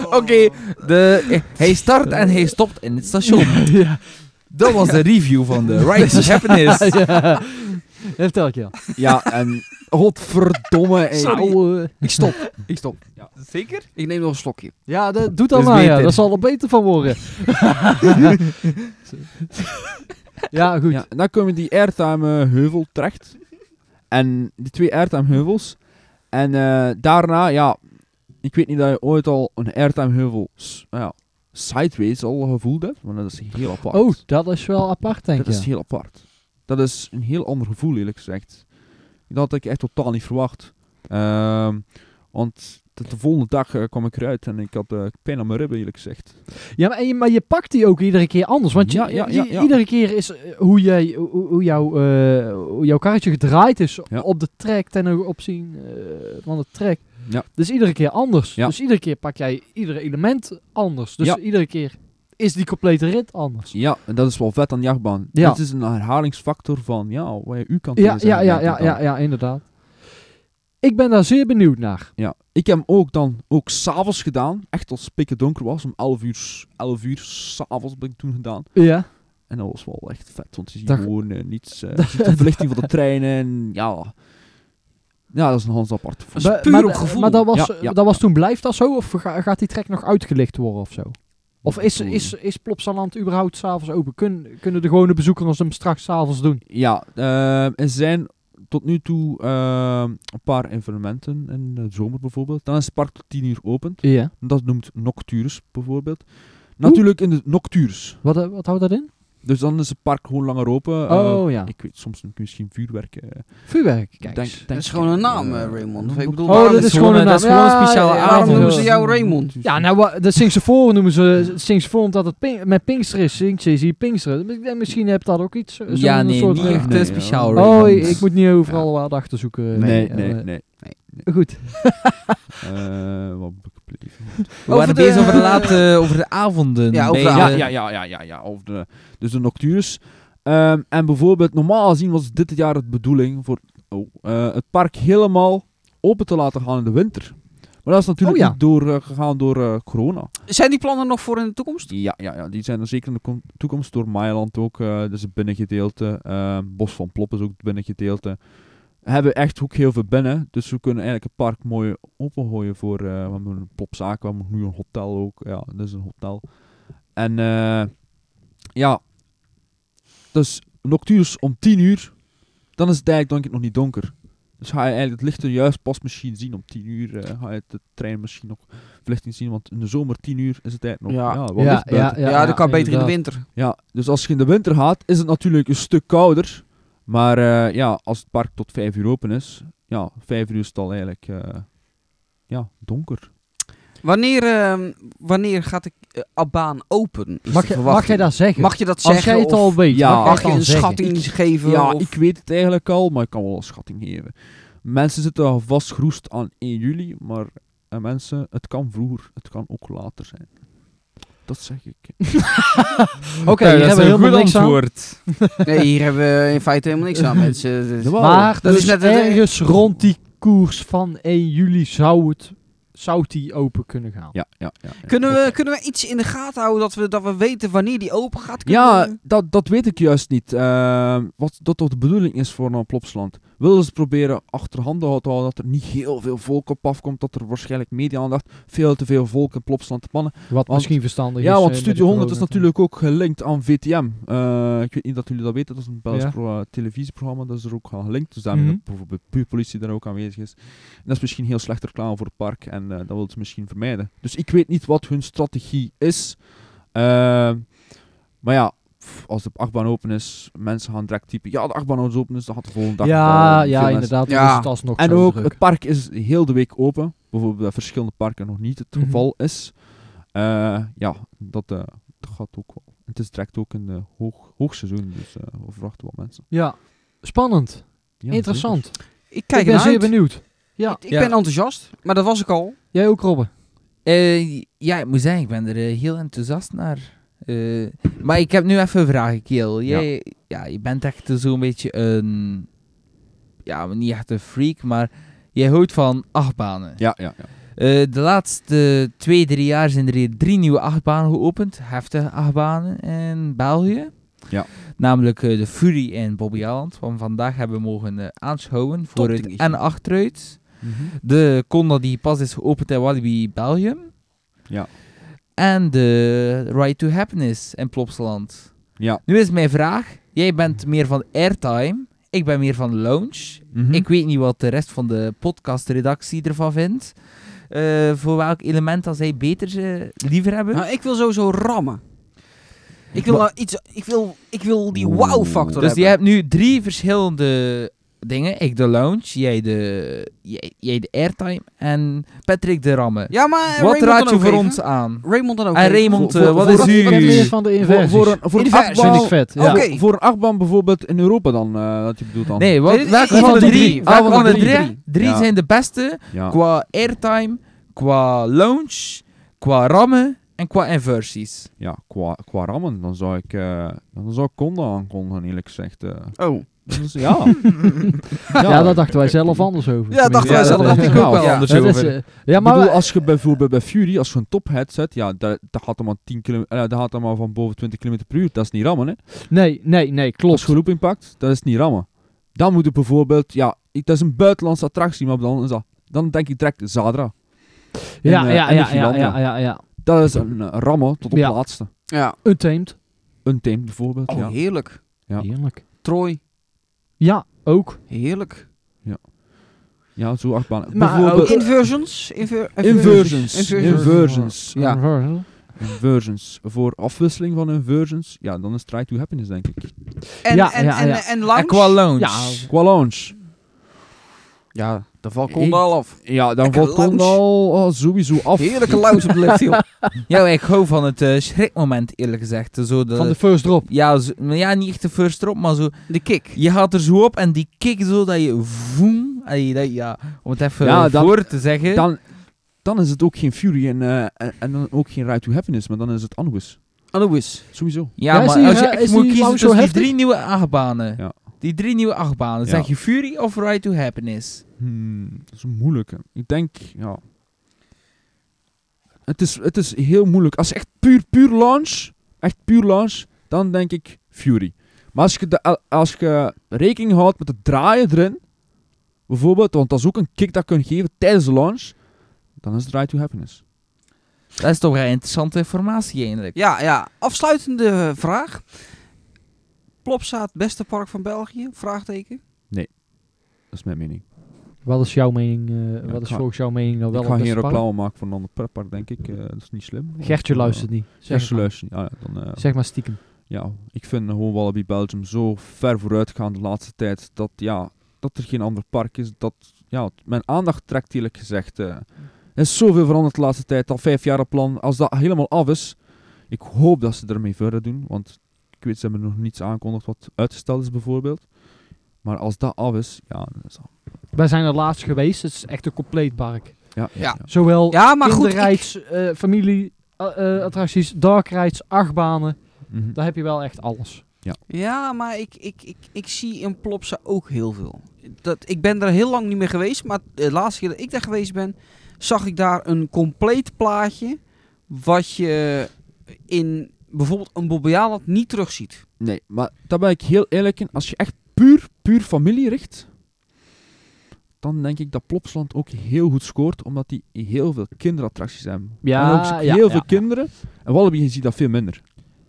[SPEAKER 6] Oké, de- eh, hij start en hij stopt in het station.
[SPEAKER 3] ja.
[SPEAKER 6] Dat was de review van de Righteous Happiness.
[SPEAKER 3] ja. Dat vertel ik je al.
[SPEAKER 5] Ja, en... Godverdomme, ey.
[SPEAKER 4] eh,
[SPEAKER 3] Ouwe.
[SPEAKER 5] Ik stop. Ik stop. Ja.
[SPEAKER 6] Zeker?
[SPEAKER 4] Ik neem nog een slokje.
[SPEAKER 3] Ja, dat doet
[SPEAKER 6] Dat is
[SPEAKER 3] allemaal. Ja.
[SPEAKER 6] beter.
[SPEAKER 3] Dat zal er beter van worden. ja, goed.
[SPEAKER 5] Ja, en dan komen die airtime eh, heuvel terecht. En die twee airtime heuvels. En eh, daarna, ja, ik weet niet dat je ooit al een airtime heuvel s- nou ja, sideways al gevoeld hebt, maar dat is heel apart.
[SPEAKER 3] Oh, dat is wel apart, denk
[SPEAKER 5] dat is
[SPEAKER 3] ik.
[SPEAKER 5] heel apart. Dat is een heel ander gevoel, eerlijk gezegd. Dat had ik echt totaal niet verwacht. Ehm, want de, de volgende dag eh, kwam ik eruit en ik had eh, pijn aan mijn ribben, eerlijk gezegd.
[SPEAKER 3] Ja, maar, en je- maar je pakt die ook iedere keer anders. Want je-
[SPEAKER 5] Ja, ja, ja,
[SPEAKER 3] je-
[SPEAKER 5] ja.
[SPEAKER 3] iedere keer is eh, hoe, jij, hoe, hoe jouw, eh, hoe jouw karretje gedraaid is
[SPEAKER 5] Ja.
[SPEAKER 3] op de track ten opzien eh, van de track.
[SPEAKER 5] Ja.
[SPEAKER 3] Dus iedere keer anders.
[SPEAKER 5] Ja.
[SPEAKER 3] Dus iedere keer pak jij ieder element anders. Dus
[SPEAKER 5] Ja.
[SPEAKER 3] iedere keer is die complete rit anders.
[SPEAKER 5] Ja, en dat is wel vet aan de jachtbaan.
[SPEAKER 3] Ja.
[SPEAKER 5] Dat is een herhalingsfactor van, ja, wat je u kan
[SPEAKER 3] Ja, ja, ja, ja, ja, ja, inderdaad. Ik ben daar zeer benieuwd naar.
[SPEAKER 5] Ja, ik heb hem ook dan ook s'avonds gedaan. Echt als het pikken donker was. Om 11 uur, s- 11 uur s'avonds ben ik toen gedaan.
[SPEAKER 3] Ja.
[SPEAKER 5] En dat was wel echt vet. Want je ziet
[SPEAKER 3] Dat-
[SPEAKER 5] gewoon eh, niets. eh, je ziet de verlichting van de treinen. En ja. Ja, dat is een hans apart gevoel.
[SPEAKER 3] Maar-
[SPEAKER 4] puur
[SPEAKER 3] maar,
[SPEAKER 4] op gevoel.
[SPEAKER 3] Maar dat was, eh,
[SPEAKER 5] Ja, ja.
[SPEAKER 3] dat was toen, blijft dat zo? Of ga- gaat die track nog uitgelicht worden of zo? Of is, is, is Plopsaland überhaupt s'avonds open? Kun, kunnen de gewone bezoekers hem straks s'avonds doen?
[SPEAKER 5] Ja, ehm, er zijn tot nu toe ehm, een paar evenementen. In de zomer bijvoorbeeld. Dan is het park tot 10 uur open.
[SPEAKER 3] Ja.
[SPEAKER 5] Dat noemt Noctures bijvoorbeeld. Natuurlijk in de Noctures.
[SPEAKER 3] Wat, eh, wat houdt dat in?
[SPEAKER 5] Dus dan is het park gewoon langer open. Eh,
[SPEAKER 3] oh ja.
[SPEAKER 5] Ik weet, soms doe ik misschien vuurwerk. eh,
[SPEAKER 3] Vuurwerk, kijk.
[SPEAKER 5] Denk-
[SPEAKER 3] eens.
[SPEAKER 5] denk
[SPEAKER 4] is gewoon een
[SPEAKER 5] ik,
[SPEAKER 4] naam,
[SPEAKER 5] eh,
[SPEAKER 4] eh, Raymond. Ik bedoel,
[SPEAKER 5] Oh,
[SPEAKER 4] waarom-
[SPEAKER 3] dat is gewoon een
[SPEAKER 6] dat is
[SPEAKER 3] naam.
[SPEAKER 6] gewoon
[SPEAKER 3] Ja,
[SPEAKER 6] een speciale
[SPEAKER 3] ja, ja,
[SPEAKER 4] Waarom
[SPEAKER 3] avond.
[SPEAKER 4] noemen ze jou Raymond?
[SPEAKER 3] ja, nou, wa- de Singseforen noemen ze Singseforen omdat het pin- met Pinkster is. Singse zie Pinkster. En Misschien hebt dat ook iets. zo'n
[SPEAKER 6] Ja, nee,
[SPEAKER 3] soort,
[SPEAKER 6] niet
[SPEAKER 3] eh,
[SPEAKER 6] echt
[SPEAKER 5] Nee,
[SPEAKER 6] eh,
[SPEAKER 5] ja.
[SPEAKER 6] speciaal.
[SPEAKER 3] Oh,
[SPEAKER 6] Raymond.
[SPEAKER 3] ik, ik moet niet overal wat achter zoeken.
[SPEAKER 5] Nee,
[SPEAKER 3] Eh,
[SPEAKER 5] nee,
[SPEAKER 3] eh,
[SPEAKER 5] nee.
[SPEAKER 3] Goed.
[SPEAKER 5] Eh, wat ben ik gebleven?
[SPEAKER 6] We waren
[SPEAKER 4] Over de-
[SPEAKER 6] bezig over de late, eh, over de avonden.
[SPEAKER 4] Ja, over
[SPEAKER 6] bij
[SPEAKER 4] de
[SPEAKER 5] ja,
[SPEAKER 4] avonden.
[SPEAKER 5] ja, ja, ja, ja, ja. Of de, dus de noctures. Ehm, en bijvoorbeeld, normaal gezien was dit het jaar de bedoeling voor oh, eh, het park helemaal open te laten gaan in de winter. Maar dat is natuurlijk
[SPEAKER 3] Oh ja.
[SPEAKER 5] niet door, eh, gegaan door eh, corona.
[SPEAKER 4] Zijn die plannen nog voor in de toekomst?
[SPEAKER 5] Ja, ja, ja, die zijn er zeker in de kom- toekomst door Mailand ook. eh dat is het binnengedeelte. eh, Bos van Plop is ook het binnengedeelte. We hebben echt ook heel veel binnen. Dus we kunnen eigenlijk het park mooi opengooien voor... eh, we hebben een plopzaak, we hebben nu een hotel ook. Ja, dat is een hotel. En eh, ja, dus noctures om 10 uur. Dan is het eigenlijk denk ik nog niet donker. Dus ga je eigenlijk het licht er juist pas misschien zien om 10 uur. eh, ga je de trein misschien nog verlichting zien. Want in de zomer 10 uur is het eigenlijk nog
[SPEAKER 4] Ja.
[SPEAKER 5] ja, wel licht buiten.
[SPEAKER 4] Ja, dat kan beter in de winter.
[SPEAKER 5] Ja, dus als je in de winter gaat, is het natuurlijk een stuk kouder. Maar eh, ja, als het park tot 5 uur open is, ja, 5 uur is het al eigenlijk eh, ja, donker.
[SPEAKER 4] Wanneer, ehm, wanneer gaat de eh, abbaan open? is
[SPEAKER 3] Mag, je-
[SPEAKER 4] Dus de
[SPEAKER 3] mag
[SPEAKER 4] verwachting?
[SPEAKER 3] jij dat zeggen?
[SPEAKER 4] Mag je dat
[SPEAKER 3] Als
[SPEAKER 4] zeggen?
[SPEAKER 3] jij het
[SPEAKER 4] of
[SPEAKER 3] al weet,
[SPEAKER 5] Ja.
[SPEAKER 3] mag, jij
[SPEAKER 4] mag
[SPEAKER 3] het
[SPEAKER 4] je
[SPEAKER 3] dan
[SPEAKER 4] een
[SPEAKER 3] zeggen?
[SPEAKER 4] schatting geven?
[SPEAKER 5] Ja,
[SPEAKER 4] of-
[SPEAKER 5] ik weet het eigenlijk al, maar ik kan wel een schatting geven. Mensen zitten al vastgeroest aan 1 juli, maar eh, mensen, het kan vroeger, het kan ook later zijn. Dat zeg ik.
[SPEAKER 3] Oké, hier hebben we helemaal niks aan.
[SPEAKER 4] Nee, hier hebben we in feite helemaal niks aan, mensen. Dus-
[SPEAKER 5] Jawel.
[SPEAKER 3] Maar
[SPEAKER 4] Dat
[SPEAKER 3] dus
[SPEAKER 4] is net het-
[SPEAKER 3] ergens rond die koers van 1 juli zou het zou die open kunnen gaan.
[SPEAKER 5] Ja, ja, ja. ja.
[SPEAKER 4] Kunnen we, kunnen we iets in de gaten houden dat we, dat we weten wanneer die open gaat? Kunnen
[SPEAKER 5] Ja,
[SPEAKER 4] we-
[SPEAKER 5] dat, dat weet ik juist niet. Ehm, wat dat toch de bedoeling is voor een plopsland. Willen ze proberen achterhanden te houden dat er niet heel veel volk op afkomt. Dat er waarschijnlijk media-aandacht, veel te veel volk in plopsland te pannen.
[SPEAKER 3] Wat
[SPEAKER 5] Want-
[SPEAKER 3] misschien verstandig is.
[SPEAKER 5] ja, want
[SPEAKER 3] eh, met
[SPEAKER 5] Studio
[SPEAKER 3] de
[SPEAKER 5] 100 is
[SPEAKER 3] corona.
[SPEAKER 5] natuurlijk ook gelinkt aan VTM. Eh, ik weet niet dat jullie dat weten, dat is een Belgisch
[SPEAKER 3] Ja.
[SPEAKER 5] pro- eh, televisieprogramma. Dat is er ook aan gelinkt. Dus daarmee
[SPEAKER 3] Mhm.
[SPEAKER 5] dat bijvoorbeeld buurpolitie daar ook aanwezig is. En dat is misschien heel slecht reclame voor het park en eh, dat willen ze misschien vermijden. Dus ik weet niet wat hun strategie is. Ehm, maar ja, pff, als de achtbaan open is, mensen gaan direct typen. Ja, de achtbaan is open, dus dan gaat de volgende dag. wel
[SPEAKER 3] Ja,
[SPEAKER 5] veel
[SPEAKER 3] ja
[SPEAKER 5] mensen-
[SPEAKER 3] inderdaad.
[SPEAKER 4] Ja.
[SPEAKER 3] dan Is het alsnog
[SPEAKER 5] en
[SPEAKER 3] zo
[SPEAKER 5] ook,
[SPEAKER 3] druk.
[SPEAKER 5] het park is heel de week open. Bijvoorbeeld dat verschillende parken nog niet het
[SPEAKER 3] Mhm.
[SPEAKER 5] geval is. Eh, ja, dat, eh, dat gaat ook wel. Het is direct ook een eh, hoog, hoogseizoen, dus eh we verwachten wel mensen.
[SPEAKER 3] Ja, spannend.
[SPEAKER 5] Ja,
[SPEAKER 3] Interessant.
[SPEAKER 4] Ik kijk
[SPEAKER 3] ik ben
[SPEAKER 4] ernaar
[SPEAKER 3] zeer
[SPEAKER 4] uit.
[SPEAKER 3] benieuwd. Ja,
[SPEAKER 4] Ik
[SPEAKER 6] Ja.
[SPEAKER 4] ben enthousiast, maar dat was ik al.
[SPEAKER 3] jij ook Robben.
[SPEAKER 6] Eh, ja, ik moet zeggen, ik ben er eh, heel enthousiast naar. Eh, maar ik heb nu even een vraag, Kiel. Jij, ja. je bent echt zo'n beetje een ja, maar niet echt een freak, maar jij houdt van achtbanen.
[SPEAKER 5] Ja, ja, ja.
[SPEAKER 6] Eh, de laatste twee, drie jaar zijn er hier drie nieuwe achtbanen geopend. Heftige achtbanen in België.
[SPEAKER 5] Ja.
[SPEAKER 6] Namelijk eh, de Fury in Bobby Aland, van vandaag hebben we mogen eh, aanschouwen voor het
[SPEAKER 4] dingetje.
[SPEAKER 6] en achteruit.
[SPEAKER 5] Mhm.
[SPEAKER 6] De Conda die pas is geopend in Walibi, België.
[SPEAKER 5] Ja.
[SPEAKER 6] En de Ride to Happiness in Plopsaland.
[SPEAKER 5] Ja.
[SPEAKER 6] Nu is mijn vraag, jij bent meer van airtime, ik ben meer van lounge.
[SPEAKER 5] Mhm.
[SPEAKER 6] Ik weet niet wat de rest van de podcastredactie ervan vindt. Eh, voor welk element dat zij beter eh, liever hebben.
[SPEAKER 4] Nou, ik wil sowieso rammen. Ik wil,
[SPEAKER 6] Maar-
[SPEAKER 4] nou iets, ik wil, ik wil die wow-factor
[SPEAKER 6] dus je
[SPEAKER 4] hebben.
[SPEAKER 6] hebt nu drie verschillende dingen. Ik de lounge, jij de, jij, jij de airtime en Patrick de rammen.
[SPEAKER 4] Ja, maar eh,
[SPEAKER 6] wat
[SPEAKER 4] Raymond
[SPEAKER 6] raad
[SPEAKER 4] dan
[SPEAKER 6] je
[SPEAKER 4] ook
[SPEAKER 6] voor
[SPEAKER 4] even.
[SPEAKER 6] ons aan?
[SPEAKER 4] Raymond dan ook.
[SPEAKER 6] en
[SPEAKER 4] even.
[SPEAKER 6] Raymond,
[SPEAKER 5] Voor-
[SPEAKER 6] eh,
[SPEAKER 5] voor-
[SPEAKER 6] wat
[SPEAKER 5] voor-
[SPEAKER 6] is
[SPEAKER 5] voor-
[SPEAKER 6] uw...
[SPEAKER 3] Wat meer van de
[SPEAKER 5] Voor,
[SPEAKER 3] inversies?
[SPEAKER 5] voor een, voor een
[SPEAKER 4] Inversie.
[SPEAKER 5] achtbaan-
[SPEAKER 3] Vind ik vet, ja.
[SPEAKER 4] Oké.
[SPEAKER 5] Ja, voor een achtbaan bijvoorbeeld in Europa dan, eh dat je bedoelt dan.
[SPEAKER 6] Nee, wat,
[SPEAKER 4] Nee,
[SPEAKER 6] welke
[SPEAKER 4] ik-
[SPEAKER 6] van
[SPEAKER 4] ik-
[SPEAKER 6] de
[SPEAKER 4] ik-
[SPEAKER 6] drie?
[SPEAKER 4] ik-
[SPEAKER 6] Welke
[SPEAKER 4] ik-
[SPEAKER 6] van de
[SPEAKER 4] ik-
[SPEAKER 6] drie?
[SPEAKER 4] drie.
[SPEAKER 6] Drie
[SPEAKER 5] Ja.
[SPEAKER 6] zijn de beste
[SPEAKER 5] Ja.
[SPEAKER 6] qua airtime, qua lounge, qua rammen en qua inversies.
[SPEAKER 5] Ja, qua, qua rammen, dan zou ik, eh dan zou ik Conda aankondigen, eerlijk gezegd. eh.
[SPEAKER 4] Oh.
[SPEAKER 5] Dat is- ja.
[SPEAKER 3] Ja, daar dachten wij zelf anders over.
[SPEAKER 4] Ja, dachten
[SPEAKER 5] Ja,
[SPEAKER 4] wij
[SPEAKER 5] dat
[SPEAKER 4] zelf.
[SPEAKER 5] is
[SPEAKER 4] ook.
[SPEAKER 5] ik
[SPEAKER 4] Ik
[SPEAKER 5] ook
[SPEAKER 4] ook
[SPEAKER 5] wel
[SPEAKER 4] wel.
[SPEAKER 5] anders
[SPEAKER 3] Ja, dat is,
[SPEAKER 5] over.
[SPEAKER 3] eh, ja,
[SPEAKER 5] maar
[SPEAKER 3] maar
[SPEAKER 5] bedoel, als je bijvoorbeeld bij Fury, als je een tophead zet, ja, dat, dat gaat allemaal 10 km, eh, dat gaat allemaal van boven 20 km per uur. Dat is niet rammen, hè.
[SPEAKER 3] nee, nee, nee,
[SPEAKER 5] Als
[SPEAKER 3] klopt.
[SPEAKER 5] je loop inpakt, dat is niet rammen. Dan moet het bijvoorbeeld, ja, ik- dat is een buitenlandse attractie, maar dan, is dat- dan denk ik direct Zadra. in,
[SPEAKER 3] Ja,
[SPEAKER 5] eh,
[SPEAKER 3] ja,
[SPEAKER 5] in
[SPEAKER 3] ja, ja,
[SPEAKER 5] Finlandia.
[SPEAKER 3] ja, ja, ja.
[SPEAKER 5] Dat is een eh, rammen tot op
[SPEAKER 3] Ja.
[SPEAKER 5] de laatste.
[SPEAKER 4] Ja.
[SPEAKER 3] Untamed.
[SPEAKER 5] Een team bijvoorbeeld,
[SPEAKER 4] Oh,
[SPEAKER 5] ja.
[SPEAKER 4] heerlijk.
[SPEAKER 5] Ja.
[SPEAKER 3] Heerlijk.
[SPEAKER 4] Troy.
[SPEAKER 3] Ja, ook.
[SPEAKER 4] Heerlijk.
[SPEAKER 5] Ja, zo achtbaan.
[SPEAKER 3] Maar oh,
[SPEAKER 5] Bijvoorbeeld
[SPEAKER 4] oh, Inversions? Inver-
[SPEAKER 5] inversions.
[SPEAKER 4] Inversions.
[SPEAKER 5] Inversions. Ja.
[SPEAKER 3] Ja.
[SPEAKER 5] Inversions. Voor afwisseling van inversions, ja, dan is try to happiness, denk ik.
[SPEAKER 4] En,
[SPEAKER 3] Ja,
[SPEAKER 4] en,
[SPEAKER 3] ja,
[SPEAKER 4] en,
[SPEAKER 3] ja.
[SPEAKER 4] en lounge?
[SPEAKER 6] En qua lounge.
[SPEAKER 3] Ja.
[SPEAKER 5] Qua launch.
[SPEAKER 4] Ja, daar valt
[SPEAKER 5] Ik-
[SPEAKER 4] Conda al af.
[SPEAKER 5] Ja, dan
[SPEAKER 4] Lekker
[SPEAKER 5] valt
[SPEAKER 4] lounge.
[SPEAKER 5] Conda al al sowieso af.
[SPEAKER 4] Heerlijke lounge op de lift, joh.
[SPEAKER 6] Ja, ik hou van het eh, schrikmoment, eerlijk gezegd. Zo de,
[SPEAKER 3] Van
[SPEAKER 5] eh,
[SPEAKER 3] de first drop.
[SPEAKER 6] ja, zo- maar ja, niet echt de first drop, maar zo...
[SPEAKER 4] De kick.
[SPEAKER 6] Je gaat er zo op en die kick zo dat je voem... Allee, dat, ja, om het even
[SPEAKER 5] Ja, dan-
[SPEAKER 6] voor te zeggen.
[SPEAKER 5] Dan, dan is het ook geen Fury en, eh, en, en dan ook geen Ride to Happiness, maar dan is het Anubis.
[SPEAKER 4] Louis.
[SPEAKER 5] Sowieso.
[SPEAKER 6] ja,
[SPEAKER 3] Ja, is
[SPEAKER 6] maar
[SPEAKER 3] die,
[SPEAKER 6] als je
[SPEAKER 3] eh,
[SPEAKER 6] echt
[SPEAKER 3] is
[SPEAKER 6] moet
[SPEAKER 3] die
[SPEAKER 6] kiezen
[SPEAKER 3] lang zo
[SPEAKER 6] tussen die
[SPEAKER 3] heftig?
[SPEAKER 6] drie nieuwe achtbanen.
[SPEAKER 5] Ja.
[SPEAKER 6] Die drie nieuwe achtbanen.
[SPEAKER 5] Ja.
[SPEAKER 6] Zeg je Fury of Ride to Happiness?
[SPEAKER 5] Hmm, dat is een moeilijke. Ik denk, ja. Het is, het is heel moeilijk. Als echt puur, puur launch, echt puur launch, dan denk ik Fury. Maar als je, de, als je rekening houdt met het draaien erin, bijvoorbeeld, want dat is ook een kick dat je kunt geven tijdens de launch, dan is het Ride to Happiness.
[SPEAKER 6] Dat is toch wel interessante informatie eigenlijk.
[SPEAKER 4] Ja, ja. Afsluitende eh, vraag. Plopsa het beste park van België? Vraagteken.
[SPEAKER 5] Dat is mijn mening.
[SPEAKER 3] Wat is jouw mening? eh,
[SPEAKER 5] ik
[SPEAKER 3] wat is
[SPEAKER 5] ga-
[SPEAKER 3] volgens jouw mening dan wel
[SPEAKER 5] ik ga
[SPEAKER 3] het
[SPEAKER 5] geen
[SPEAKER 3] beste park?
[SPEAKER 5] reclame maken voor een ander pretpark, denk ik. Eh, dat is niet slim.
[SPEAKER 3] Gertje
[SPEAKER 5] Eh,
[SPEAKER 3] luistert niet. Zeg
[SPEAKER 5] Gertje
[SPEAKER 3] maar.
[SPEAKER 5] luistert niet. Ah, ja, dan, eh,
[SPEAKER 3] Zeg maar stiekem.
[SPEAKER 5] ja, ik vind gewoon Wallaby Belgium zo ver vooruitgaan de laatste tijd dat, ja, dat er geen ander park is dat ja, het mijn aandacht trekt, eerlijk gezegd. eh. er is zoveel veranderd de laatste tijd, al vijf jaar plan. Als dat helemaal af is, ik hoop dat ze ermee verder doen, want ik weet, ze hebben nog niets aangekondigd wat uitgesteld is bijvoorbeeld. Maar als dat af is, ja, dan is dat-
[SPEAKER 3] Wij zijn er laatst geweest. Het is echt een compleet park.
[SPEAKER 5] ja,
[SPEAKER 4] Ja.
[SPEAKER 3] Zowel
[SPEAKER 4] Ja, maar goed. ik-
[SPEAKER 3] kinderrides, eh, familie, eh, eh, attracties, dark rides, achtbanen.
[SPEAKER 5] Mhm.
[SPEAKER 3] Daar heb je wel echt alles.
[SPEAKER 4] Ja, maar ik, ik, ik, ik zie in Plopsa ook heel veel. Dat, ik ben er heel lang niet meer geweest, maar de laatste keer dat ik daar geweest ben, zag ik daar een compleet plaatje wat je in bijvoorbeeld een Bobbejaanland niet terugziet.
[SPEAKER 5] Nee, maar daar ben ik heel eerlijk in. Als je echt puur, puur familie richt, dan denk ik dat Plopsland ook heel goed scoort, omdat die heel veel kinderattracties hebben.
[SPEAKER 3] Ja,
[SPEAKER 5] en ook
[SPEAKER 3] ja,
[SPEAKER 5] heel
[SPEAKER 3] ja.
[SPEAKER 5] veel kinderen. En Wallaby je ziet dat veel minder.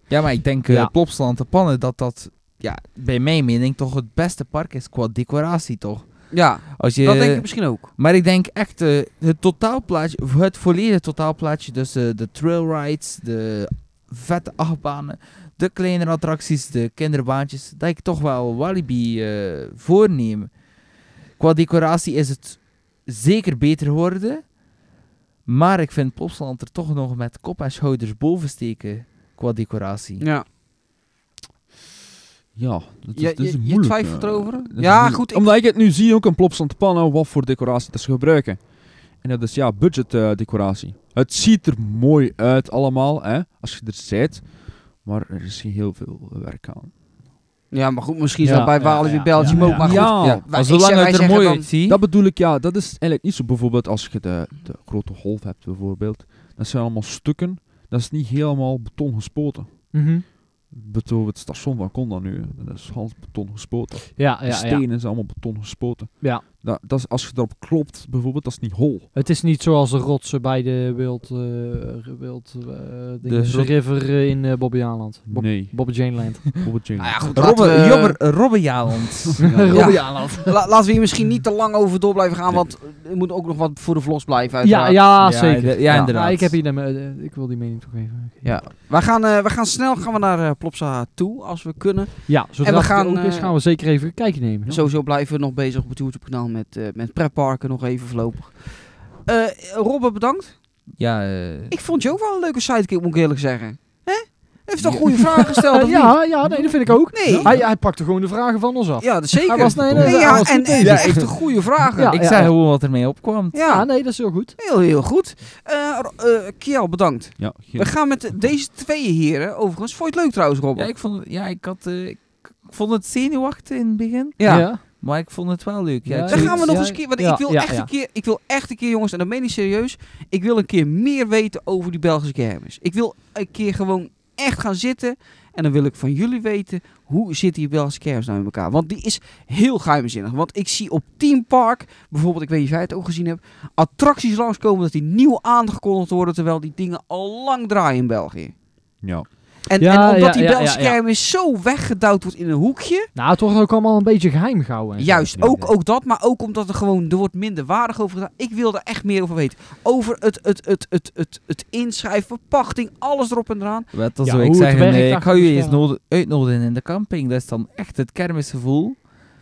[SPEAKER 6] Ja, maar ik denk eh
[SPEAKER 3] Ja.
[SPEAKER 6] Plopsland de Pannen dat dat, ja, bij mijn mening, toch het beste park is qua decoratie, toch?
[SPEAKER 4] Ja,
[SPEAKER 6] Als je,
[SPEAKER 4] dat denk ik misschien ook.
[SPEAKER 6] Maar ik denk echt eh, het totaalplaatje, of het volledige totaalplaatje, dus eh, de trailrides, de vette achtbanen, de kleinere attracties, de kinderbaantjes, dat ik toch wel Walibi eh, voorneem. Qua decoratie is het zeker beter geworden, maar ik vind Plopsaland er toch nog met kop en schouders boven steken qua decoratie.
[SPEAKER 4] Ja.
[SPEAKER 5] Ja, dat is,
[SPEAKER 4] Je-
[SPEAKER 5] dat is
[SPEAKER 4] je- je
[SPEAKER 5] moeilijk.
[SPEAKER 4] twijfelt
[SPEAKER 5] eh,
[SPEAKER 4] erover?
[SPEAKER 5] dat is
[SPEAKER 4] Ja,
[SPEAKER 5] moeilijk.
[SPEAKER 4] goed, ik-
[SPEAKER 5] Omdat ik het nu zie, ook een Plopsland Pannen, wat voor decoratie dat ze gebruiken. En dat is, ja, budget eh, decoratie. Het ziet er mooi uit allemaal, hè, als je er zit. Maar er is heel veel werk aan.
[SPEAKER 4] Ja, maar goed, misschien is
[SPEAKER 3] Ja,
[SPEAKER 4] dat bij
[SPEAKER 3] ja,
[SPEAKER 4] Walibi
[SPEAKER 3] ja,
[SPEAKER 4] Belgium
[SPEAKER 3] ja,
[SPEAKER 4] ook.
[SPEAKER 3] ja.
[SPEAKER 4] Maar goed, ja,
[SPEAKER 6] ja,
[SPEAKER 4] wij-
[SPEAKER 6] als
[SPEAKER 4] ik zeg-
[SPEAKER 6] zolang
[SPEAKER 4] wij
[SPEAKER 6] het er
[SPEAKER 4] zeggen
[SPEAKER 6] mooi
[SPEAKER 4] dan-
[SPEAKER 6] uitziet.
[SPEAKER 5] Dat bedoel ik, ja. Dat is eigenlijk niet zo. Bijvoorbeeld als je de, de grote golf hebt, bijvoorbeeld. Dat zijn allemaal stukken. Dat is niet helemaal beton gespoten.
[SPEAKER 3] Mhm.
[SPEAKER 5] Bijvoorbeeld het station van Conda nu. Dat is half beton gespoten.
[SPEAKER 3] Ja,
[SPEAKER 5] de
[SPEAKER 3] ja, ja.
[SPEAKER 5] stenen zijn allemaal beton gespoten.
[SPEAKER 3] Ja.
[SPEAKER 5] Dat, dat is, als je erop klopt, bijvoorbeeld, dat is niet hol.
[SPEAKER 3] Het is niet zoals de rotsen bij de Wild, eh wild eh, dinges,
[SPEAKER 5] rot-
[SPEAKER 3] River eh, in eh Bobbejaanland. Bob-
[SPEAKER 5] Nee.
[SPEAKER 3] Janeland.
[SPEAKER 5] Bijvoorbeeld Jane.
[SPEAKER 4] Nou ja, goed, laten
[SPEAKER 6] Robbe,
[SPEAKER 4] we,
[SPEAKER 6] Jobber, Robbe Jaland.
[SPEAKER 4] La- laten we hier misschien niet te lang over door blijven gaan, want eh, er moet ook nog wat voor de vlogs blijven.
[SPEAKER 3] Ja,
[SPEAKER 4] Uiteraard.
[SPEAKER 3] ja,
[SPEAKER 6] Ja,
[SPEAKER 3] zeker.
[SPEAKER 6] de- ja, inderdaad.
[SPEAKER 3] maar ik, heb hier, dan, eh, eh, ik wil die mening toch even.
[SPEAKER 4] Ja. We gaan, eh, we gaan snel gaan we naar eh, Plopsa toe, als we kunnen.
[SPEAKER 3] Ja, zodra
[SPEAKER 4] En we
[SPEAKER 3] het er
[SPEAKER 4] gaan,
[SPEAKER 3] ook is,
[SPEAKER 4] eh,
[SPEAKER 3] gaan we zeker even een kijkje nemen. ja.
[SPEAKER 4] Sowieso blijven we nog bezig op het YouTube-kanaal met, eh met pretparken nog even voorlopig. Eh Robbe, bedankt.
[SPEAKER 6] Ja, eh,
[SPEAKER 4] Ik vond je ook wel een leuke sidekick, moet ik eerlijk zeggen. Hè? Heeft toch
[SPEAKER 6] Ja.
[SPEAKER 4] goede vragen gesteld? of Oh, niet?
[SPEAKER 3] Eh, ja, ja, nee, dat vind ik ook.
[SPEAKER 4] Nee.
[SPEAKER 3] Hij, hij pakte gewoon de vragen van ons af.
[SPEAKER 4] Ja, dat zeker.
[SPEAKER 3] Hij was- nee, nee,
[SPEAKER 4] Nee,
[SPEAKER 3] hij
[SPEAKER 4] ja,
[SPEAKER 3] was
[SPEAKER 4] en,
[SPEAKER 3] goed
[SPEAKER 4] en
[SPEAKER 3] bezig.
[SPEAKER 4] echt een goede vragen.
[SPEAKER 3] Ja,
[SPEAKER 6] ik
[SPEAKER 3] ja,
[SPEAKER 6] zei
[SPEAKER 3] ja.
[SPEAKER 6] gewoon wat er mee opkwam.
[SPEAKER 4] Ja.
[SPEAKER 3] Ah, nee, dat is heel goed.
[SPEAKER 4] Heel, heel goed. Eh, Ro- eh, Kiel, bedankt.
[SPEAKER 5] Ja, geen-
[SPEAKER 4] We gaan met de- deze twee heren, overigens. Vond je het leuk trouwens, Robbe?
[SPEAKER 6] Ja, ik vond, het- ja, ik had, eh, ik vond het zenuwachtig in het begin,
[SPEAKER 4] Ja.
[SPEAKER 6] maar ik vond het wel leuk. Ja,
[SPEAKER 3] Ja,
[SPEAKER 6] ik
[SPEAKER 4] Dan
[SPEAKER 6] zou-
[SPEAKER 4] gaan we nog
[SPEAKER 3] Ja,
[SPEAKER 4] eens een keer. Want
[SPEAKER 3] ja,
[SPEAKER 4] ik, wil
[SPEAKER 3] ja,
[SPEAKER 4] echt
[SPEAKER 3] ja.
[SPEAKER 4] Een keer, ik wil echt een keer, jongens, en dat meen ik serieus. Ik wil een keer meer weten over die Belgische kermis. Ik wil een keer gewoon echt gaan zitten. En dan wil ik van jullie weten hoe zit die Belgische kermis nou in elkaar. Want die is heel geheimzinnig. Want ik zie op Team Park, bijvoorbeeld, ik weet niet of jij het ook gezien hebt, attracties langskomen dat die nieuw aangekondigd worden. Terwijl die dingen al lang draaien in België.
[SPEAKER 5] ja.
[SPEAKER 4] En,
[SPEAKER 3] Ja,
[SPEAKER 4] en omdat
[SPEAKER 3] ja,
[SPEAKER 4] die
[SPEAKER 3] ja, ja,
[SPEAKER 4] Belgische
[SPEAKER 3] ja.
[SPEAKER 4] kermis zo weggedouwd wordt in een hoekje.
[SPEAKER 3] Nou, het wordt ook allemaal een beetje geheim gehouden. en zo.
[SPEAKER 4] Juist,
[SPEAKER 5] Ja,
[SPEAKER 4] ook,
[SPEAKER 5] ja.
[SPEAKER 4] ook dat, maar ook omdat er gewoon er wordt minder waardig over gedaan. Ik wil er echt meer over weten. Over het, het, het, het, het, het inschrijven, verpachting, alles erop en eraan.
[SPEAKER 6] Wat dan
[SPEAKER 3] Ja,
[SPEAKER 6] zou
[SPEAKER 3] hoe
[SPEAKER 6] ik
[SPEAKER 3] het
[SPEAKER 6] zeggen,
[SPEAKER 3] werkt,
[SPEAKER 6] eh, ik
[SPEAKER 3] dat
[SPEAKER 6] ga
[SPEAKER 3] moet
[SPEAKER 6] je
[SPEAKER 3] je
[SPEAKER 6] eens
[SPEAKER 3] wel.
[SPEAKER 6] nodig- uitnodigen in de camping. Dat is dan echt het kermisgevoel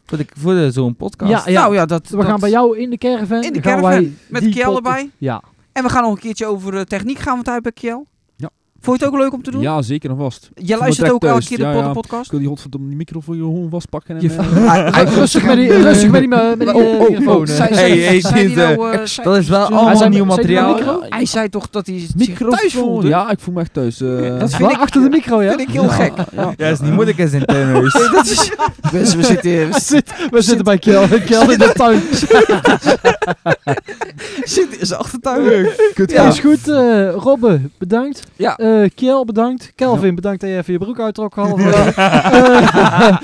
[SPEAKER 6] voor, de- voor de- zo'n podcast.
[SPEAKER 3] Ah, Ja, ja.
[SPEAKER 4] nou ja, dat,
[SPEAKER 3] We
[SPEAKER 4] dat-
[SPEAKER 3] gaan bij jou in de caravan.
[SPEAKER 4] in de
[SPEAKER 3] gaan
[SPEAKER 4] caravan
[SPEAKER 3] wij
[SPEAKER 4] met
[SPEAKER 3] die
[SPEAKER 4] Kjell
[SPEAKER 3] pod-
[SPEAKER 4] erbij.
[SPEAKER 3] Ja.
[SPEAKER 4] En we gaan nog een keertje over eh, techniek gaan we het uit bij Kjell.
[SPEAKER 5] Ja.
[SPEAKER 4] Vond je het ook leuk om te doen?
[SPEAKER 5] ja, zeker en vast.
[SPEAKER 4] Jij
[SPEAKER 5] me
[SPEAKER 4] luistert
[SPEAKER 5] direct
[SPEAKER 4] ook elke
[SPEAKER 5] thuis.
[SPEAKER 4] keer de
[SPEAKER 5] Ja,
[SPEAKER 4] pod-
[SPEAKER 5] ja. Ik
[SPEAKER 4] podcast?
[SPEAKER 5] wil die godverdomme die microfoon je gewoon vastpakken. En,
[SPEAKER 6] Je
[SPEAKER 5] eh,
[SPEAKER 4] Oh,
[SPEAKER 3] Rustig met die, rustig met die, met die eh, microfoon. eh.
[SPEAKER 4] Zijn-
[SPEAKER 6] Hey,
[SPEAKER 4] zijn-
[SPEAKER 6] hey,
[SPEAKER 4] zijn die
[SPEAKER 6] dit, eh,
[SPEAKER 4] nou, eh, zijn-
[SPEAKER 6] Dat is wel
[SPEAKER 4] zijn-
[SPEAKER 6] allemaal
[SPEAKER 3] zijn-
[SPEAKER 6] nieuw
[SPEAKER 3] zijn die
[SPEAKER 6] materiaal.
[SPEAKER 3] micro?
[SPEAKER 4] Hij zei toch dat hij zich thuis
[SPEAKER 5] microfoon.
[SPEAKER 4] voelde?
[SPEAKER 5] Ja, ik voel me echt thuis. eh.
[SPEAKER 4] Ja,
[SPEAKER 3] Dat is
[SPEAKER 4] vind
[SPEAKER 3] waar,
[SPEAKER 4] ik-
[SPEAKER 3] achter de micro, ja.
[SPEAKER 4] vind ik heel gek.
[SPEAKER 5] ja.
[SPEAKER 6] Ja, dat is niet moeilijk in zijn tuinhuis.
[SPEAKER 4] Dat is- Mensen, we zitten hier- we
[SPEAKER 3] We zitten bij Kjell. Kjell in de tuin.
[SPEAKER 4] zitten in zijn achtertuin.
[SPEAKER 3] Ja, is goed. eh Robbe, bedankt.
[SPEAKER 4] Ja.
[SPEAKER 3] Eh, Kjell, bedankt. Kelvin, bedankt dat je even je broek uittrok. halverwege. Eh,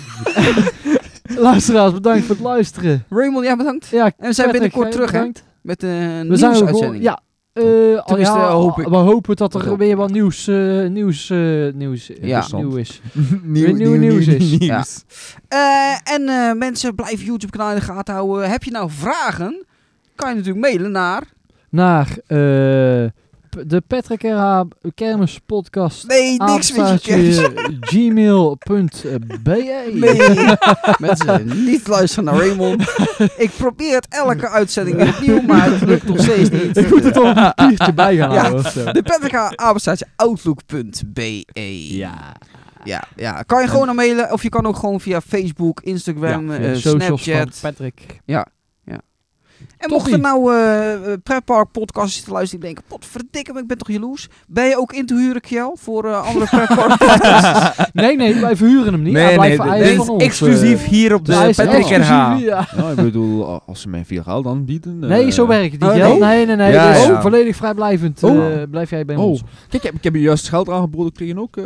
[SPEAKER 3] Luisteraars, bedankt voor het luisteren.
[SPEAKER 4] Raymond, ja, bedankt.
[SPEAKER 3] Ja,
[SPEAKER 4] En we
[SPEAKER 3] Patrick,
[SPEAKER 4] zijn binnenkort
[SPEAKER 3] jij
[SPEAKER 4] terug, hè?
[SPEAKER 3] bedankt.
[SPEAKER 4] Met eh, een
[SPEAKER 3] We zijn er gewoon,
[SPEAKER 4] nieuwsuitzending.
[SPEAKER 3] ja. eh, al
[SPEAKER 4] Tenminste,
[SPEAKER 3] ja,
[SPEAKER 4] hoop ik.
[SPEAKER 3] We hopen dat er
[SPEAKER 4] hoop
[SPEAKER 3] weer wat nieuws, eh, nieuws, eh, nieuws, eh,
[SPEAKER 4] Interessant.
[SPEAKER 3] nieuw is.
[SPEAKER 6] nieuw,
[SPEAKER 3] Weer nieuw nieuws is.
[SPEAKER 4] Ja. Eh, en eh, mensen, blijf YouTube-kanaal in de gaten houden. Heb je nou vragen? Kan je natuurlijk mailen naar...
[SPEAKER 3] Naar eh, p- de Patrick RH Kermis Podcast.
[SPEAKER 4] Nee, niks met je kerst.
[SPEAKER 3] gmail.be
[SPEAKER 4] Nee. mensen, niet luisteren naar Raymond. Ik probeer het elke uitzending weer opnieuw, maar het lukt nog steeds niet.
[SPEAKER 3] Ik moet het op een papiertje bij gaan
[SPEAKER 4] Ja.
[SPEAKER 3] houden. of zo.
[SPEAKER 4] De Petrika apenstaartje outlook.be.
[SPEAKER 3] Ja.
[SPEAKER 4] ja. Ja, kan je gewoon naar mailen of je kan ook gewoon via Facebook, Instagram, eh,
[SPEAKER 3] de socials
[SPEAKER 4] Snapchat.
[SPEAKER 3] van Patrick.
[SPEAKER 4] En mocht er
[SPEAKER 3] Toppie.
[SPEAKER 4] nou eh pretpark podcasts te luisteren die denken, potverdikke me, ik ben toch jaloers. Ben je ook in te huren, Kjell, voor eh, andere pretpark podcasts?
[SPEAKER 3] Nee, nee, wij verhuren hem niet.
[SPEAKER 6] Nee,
[SPEAKER 3] hij
[SPEAKER 6] nee,
[SPEAKER 3] blijft hij
[SPEAKER 6] dit
[SPEAKER 3] is
[SPEAKER 6] is
[SPEAKER 3] van ons,
[SPEAKER 6] exclusief
[SPEAKER 3] eh.
[SPEAKER 6] hier op de
[SPEAKER 3] Hij is
[SPEAKER 6] Patrick
[SPEAKER 3] exclusief, ja.
[SPEAKER 6] RH.
[SPEAKER 5] Ja, Nou, ik bedoel, a- als ze mij veel geld aanbieden... eh,
[SPEAKER 3] Nee, zo werkt het niet.
[SPEAKER 4] Oh,
[SPEAKER 3] Jel.
[SPEAKER 4] nee?
[SPEAKER 3] Nee, nee, nee.
[SPEAKER 6] Ja,
[SPEAKER 3] dus
[SPEAKER 6] ja.
[SPEAKER 3] volledig vrijblijvend eh,
[SPEAKER 5] Oh.
[SPEAKER 3] blijf jij bij
[SPEAKER 5] Oh,
[SPEAKER 3] ons.
[SPEAKER 5] Kijk, ik heb, ik heb je juist geld aangeboden, ik kreeg je ook... eh,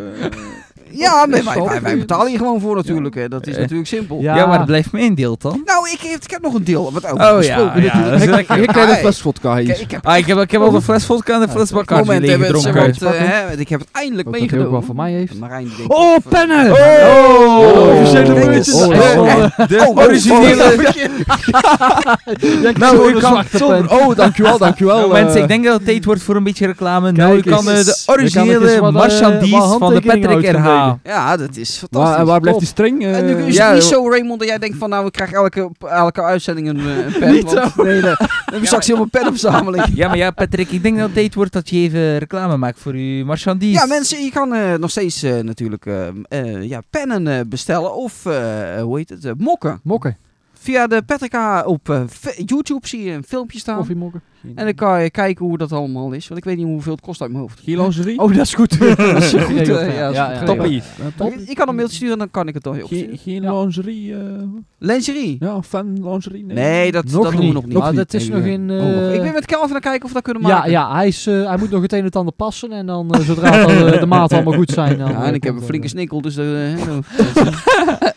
[SPEAKER 4] ja, maar wij,
[SPEAKER 5] Zo.
[SPEAKER 4] wij, wij betalen hier gewoon voor natuurlijk. Hè. Dat is
[SPEAKER 6] Eh.
[SPEAKER 4] natuurlijk simpel.
[SPEAKER 6] Ja, maar dat blijft mijn deel dan.
[SPEAKER 4] Nou, ik heb, ik heb nog een deel. Wat over
[SPEAKER 6] Oh ja,
[SPEAKER 4] gesproken
[SPEAKER 6] ja, dat
[SPEAKER 4] natuurlijk.
[SPEAKER 6] is lekker.
[SPEAKER 5] Een kleine
[SPEAKER 4] Hey.
[SPEAKER 5] fles vodka hier.
[SPEAKER 4] Kijk, ik heb
[SPEAKER 6] Ah, ik heb, ik heb al de fles vodka en de fles
[SPEAKER 4] het
[SPEAKER 6] bacardi
[SPEAKER 4] moment, hè, mensen,
[SPEAKER 6] leeggedronken.
[SPEAKER 4] want, eh, hè, want ik heb het eindelijk
[SPEAKER 3] Ook dat hij ook
[SPEAKER 4] meegenomen.
[SPEAKER 3] wat voor mij heeft.
[SPEAKER 4] Marijn, die denkt-
[SPEAKER 3] Oh, pennen!
[SPEAKER 6] Oh,
[SPEAKER 3] officiële
[SPEAKER 6] oh,
[SPEAKER 3] muntjes.
[SPEAKER 6] oh,
[SPEAKER 3] Oh,
[SPEAKER 6] De originele. Nou, ik kan
[SPEAKER 3] zonder-
[SPEAKER 6] Oh, dankjewel, dankjewel.
[SPEAKER 5] eh.
[SPEAKER 6] Mensen, ik denk dat het tijd wordt voor een beetje reclame.
[SPEAKER 3] Kijk
[SPEAKER 6] Nou, je
[SPEAKER 3] eens.
[SPEAKER 6] kan eh, de
[SPEAKER 3] Je kan
[SPEAKER 6] originele
[SPEAKER 3] eens wat, eh,
[SPEAKER 6] marchandise
[SPEAKER 3] wat
[SPEAKER 6] van de Patrick
[SPEAKER 3] handtekeningen
[SPEAKER 6] RH.
[SPEAKER 3] uitgaan
[SPEAKER 4] Ja, dat is
[SPEAKER 5] Waar,
[SPEAKER 4] fantastisch.
[SPEAKER 5] Ah, en waar
[SPEAKER 3] Top.
[SPEAKER 5] blijft die streng? eh,
[SPEAKER 4] En nu is
[SPEAKER 6] ja,
[SPEAKER 4] het niet
[SPEAKER 6] joh.
[SPEAKER 4] zo, Raymond, dat jij denkt van, nou, ik krijg elke, elke uitzending een, eh, een pen.
[SPEAKER 3] Niet
[SPEAKER 4] want- nee, nee. Dan heb ik straks helemaal penopzameling.
[SPEAKER 6] Ja, maar ja, Patrick, ik denk dat het tijd wordt dat je even reclame maakt voor je marchandise.
[SPEAKER 4] Ja, mensen, je kan eh, nog steeds eh, natuurlijk eh, eh, ja, pennen eh, bestellen of, eh, hoe heet het, eh, mokken.
[SPEAKER 3] Mokken.
[SPEAKER 4] Via de Petrika op eh, F- YouTube zie je een filmpje staan.
[SPEAKER 3] Koffiemokken.
[SPEAKER 4] En dan kan je kijken hoe dat allemaal is. Want ik weet niet hoeveel het kost uit mijn hoofd.
[SPEAKER 5] Gilosserie?
[SPEAKER 3] Oh, dat is goed. dat is goed.
[SPEAKER 4] eh,
[SPEAKER 3] geregeld,
[SPEAKER 4] ja, dat is goed geregeld.
[SPEAKER 3] Toppie.
[SPEAKER 5] Toppie.
[SPEAKER 4] Ik Je, kan een mailtje sturen en dan kan ik het al opsturen.
[SPEAKER 5] Geen lingerie? eh,
[SPEAKER 4] Lingerie?
[SPEAKER 5] Ja, fan lingerie?
[SPEAKER 4] Nee, dat,
[SPEAKER 3] Nog
[SPEAKER 4] dat doen
[SPEAKER 3] niet.
[SPEAKER 4] we nog niet. Oh,
[SPEAKER 3] Maar dat is nog in... eh,
[SPEAKER 4] ik ben met Kelvin aan kijken of we dat kunnen
[SPEAKER 3] ja,
[SPEAKER 4] maken.
[SPEAKER 3] ja hij, is, eh, hij moet nog het een en het ander passen. En dan, eh, zodra dan, eh, de maat allemaal goed zijn... Dan,
[SPEAKER 4] Ja,
[SPEAKER 3] eh,
[SPEAKER 4] en ik heb
[SPEAKER 3] komt
[SPEAKER 4] een
[SPEAKER 3] er-
[SPEAKER 4] flinke snikkel, dus eh, hè, zo.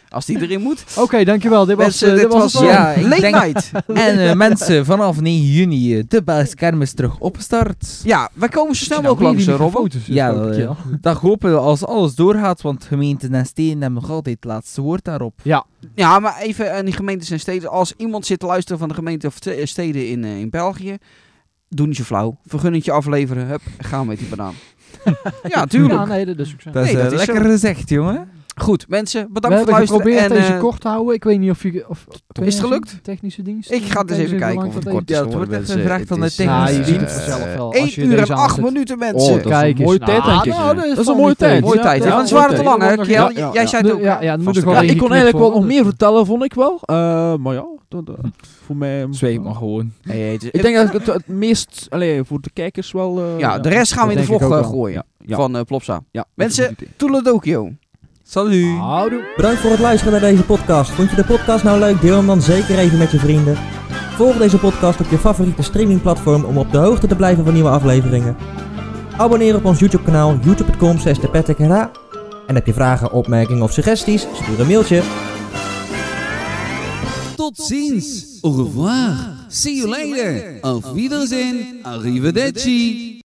[SPEAKER 4] als die erin moet.
[SPEAKER 3] Oké, dankjewel. Dit was,
[SPEAKER 4] Mensen,
[SPEAKER 3] eh,
[SPEAKER 4] dit was
[SPEAKER 3] het wel.
[SPEAKER 4] ja,
[SPEAKER 6] Ik
[SPEAKER 4] late
[SPEAKER 6] denk-
[SPEAKER 4] night.
[SPEAKER 6] En eh, mensen, vanaf 9 juni eh, de Belgische kermis terug opstart.
[SPEAKER 4] Ja, wij komen zo snel
[SPEAKER 3] Nou,
[SPEAKER 4] mogelijk langs,
[SPEAKER 3] wie
[SPEAKER 4] eh,
[SPEAKER 3] die
[SPEAKER 4] Robbo.
[SPEAKER 3] foto's is,
[SPEAKER 6] Ja,
[SPEAKER 3] elke
[SPEAKER 6] dat,
[SPEAKER 3] keer.
[SPEAKER 6] Dat hopen we als alles doorgaat, want gemeenten en steden hebben nog altijd het laatste woord daarop.
[SPEAKER 4] Ja, maar even aan die gemeentes en steden. Als iemand zit te luisteren van de gemeente of te- eh, steden in, eh, in België, doe niet zo flauw. Vergunnetje afleveren, hup, gaan met die banaan. ja, tuurlijk.
[SPEAKER 3] Ja, nee, dat is ook zo.
[SPEAKER 6] Dat is,
[SPEAKER 4] Nee,
[SPEAKER 6] eh,
[SPEAKER 4] dat is
[SPEAKER 6] lekker
[SPEAKER 4] zo.
[SPEAKER 6] gezegd, jongen.
[SPEAKER 4] Goed, mensen,
[SPEAKER 3] We
[SPEAKER 4] bedankt voor
[SPEAKER 3] hebben
[SPEAKER 4] het luisteren.
[SPEAKER 3] geprobeerd
[SPEAKER 4] en,
[SPEAKER 3] deze
[SPEAKER 4] eh,
[SPEAKER 3] kort te houden. Ik weet niet of je... Of,
[SPEAKER 4] het gelukt?
[SPEAKER 3] Technische dienst.
[SPEAKER 4] Ik ga dus
[SPEAKER 3] Deze
[SPEAKER 4] even kijken
[SPEAKER 3] lang
[SPEAKER 4] of het
[SPEAKER 3] dat
[SPEAKER 4] kort
[SPEAKER 6] Ja,
[SPEAKER 4] is.
[SPEAKER 6] het wordt echt een vraag van de
[SPEAKER 3] Ja, je
[SPEAKER 6] technische
[SPEAKER 3] ziet het
[SPEAKER 6] dienst.
[SPEAKER 3] vanzelf wel.
[SPEAKER 4] 1 uur en 8 minuten, mensen.
[SPEAKER 5] Oh, dat is
[SPEAKER 3] Kijk
[SPEAKER 5] een
[SPEAKER 3] eens,
[SPEAKER 5] mooie
[SPEAKER 3] nou,
[SPEAKER 5] tijd, denk ik.
[SPEAKER 3] nou, dat is
[SPEAKER 5] Dat is
[SPEAKER 3] wel
[SPEAKER 5] een mooie
[SPEAKER 3] een
[SPEAKER 5] tijd.
[SPEAKER 4] Mooie tijd.
[SPEAKER 5] Ja,
[SPEAKER 4] Ja,
[SPEAKER 5] ja,
[SPEAKER 4] want ze waren te
[SPEAKER 5] ja.
[SPEAKER 4] lang, hè? Kjell?
[SPEAKER 5] Ja, ja.
[SPEAKER 4] Jij zei het ook.
[SPEAKER 3] Ja, ja, dan moet ik
[SPEAKER 4] Ja,
[SPEAKER 3] wel
[SPEAKER 5] Ja, ik
[SPEAKER 3] ingeknipt
[SPEAKER 5] kon eigenlijk wel nog
[SPEAKER 3] worden.
[SPEAKER 5] meer vertellen, vond ik wel. Eh, maar ja, dat, eh, voor mij...
[SPEAKER 6] Zweep maar gewoon.
[SPEAKER 5] Ik denk dat het het meest... Allee, voor de kijkers wel... eh,
[SPEAKER 4] Ja, de rest gaan we in de
[SPEAKER 5] dat
[SPEAKER 4] vlog
[SPEAKER 5] denk ik ook
[SPEAKER 4] eh,
[SPEAKER 5] wel.
[SPEAKER 4] gooien.
[SPEAKER 5] Ja, ja.
[SPEAKER 4] Van eh, Plopsa.
[SPEAKER 5] Ja,
[SPEAKER 4] Mensen,
[SPEAKER 5] dat is een goed idee.
[SPEAKER 4] Toeledokio.
[SPEAKER 6] Salut.
[SPEAKER 3] Houdoe.
[SPEAKER 2] Bedankt voor het luisteren naar deze podcast. Vond je de podcast nou leuk? Deel hem dan zeker even met je vrienden. Volg deze podcast op je favoriete streamingplatform om op de hoogte te blijven van nieuwe afleveringen. Abonneer op ons YouTube kanaal youtube.com slash de En heb je vragen, opmerkingen of suggesties? Stuur een mailtje.
[SPEAKER 7] Tot ziens. Au revoir. See you later. Auf Wiedersehen. Arrivederci.